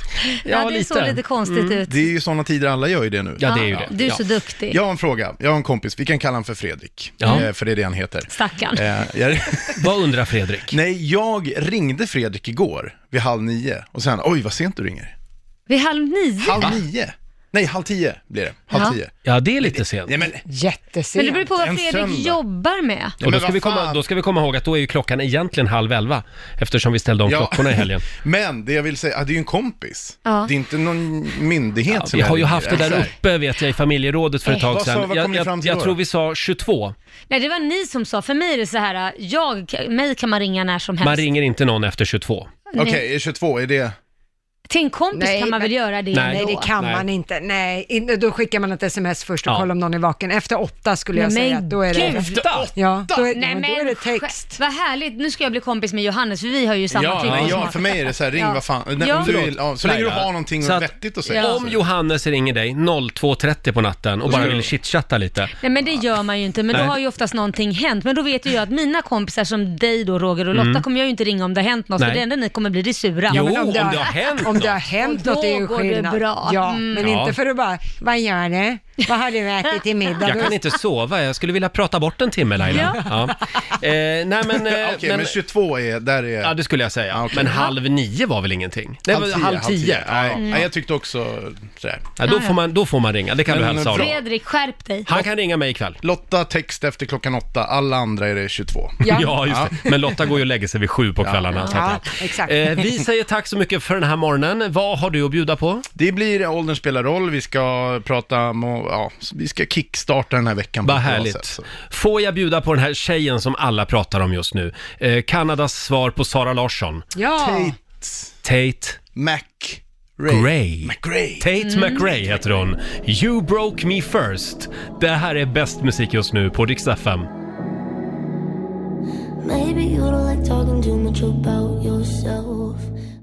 Speaker 4: Ja, det lite. såg lite konstigt ut.
Speaker 5: Det är ju sådana tider, alla gör ju det nu.
Speaker 4: Ja, det är ju Ja. det. Du är så duktig.
Speaker 5: Jag har en fråga, jag har en kompis, vi kan kalla honom för Fredrik,
Speaker 4: Ja.
Speaker 5: eh, för det är det han heter.
Speaker 4: Stackarn.
Speaker 5: Eh, jag...
Speaker 1: Vad undrar Fredrik?
Speaker 5: Nej, jag ringde Fredrik igår vid halv nio och sen, oj vad sent du ringer.
Speaker 4: Vid halv nio?
Speaker 5: Halv nio? Nej, halv tio blir det. Halv
Speaker 4: Ja.
Speaker 5: tio.
Speaker 1: Ja, det är lite sent.
Speaker 5: Nej, men,
Speaker 4: Men det
Speaker 5: Jättesent.
Speaker 4: beror på vad
Speaker 5: En
Speaker 4: Fredrik
Speaker 5: söndag.
Speaker 4: jobbar med.
Speaker 5: Ja,
Speaker 1: Och då,
Speaker 5: men
Speaker 1: ska
Speaker 5: vad
Speaker 1: vi komma,
Speaker 5: fan.
Speaker 1: då ska vi komma ihåg att då är ju klockan egentligen halv elva eftersom vi ställde om klockorna i helgen.
Speaker 5: men det jag vill säga, ah, det är ju en kompis.
Speaker 1: Ja.
Speaker 5: Det är inte någon myndighet som
Speaker 1: Vi har ju
Speaker 5: ringer.
Speaker 1: haft det där
Speaker 5: Exakt.
Speaker 1: uppe vet jag i familjerådet för ett
Speaker 5: Eh.
Speaker 1: tag
Speaker 5: Vad sa-
Speaker 1: sedan.
Speaker 5: vad kom
Speaker 1: Jag,
Speaker 5: ni fram
Speaker 1: jag,
Speaker 5: till
Speaker 1: jag
Speaker 5: då?
Speaker 1: tror vi sa 22.
Speaker 4: Nej, det var ni som sa. För mig är det så här, jag, mig kan man ringa när som helst.
Speaker 1: Man ringer inte någon efter 22.
Speaker 4: Nej. Okej,
Speaker 5: är 22, är det...
Speaker 4: Till en kompis
Speaker 2: Nej,
Speaker 4: kan man
Speaker 2: men-
Speaker 4: väl göra det
Speaker 2: Nej,
Speaker 4: ändå?
Speaker 2: det kan man inte. Nej, inte- då skickar man ett sms först och
Speaker 4: Ja.
Speaker 2: kollar om någon är vaken. Efter åtta skulle jag
Speaker 4: Men
Speaker 2: säga att då är det...
Speaker 4: gud! Efter åtta?
Speaker 2: Ja, då är,
Speaker 4: Nej,
Speaker 2: men, då är det text.
Speaker 4: sj- Vad härligt, nu ska jag bli kompis med Johannes för vi har ju samma
Speaker 5: Ja,
Speaker 4: typ av
Speaker 5: nej, ja,
Speaker 4: smak.
Speaker 5: för mig är det så här, ring
Speaker 4: Ja.
Speaker 5: vad fan, nej,
Speaker 4: Ja.
Speaker 5: om du vill, ja, så länge du
Speaker 1: Nej, ja.
Speaker 5: har någonting
Speaker 1: Så att-
Speaker 5: vettigt att säga. Alltså.
Speaker 4: Ja.
Speaker 1: Om Johannes ringer dig 02.30 på natten och bara
Speaker 5: ska du-
Speaker 1: vill chitchatta lite.
Speaker 4: Nej men det gör man ju inte, men
Speaker 1: Nej.
Speaker 4: då har ju oftast någonting hänt. Men då vet ju jag att mina kompisar som dig då Roger och Lotta
Speaker 1: Mm.
Speaker 4: kommer jag ju inte ringa om det har hänt något,
Speaker 1: Nej.
Speaker 4: för det enda ni kommer bli det sura.
Speaker 1: Jo, Ja, men om om det har- det har hänt
Speaker 2: Om det har hänt
Speaker 4: Och
Speaker 2: något är ju
Speaker 4: Då går det
Speaker 2: skillnad.
Speaker 4: bra.
Speaker 2: Ja,
Speaker 4: Mm.
Speaker 2: men
Speaker 1: Ja.
Speaker 2: inte för att bara, vad gör du? Vad har du ätit till middag?
Speaker 1: Jag kan
Speaker 2: Då-
Speaker 1: inte sova, jag skulle vilja prata bort en timme Laila. Ja. Eh, nej men... eh,
Speaker 5: Okej, men 22 är, där är...
Speaker 1: Ja, det skulle jag säga. Men halv nio var väl ingenting? Det var halv tio.
Speaker 5: Nej,
Speaker 1: Ja.
Speaker 5: nej, jag tyckte också sådär.
Speaker 1: Ja, då, får man, då får man ringa, det kan du hälsa honom.
Speaker 4: Fredrik, skärp dig.
Speaker 1: kan ringa mig ikväll.
Speaker 5: Lotta text efter klockan åtta, alla andra är det 22.
Speaker 1: Ja. just det. Men Lotta går ju och lägger sig vid sju på
Speaker 5: Ja.
Speaker 1: kvällarna. Så att, ja. Eh, vi säger tack så mycket för den här morgonen. Vad har du att bjuda på?
Speaker 5: Det blir Åldern spelar roll, vi ska prata om, och, ja, vi ska kickstarta den här veckan på
Speaker 1: Vad
Speaker 5: ett bra
Speaker 1: härligt.
Speaker 5: sätt, så.
Speaker 1: Får jag bjuda på den här tjejen som alla pratar om just nu? Eh, Kanadas svar på Sara Larsson.
Speaker 2: Ja.
Speaker 1: Tate
Speaker 5: Mac
Speaker 1: Gray.
Speaker 5: McRae.
Speaker 1: Tate
Speaker 5: Mm.
Speaker 1: McRae heter hon. You broke me first. Det här är bäst musik just nu på Dix FM.
Speaker 11: Maybe you don't like talking too much about yourself.